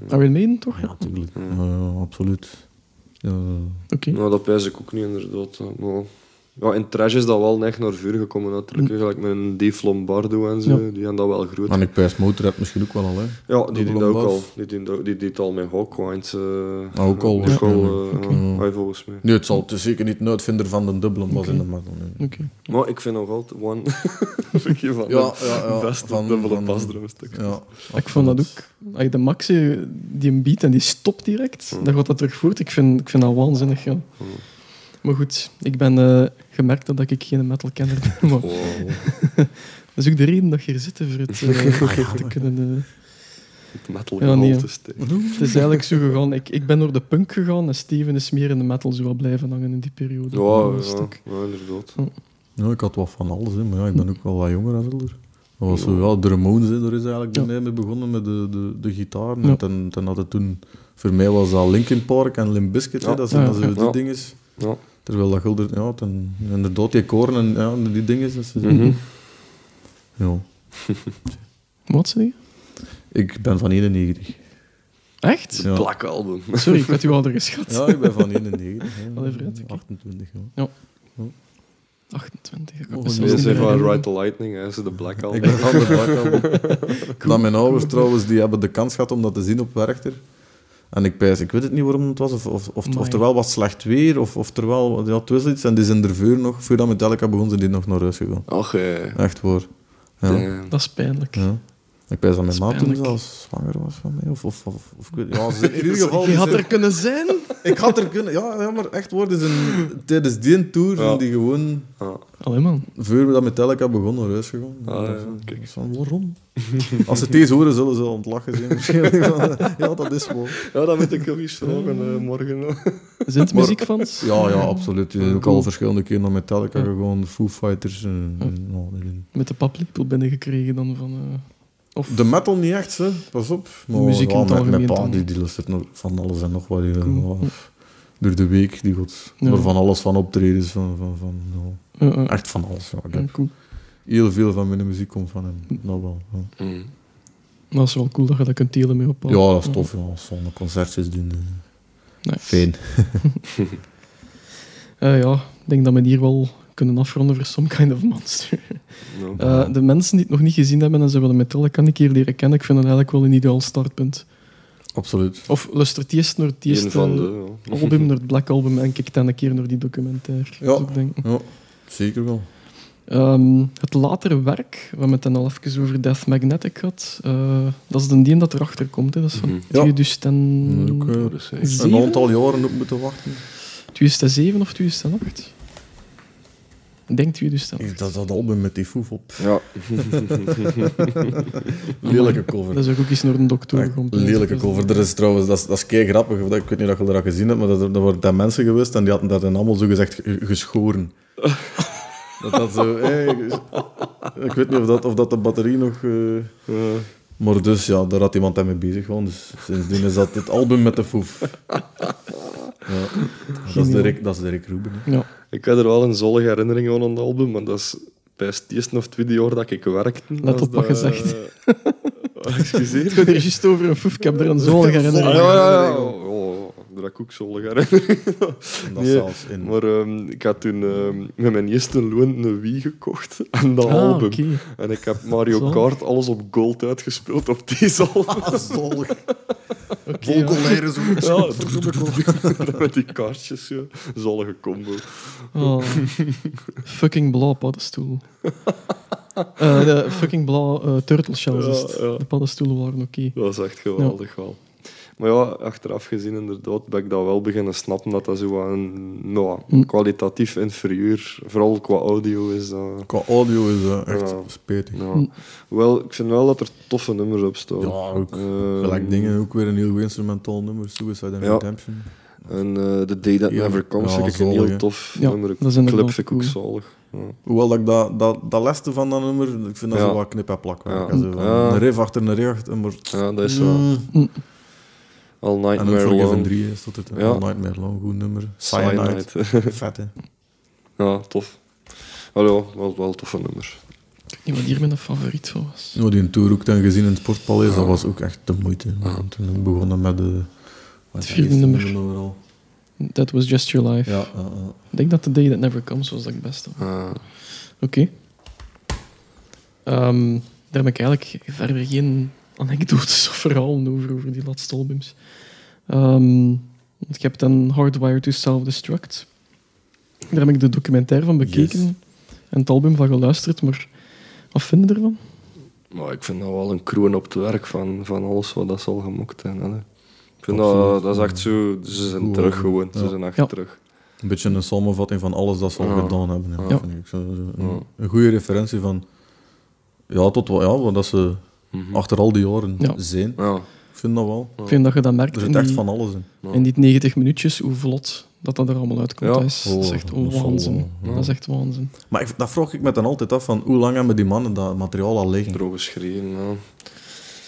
dat wil meen toch?
Ah, ja, tuurlijk. Ja, ja, absoluut. Ja.
Oké.
Nou, dat pijs ik ook niet, inderdaad. Maar... Ja, in trash is dat wel echt naar vuur gekomen, natuurlijk. Gelijk met een Dave Lombardo en zo.
Ja.
Die hebben dat wel groot.
Maar ik pijs Motorhead misschien ook wel al, hè.
Ja, die
Dubbele
deed dat ook
bas.
al. Die deed dat- die deed al met Hawkwinds.
Ah, ook al,
Ook al, eh,
waarschijnlijk.
ja.
Oké.
Hij volgens mij.
Nee, het zal het is zeker niet een uitvinder van de dubbele bas in de metal. nee.
Oké.
Maar ik vind nog altijd One... [laughs] vind je van
Ja,
de
ja, ja.
beste
van-
dubbele
van-
basdrumstuk.
Ja,
Ik vond dat ook. Als je de Maxi die een beat en die stopt direct,
Mm.
dan gaat dat terug voort. Ik vind, ik vind dat waanzinnig. Ja. Maar goed, ik ben eh, gemerkt dat ik geen metal kenner ben. [laughs] maar
Wow.
dat is ook de reden dat je hier zit hè, voor het
[laughs]
eh, te kunnen. eh,
Het [laughs] metal
Ja, nee,
gehalte
ja.
stijgt.
Het is eigenlijk zo gegaan. Ik, ik ben door de punk gegaan en Steven is meer in de metal zo wat blijven hangen in die periode.
Ja,
Dat is
ja,
ook-
ja, inderdaad.
Ja, ik had wat van alles, hè, maar ja, ik ben ook wel wat jonger dan vroeger. Dat was zo, ja, de Ramones, hè, daar is eigenlijk bij
Ja.
mij mee begonnen met de, de, de gitaar.
Ja.
En ten, ten had het toen, voor mij was dat Linkin Park en Limp Bizkit, hè,
Ja.
dat zijn
Ja,
dat zo
ja.
die
Ja.
dingen.
Ja.
Terwijl dat gulder, ja, ten, inderdaad, die koren en ja, die dingen. Dat is,
Mhm.
ja.
Wat zeg je?
Ik ben van 91.
Echt?
Ja.
Black [laughs] Album.
Sorry, ik had u ouder geschat.
Ja, ik ben van 91. hè. [laughs]
Allee, vooruit, oké.
28, ja.
28. Ik
Mogen
had
we
mezelf
Nee,
niet
ze
meer
van
herinneren.
Ride the Lightning, hè, ze de Black
Ik
Album.
ben van de bakkabel. [laughs] Dan mijn ouders trouwens, die hebben de kans gehad om dat te zien op Werchter. En ik pijs, ik weet het niet waarom het was, of, of, of, of
Amai.
er wel wat slecht weer, of, of er wel, ja, het was iets. En die zijn er vuur nog, voordat Metallica begon, zijn die nog naar huis gegaan.
Ach, eh.
Echt waar. Ja.
damn.
Dat is pijnlijk.
ja. Ik pijs dat mijn
Dat
ma
is
toen
pijnlijk.
zelfs zwanger was van mij, of, of, of, of ik weet ja, ze zijn in ieder geval...
Dus Je
die
had
zijn-
er kunnen zijn.
Ik had er kunnen, ja, ja maar echt waar, die zijn, tijdens die tour zijn
Ja.
die gewoon,
Ah,
Allee man.
voordat Metallica begon, naar huis gegaan.
Ah, ja,
Dat is-
kijk.
dat is van, waarom? [laughs] Als ze deze horen, zullen ze al ontlachen
[laughs]
zijn. waarschijnlijk. Van, ja, dat is wel.
Ja, dat moet ik ook eens vragen eh, morgen. [laughs]
Zijn het muziekfans?
Ja, ja, absoluut. Je bent ook
Cool.
al verschillende keer naar Metallica
Ja.
gegaan, Foo Fighters. eh, en al die dingen.
Met de paplepel binnengekregen dan van... eh, of
De metal niet echt, hè. pas op. Maar
muziek in
ja,
het
met- Mijn
algemeen
pa
dan.
die, die lustert nog van alles en nog wat. Die,
Cool.
ja, door de week, die god.
Ja.
Maar van alles, van optredens, van, van, van, ja,
Ja, ja.
echt van alles. Ah, Ja. Ik
eh, Ja,
heb
cool.
heel veel van mijn muziek komt van hem. Dat wel. Ja,
Mm.
Dat is wel cool dat je dat kunt delen met op.
ja dat is tof. Ja. Als ze allemaal concertjes doen. eh,
Nice.
Fijn.
Eh, ja, ik denk dat men hier wel kunnen afronden voor Some Kind of Monster.
Ja.
Eh, de mensen die het nog niet gezien hebben en ze willen Metallica een keer leren kennen, ik vind dat eigenlijk wel een ideaal startpunt.
Absoluut.
Of luister het eerst naar het
Een
eerste
van de, ja.
album, naar het Black Album, en kijk dan een keer naar die documentaire.
Ja.
Dat is ook denk ik.
Ja, zeker wel.
Ehm, het latere werk, we hebben het dan al even over Death Magnetic gehad, eh, dat is de die dat erachter komt. Hè. Dat is van
Mhm.
Ja.
2000
Ook, eh,
Dat is echt-
een
Zeven?
aantal jaren op moeten wachten.
2007 of 2008. Ik denk dus 2008.
Is dat dat album met die foef op?
Ja.
Lelijke cover.
Dat is ook eens naar een dokter
Echt
gekomen.
lelijke cover. Er is trouwens, dat is, dat is kei grappig. want Ik weet niet of je dat gezien hebt, maar dat, er waren daar mensen geweest en die hadden dat dan allemaal zo gezegd ge- [laughs] geschoren. dat dat zo, hey, ik weet niet of dat, of dat de batterie nog. eh,
Ja.
Maar dus ja, daar had iemand daarmee bezig gewoon. Dus sindsdien is dat het album met de foef. Ja. Dat, is de Rick, dat is de Rick Rubin. hè.
Ja. [laughs]
Ik heb er wel een zollige herinnering aan aan het album, maar dat is bij het eerste of tweede jaar dat ik werkte. was
op wat
dat-
je zegt.
[laughs] Ah,
[laughs]
Excuseer?
Het gaat er juist over een foef, ik heb er een zolige
Ah,
herinnering.
ja, ja, ja. Oh, daar heb ik ook zollige herinnering.
En dat
Nee,
zelfs in.
Maar ehm, ik had toen ehm, met mijn eerste loon een Wii gekocht en dat
Ah,
album.
oké.
En ik heb Mario
Zo.
Kart alles op gold uitgespeeld op
[laughs]
deze album.
Ah, Zolg.
Oké, ja.
Volkoleieren zo.
Ja, dat vond ik [laughs] wel. met die kaartjes. Ja. Zollige combo.
Oh. Fucking blauw
[laughs]
paddenstoel. Eh, de fucking blauw eh, turtle shells. is het.
Ja, ja.
De paddenstoelen waren oké.
Dat is echt geweldig wel. Maar ja, achteraf gezien inderdaad ben ik dat wel beginnen snappen dat dat zo wat een nou,
Hm.
kwalitatief inferieur, vooral qua audio is dat...
Qua audio is dat echt
Ja.
spetig.
Ja.
Mm.
Wel, ik vind wel dat er toffe nummers op staan.
Ja, ook.
Ehm,
Gelijk dingen, ook weer een heel goed instrumentaal nummer, Suicide and
Ja.
Redemption.
En eh The Day That
Ja,
Never Comes
ja,
vind ik een
zalig,
heel
hè.
tof
Ja,
nummer.
dat is inderdaad
Clip vind ik ook
cool.
zalig. Ja.
Hoewel dat ik dat, dat, dat laatste van dat nummer, ik vind dat
Ja.
zo wat knip en plak.
Ja.
Zo van
Ja.
Een riff achter een riff achter, maar...
Ja, dat is wel.
Mm.
Mm.
All
En ook
Nightmare
Forgiven
Long.
3 is tot het.
Ja.
All Nightmare Long, goed nummer. Cyanide,
Cyanide.
[laughs] vet hè.
Ja, tof. Hallo, wel, wel toffe nummers.
Ja, wat hier mijn favoriet van was.
Nou, die tour ook dan gezien in het sportpaleis, dat was ook echt de moeite. We zijn toen ook begonnen met de... wat is dat
vierde
eerste
nummer.
al?
That was just your life.
Ja, ja, ja.
Ik denk dat The Day That Never Comes was dat ik best had.
Ah,
Oké. Ehm, daar heb ik eigenlijk verder geen anekdotes [laughs] of verhalen over, over die laatste albums. Ehm, want ik heb dan Hardwire to Self-Destruct. Daar heb ik de documentaire van bekeken
Yes.
en het album van geluisterd, maar wat vinden je ervan?
maar ik vind dat wel een kroon op het werk van, van alles wat dat zal gemokt zijn. hè. Ik vind
Absoluut.
dat, dat is echt zo... Ze zijn
Goed,
terug
hè.
gewoon. Ze
Ja.
zijn echt
Ja.
terug.
Een beetje een samenvatting van alles dat ze al
Ja.
gedaan hebben. Ja,
Ja.
vind ik. Zo,
Ja.
zo, een, een goede referentie van... Ja, tot wat, ja, wat dat ze
Mhm.
achter al die jaren
Ja.
zijn.
Ja.
Ik vind dat wel.
Ik vind dat je dat merkt
Er
in
zit echt
die,
van eh, alles in.
Ja.
in die 90 minuutjes, hoe vlot dat dat er allemaal uitkomt.
Ja.
Dat, is, dat is echt
Oh, dat zal
waanzin.
wel,
ja.
Dat is echt waanzin.
Maar ik, dat vroeg ik me dan altijd af van hoe lang hebben die mannen dat materiaal al liggen?
Droog geschreven, ja.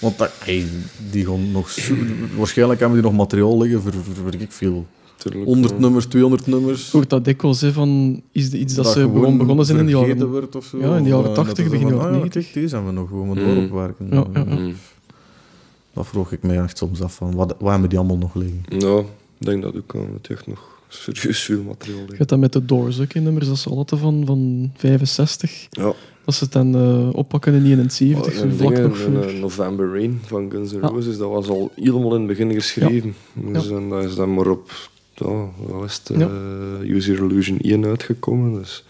Want dat, hey, die gaan nog zo- waarschijnlijk hebben die nog materiaal liggen voor, voor, voor weet ik veel.
Tuurlijk,
100
ja.
nummers, 200 nummers.
Ik hoor dat dikwijls hè, van is de- iets dat, ze
gewoon
gewoon begonnen zijn in die
vergeten
jaren.
werd of zo.
Ja, in de
Of,
jaren
eh, dat
80,
ze
begin
van,
jaren
ah ja,
90.
kijk, deze hebben we nog gewoon
Mm.
door opwerken.
Ja, ja, ja.
Mhm.
Dat vroeg ik mij echt soms af van, wat, waar hebben die allemaal nog liggen?
Ja, ik denk dat ook. eh, Dat je echt nog serieus veel materiaal
Je
ligt.
hebt dat met de Doors ook in nummers, dat ze al hadden van, van 65.
Ja.
Dat ze het dan eh, oppakken in 71,
Oh,
zo
en
vlak
dingen,
nog
en,
voor.
eh, November Rain van Guns N'
Ja.
Roses, dat was al helemaal in het begin geschreven. Dus
Ja.
en dat is dan maar op ja, wat was het, eh,
Ja.
Use Your Illusion 1 uitgekomen. Dus.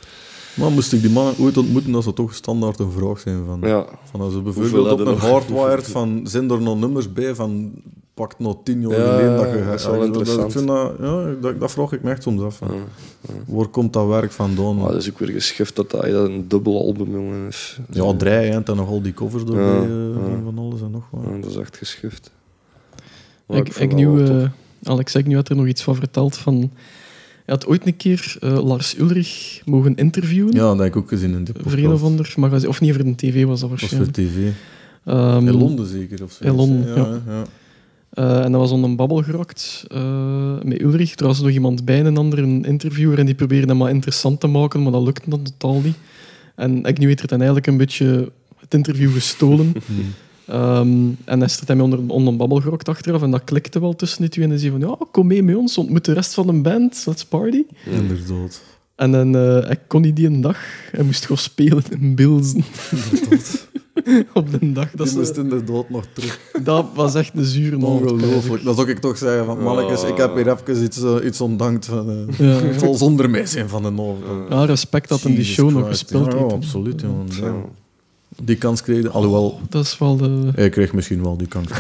Maar moest ik die mannen ooit ontmoeten, dat zou toch standaard een vraag zijn van...
Ja,
Van als we
Hoeveel
bijvoorbeeld op
hadden
een
nog?
hardwired van zijn er nog nummers bij van pakt nog tien jaar
Ja,
geleden dat je
dat is wel interessant.
eh, Dat, ik vind dat, ja, dat, dat vraag ik me echt soms af. van,
ja.
Waar komt dat werk vandaan?
Maar dat is ook weer geschift dat hij dat een dubbel album jongen, is.
ja, draai hè, en dan nog al die covers erbij
Ja,
eh,
ja.
van alles en nog wat.
Ja, dat is echt geschift. Maar
Ik,
vind
ik
dat
nu,
wel tof.
eh, Alex ik nu had er nog iets van verteld. Van, hij had ooit een keer eh, Lars Ulrich mogen interviewen.
Ja, dat heb ik ook gezien in de
Voor een of
podcast.
ander magazijn. Of niet voor de tv was dat
Dat was voor
waarschijnlijk.
tv.
Ehm,
in Londen zeker of zo.
in Londen, ja.
ja.
eh, en dat was onder een babbel gerokt eh, met Ulrich. Er was nog iemand bij, een ander een interviewer, en die probeerde hem maar interessant te maken, maar dat lukte dan totaal niet. En ik nu heeft er dan eigenlijk een beetje het interview
[laughs]
gestolen.
Hmm.
Ehm, en hij stond hem onder, onder een babbel gerokt achteraf. En dat klikte wel tussen die twee. En hij zei van, ja, kom mee met ons, ontmoet de rest van de band, let's party.
Inderdaad.
En dan, eh, hij kon niet die een dag. Hij moest gewoon spelen in
[laughs]
Bilzen. [laughs] Op de dag. Dat,
Die
ze-
moest in de dood nog terug.
dat was echt een zure nood.
Ongelooflijk. Dat zou ik toch zeggen van, mannetjes, ik heb
Oh.
hier even iets, eh, iets ontdankt
[laughs]
van... eh, het zal zonder mij zijn van de
Oh.
overkant.
Ja, respect dat hem die
Jesus
show nog
Christ,
gespeeld
ja,
heeft.
ja, absoluut, jongen.
Zo.
Ja. Die kans kreeg hij, alhoewel,
Dat is wel de...
hij kreeg misschien wel die
[laughs]
kans. hè.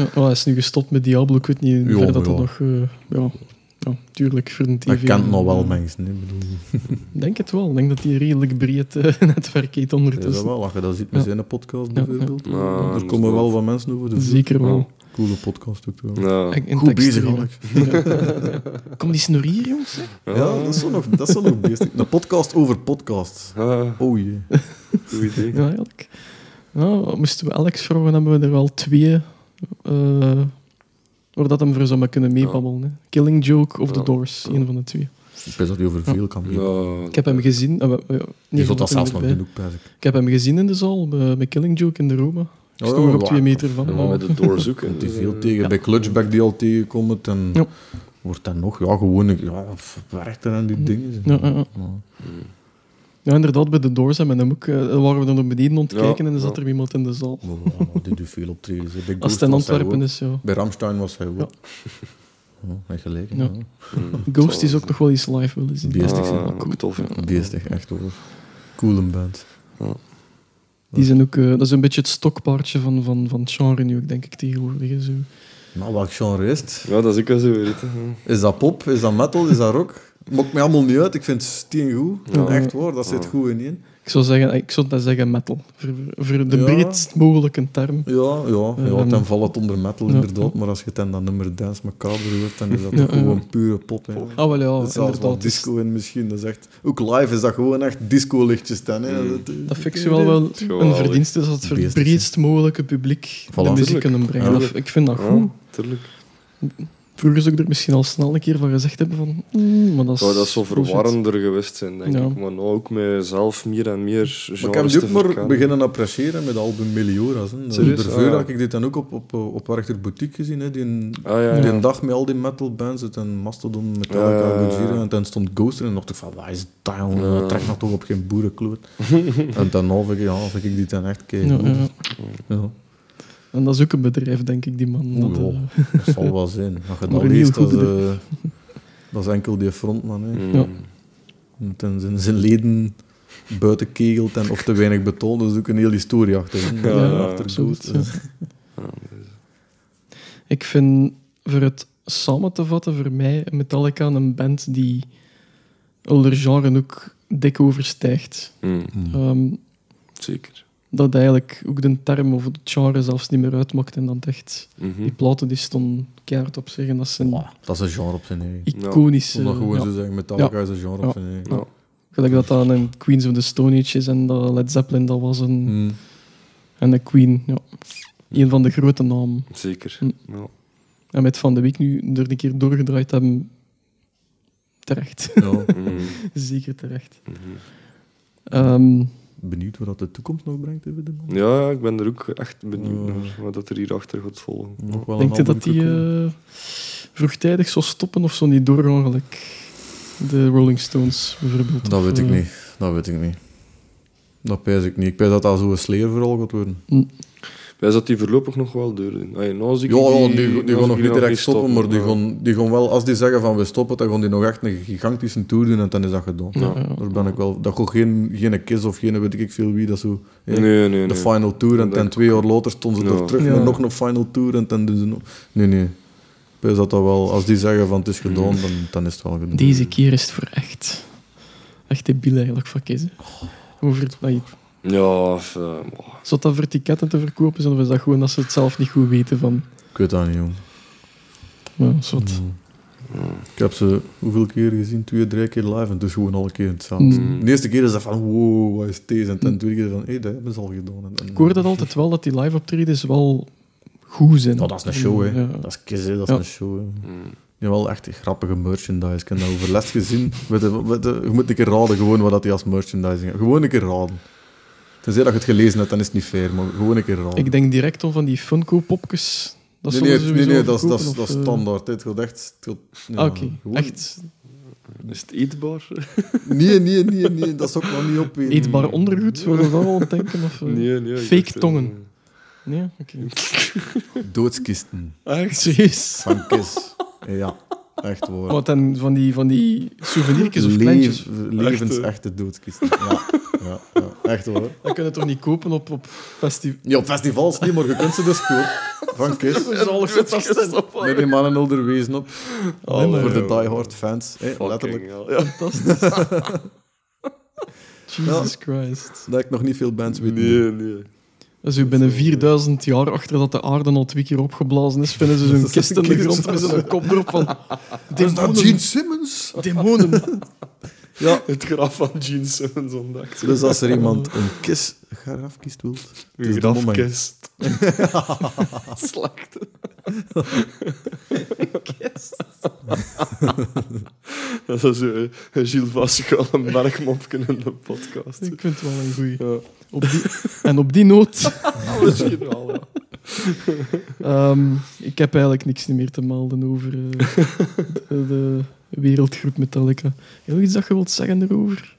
Ja, oh, hij is nu gestopt met Diablo. Ik weet niet in hoeverre
Ja,
dat dat
ja.
nog... eh, ja. ja, tuurlijk, voor een TV.
Dat kent nog wel mensen. hè. Ik bedoel,
denk het wel. Ik denk dat hij een redelijk breed eh, [laughs] netwerk heeft
is dat
ondertussen.
wel, als je dat ziet met
Ja.
zijn podcast
Ja,
bijvoorbeeld.
ja. Ja,
er komen wel wat mensen over. de
Zeker wel.
Coole podcast ook wel.
Ja.
En- en
Goed
tekst
bezig,
erin.
Alex.
[laughs] Kom die snor hier, jongens. hè?
Ja, dat is wel nog, dat is wel nog beestelijk. Een podcast over podcasts.
Ah,
[laughs]
Oh jee.
goed idee.
Ja, eigenlijk. Nou, moesten we Alex vragen, hebben we er wel twee... eh waar dat hem voor zou mee kunnen meebabbelen. hè. Killing Joke of The
Ja.
Doors. Een van de twee.
Ik weet dat hij over veel kan. doen.
Ja.
Ik heb hem gezien... eh, we- we-
Je
nee,
zult
we
dat zelfs nog
moeten erbij.
doen, ook pijs ik.
Ik heb hem gezien in de zaal, bij, bij Killing Joke in de Roma. Ik
Oh,
stond er op
ja.
twee meter van.
Ja, met het
[laughs]
doorzoeken.
Komt hij veel tegen. Bij Clutchback die al tegenkomt. En
Eh, Ja.
wordt dan nog ja, gewoon een- ja, verwerkter aan die dingen.
Ja, ja, ja. Ja, inderdaad, bij de Doors hebben we hem ook... eh, waren we dan naar beneden aan het
Ja,
kijken en er zat
ja.
er iemand in de zaal.
Maar ja, Die doet veel optredens. hè. Bij
Als
Ghost
het in
was hij
Antwerpen
ook.
is, ja.
Bij Ramstein was hij ook.
Ja.
Ja. echt gelijk.
Ja.
[laughs] Ja.
Mm.
Ghost is ook nog wel eens live willen zien.
Beestig
Dat is
zijn
wel cool.
ook tof. hè.
Beestig, echt hoor. Coole band.
Die zijn ook... eh, dat is een beetje het stokpaardje van, van, van het genre nu, ook, denk ik, tegenwoordig. hè, Zo.
Nou, welk genre is het?
Ja, dat is ook wel zo weer. hè. Ja.
Is dat pop? Is dat metal? Is dat rock? Maakt mij allemaal niet uit. Ik vind het steen goed.
Ja.
Echt hoor, dat zit goed in één.
Ik zou, zeggen, ik zou dat zeggen metal. Voor, voor de
Ja.
breedst mogelijke term.
Ja, ja, ja
Ehm,
dan valt het onder metal
ja.
inderdaad. Maar als je het dan dat nummer Dance Macabre hoort, dan is dat
Ja,
toch
ja.
gewoon pure pop. Hè.
Ah, wel ja,
Er zit zelfs wel
inderdaad. dus- is-
disco in misschien. Dat is echt, ook live is dat gewoon echt disco-lichtjes dan. Hè.
Hmm.
Dat,
Dat vind ik zo wel, wel een
Geweldig.
verdienste dat het voor het
Beestig,
breedst mogelijke publiek
Voilà.
de muziek
Tuurlijk.
kunnen brengen.
Ja.
Dat- ik vind dat
Ja,
Ah, goed.
tuurlijk.
Vroeger zou ik er misschien al snel een keer van gezegd hebben van... mm, maar dat is,
Zou Oh, dat zo
bullshit.
verwarrender geweest zijn, denk
Ja.
ik. Maar nou ook met zelf meer en meer genres
Maar ik heb die
te
ook maar
verkennen.
beginnen appreciëren met album Melioras. Hè.
Serieus?
Daarvoor
Ah, ja.
had ik dit dan ook op, op, op Werchter Boutique gezien. Hè. Die,
Ah, ja,
die
ja.
dag met al die metalbands, het en Mastodon, Metallica,
Ah, Ja, Ah. ja, ja.
Gojira. En dan stond Ghost erin en dacht ik van, wat is dat jongen?
Ja.
Trek nou toch op geen
[laughs]
boerenkloot. en dan half ik, ja, vind ik die dan echt
Ja,
kei
ja, ja.
Ja.
En dat is ook een bedrijf, denk ik, die man.
Oeh,
Dat,
ja,
eh,
dat zal wel zijn. Als je
Maar
dat
een heel
leest, dat,
goed
is, eh, dat is enkel die frontman. Hè.
Mm.
Ja.
Want en zijn, zijn leden buiten kegelt en of te weinig betaalt. Dat is ook een hele historie achter. hem.
Ja, ja,
achter
absoluut,
Ghost.
ja. Ik vind, voor het samen te vatten, voor mij Metallica een band die alle genre ook dik overstijgt.
Mm,
Ehm,
Zeker.
dat eigenlijk ook de term of het genre zelfs niet meer uitmaakt. En dan echt,
Mhm.
die platen die stonden keihard op zich. En dat zijn
Ja, dat is een genre op zijn eigen. Ik
iconische...
zou dat gewoon
eh, ja.
zo zeggen, Metallica is een genre
Ja.
op zijn eigen.
Ja.
Gelijk dat dat een Queens of the Stone Age is en dat Led Zeppelin dat was een...
Hmm.
En de Queen, ja.
Mm.
Een van de grote namen.
Zeker.
Mm.
Ja.
En met Van de Week nu er een keer doorgedraaid hebben...
[laughs]
Terecht.
Ja.
Mm,
Zeker terecht.
mhm.
Ehm,
Benieuwd wat dat de toekomst nog brengt. Even de man.
Ja, ik ben er ook echt benieuwd
Ja.
naar wat dat er hierachter gaat volgen.
Nog wel
denk je
een
dat die
andere
eh, vroegtijdig zou stoppen of zo niet doorgaan gelijk de Rolling Stones bijvoorbeeld?
Dat
Of,
weet ik
eh,
niet. Dat weet ik niet. Dat pijs ik niet. Ik pijs dat dat zo'n sleer vooral gaat worden.
Wij zat die voorlopig nog wel deur in. Allee, nou zie ik
Ja, ja, die, die,
nou zie
gaan nog
ik
niet direct stoppen, maar die,
eh.
ja.
gaan, die gaan wel, als die zeggen van we stoppen, dan gaan die nog echt een gigantische tour doen en dan is dat gedaan.
eh,
Ja.
Daar ben ik wel. Dat gaat geen, geen Kiss of geen weet ik veel wie, dat zo. hè,
Nee, nee, nee.
de final tour
Dat
en
denk
dan
ik
twee jaar later stonden ze
Ja.
er terug
Ja.
met nog een final tour en dan doen ze nog. Nee, nee. Ik weet dat dat wel, als die zeggen van het is
Hmm.
gedaan, dan, dan is het wel gedaan.
Deze keer is het voor echt. Echt debiel eigenlijk van kiezen.
Oh.
Over het
Ja, of, eh, maar-
Zou dat voor etiketten te verkopen zijn, of is dat gewoon dat ze het zelf niet goed weten van...
Ik weet dat niet, jong.
Nou, zwart.
Ik heb ze hoeveel keer gezien? Twee, drie keer live en dus gewoon alle keer
Hmm.
hetzelfde.
Mm.
De eerste keer is dat van wow, wat is deze? En dan de tweede keer van hé, hey, dat hebben ze al gedaan. En, en-
Ik hoor dat altijd wel, dat die live optredens wel goed zijn.
Ja, Nou, dat is een show, hè.
Ja.
Dat is kies, hè. Dat is
Ja.
een show, hè.
mm.
Ja, wel echt grappige merchandise. Ik heb dat over les gezien. Weet je, weet je, je moet een keer raden gewoon wat hij als merchandising heeft. Gewoon een keer raden. Tenzij dat je het gelezen hebt, dan is het niet fair, maar gewoon een keer raden.
Ik denk direct al van die Funko-popjes. Dat
nee, nee,
zullen ze
nee, nee,
sowieso
dat is, dat, is,
verkopen,
dat is
of, eh,
standaard. hè. Het gaat echt... het gaat- ja,
ah, Oké,
gewoon-
echt.
Is het eetbaar?
[laughs]
[laughs]
Nee, nee, nee, nee, dat is ook nog niet op. in-
Eetbaar ondergoed, wil je wel aan het denken? Of, eh?
Nee, nee. ik
Fake
dacht, eh,
tongen. Nee? Oké.
Doodskisten
Echt? Jeez.
van Kiss. ja, echt waar.
Wat dan van die, van die souvenirtjes of kleintjes?
levensechte doodskisten. Ja, ja, ja, echt hoor.
Dat kun je toch niet kopen op, op festival?
Ja, op festivals niet, maar je kunt ze dus kopen.
[laughs]
Van Kiss.
Zalig zit dat
Met die mannen onderwezen op.
Allee,
Nee, Oh, voor de
joh.
diehard fans. Hé, letterlijk.
Fucking hell. Ja.
Fantastisch. Jesus Christ.
Dat ik nog niet veel bands weet. doen.
Nee, nee.
Als Dus u binnen
eh,
4000 jaar achter dat de aarde al twee keer opgeblazen is, vinden ze
[laughs] Dat
zo'n
is
kist in de
een
grond
kist.
met
[laughs]
zo'n kop erop van...
Is dat
Demonen.
Gene Simmons?
Demonen.
Ja.
Het graf van Gene Simmons ontdekt.
Dus als er iemand een kiss graf kiest wilt, het is
Een
de moment.
[laughs] grafkist.
Slachten. kist.
Dat is uh, Gilles Vasco een bergmopje in de podcast.
[laughs] Ik vind het wel een goeie.
Ja,
Op die... En op die noot...
Oh, misschien wel. ja.
Ehm, ik heb eigenlijk niks meer te melden over
[laughs]
eh, de, de wereldgroep Metallica. Heb je nog iets dat je wilt zeggen erover?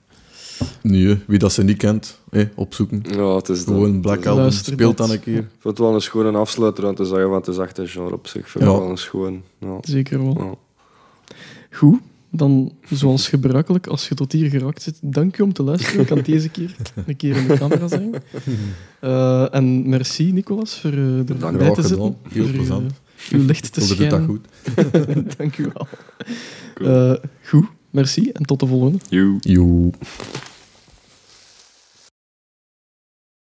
Nee, wie dat ze niet kent, hé, opzoeken.
Ja, het is dat.
Gewoon Black Album,
Luister
speelt
dat.
dan een keer.
Ik vind het wel een schone afsluiter aan te zeggen, want het is echt een genre op zich. Ik vind
Ja.
het wel een schoon. Ja.
Zeker wel.
Ja.
Goed, dan zoals gebruikelijk, als je tot hier geraakt zit, dank je om te luisteren. Ik kan het deze keer een keer in de camera zijn. Eh, en merci, Nicolas, voor eh er
Dank
bij te
gedaan.
zitten.
Heel
Voor, eh,
plezant.
uw licht te
Tot de dag
schijnen. [laughs]
goed.
Dank u wel.
Cool.
Eh, goed, merci en tot de volgende.
You.
Joep.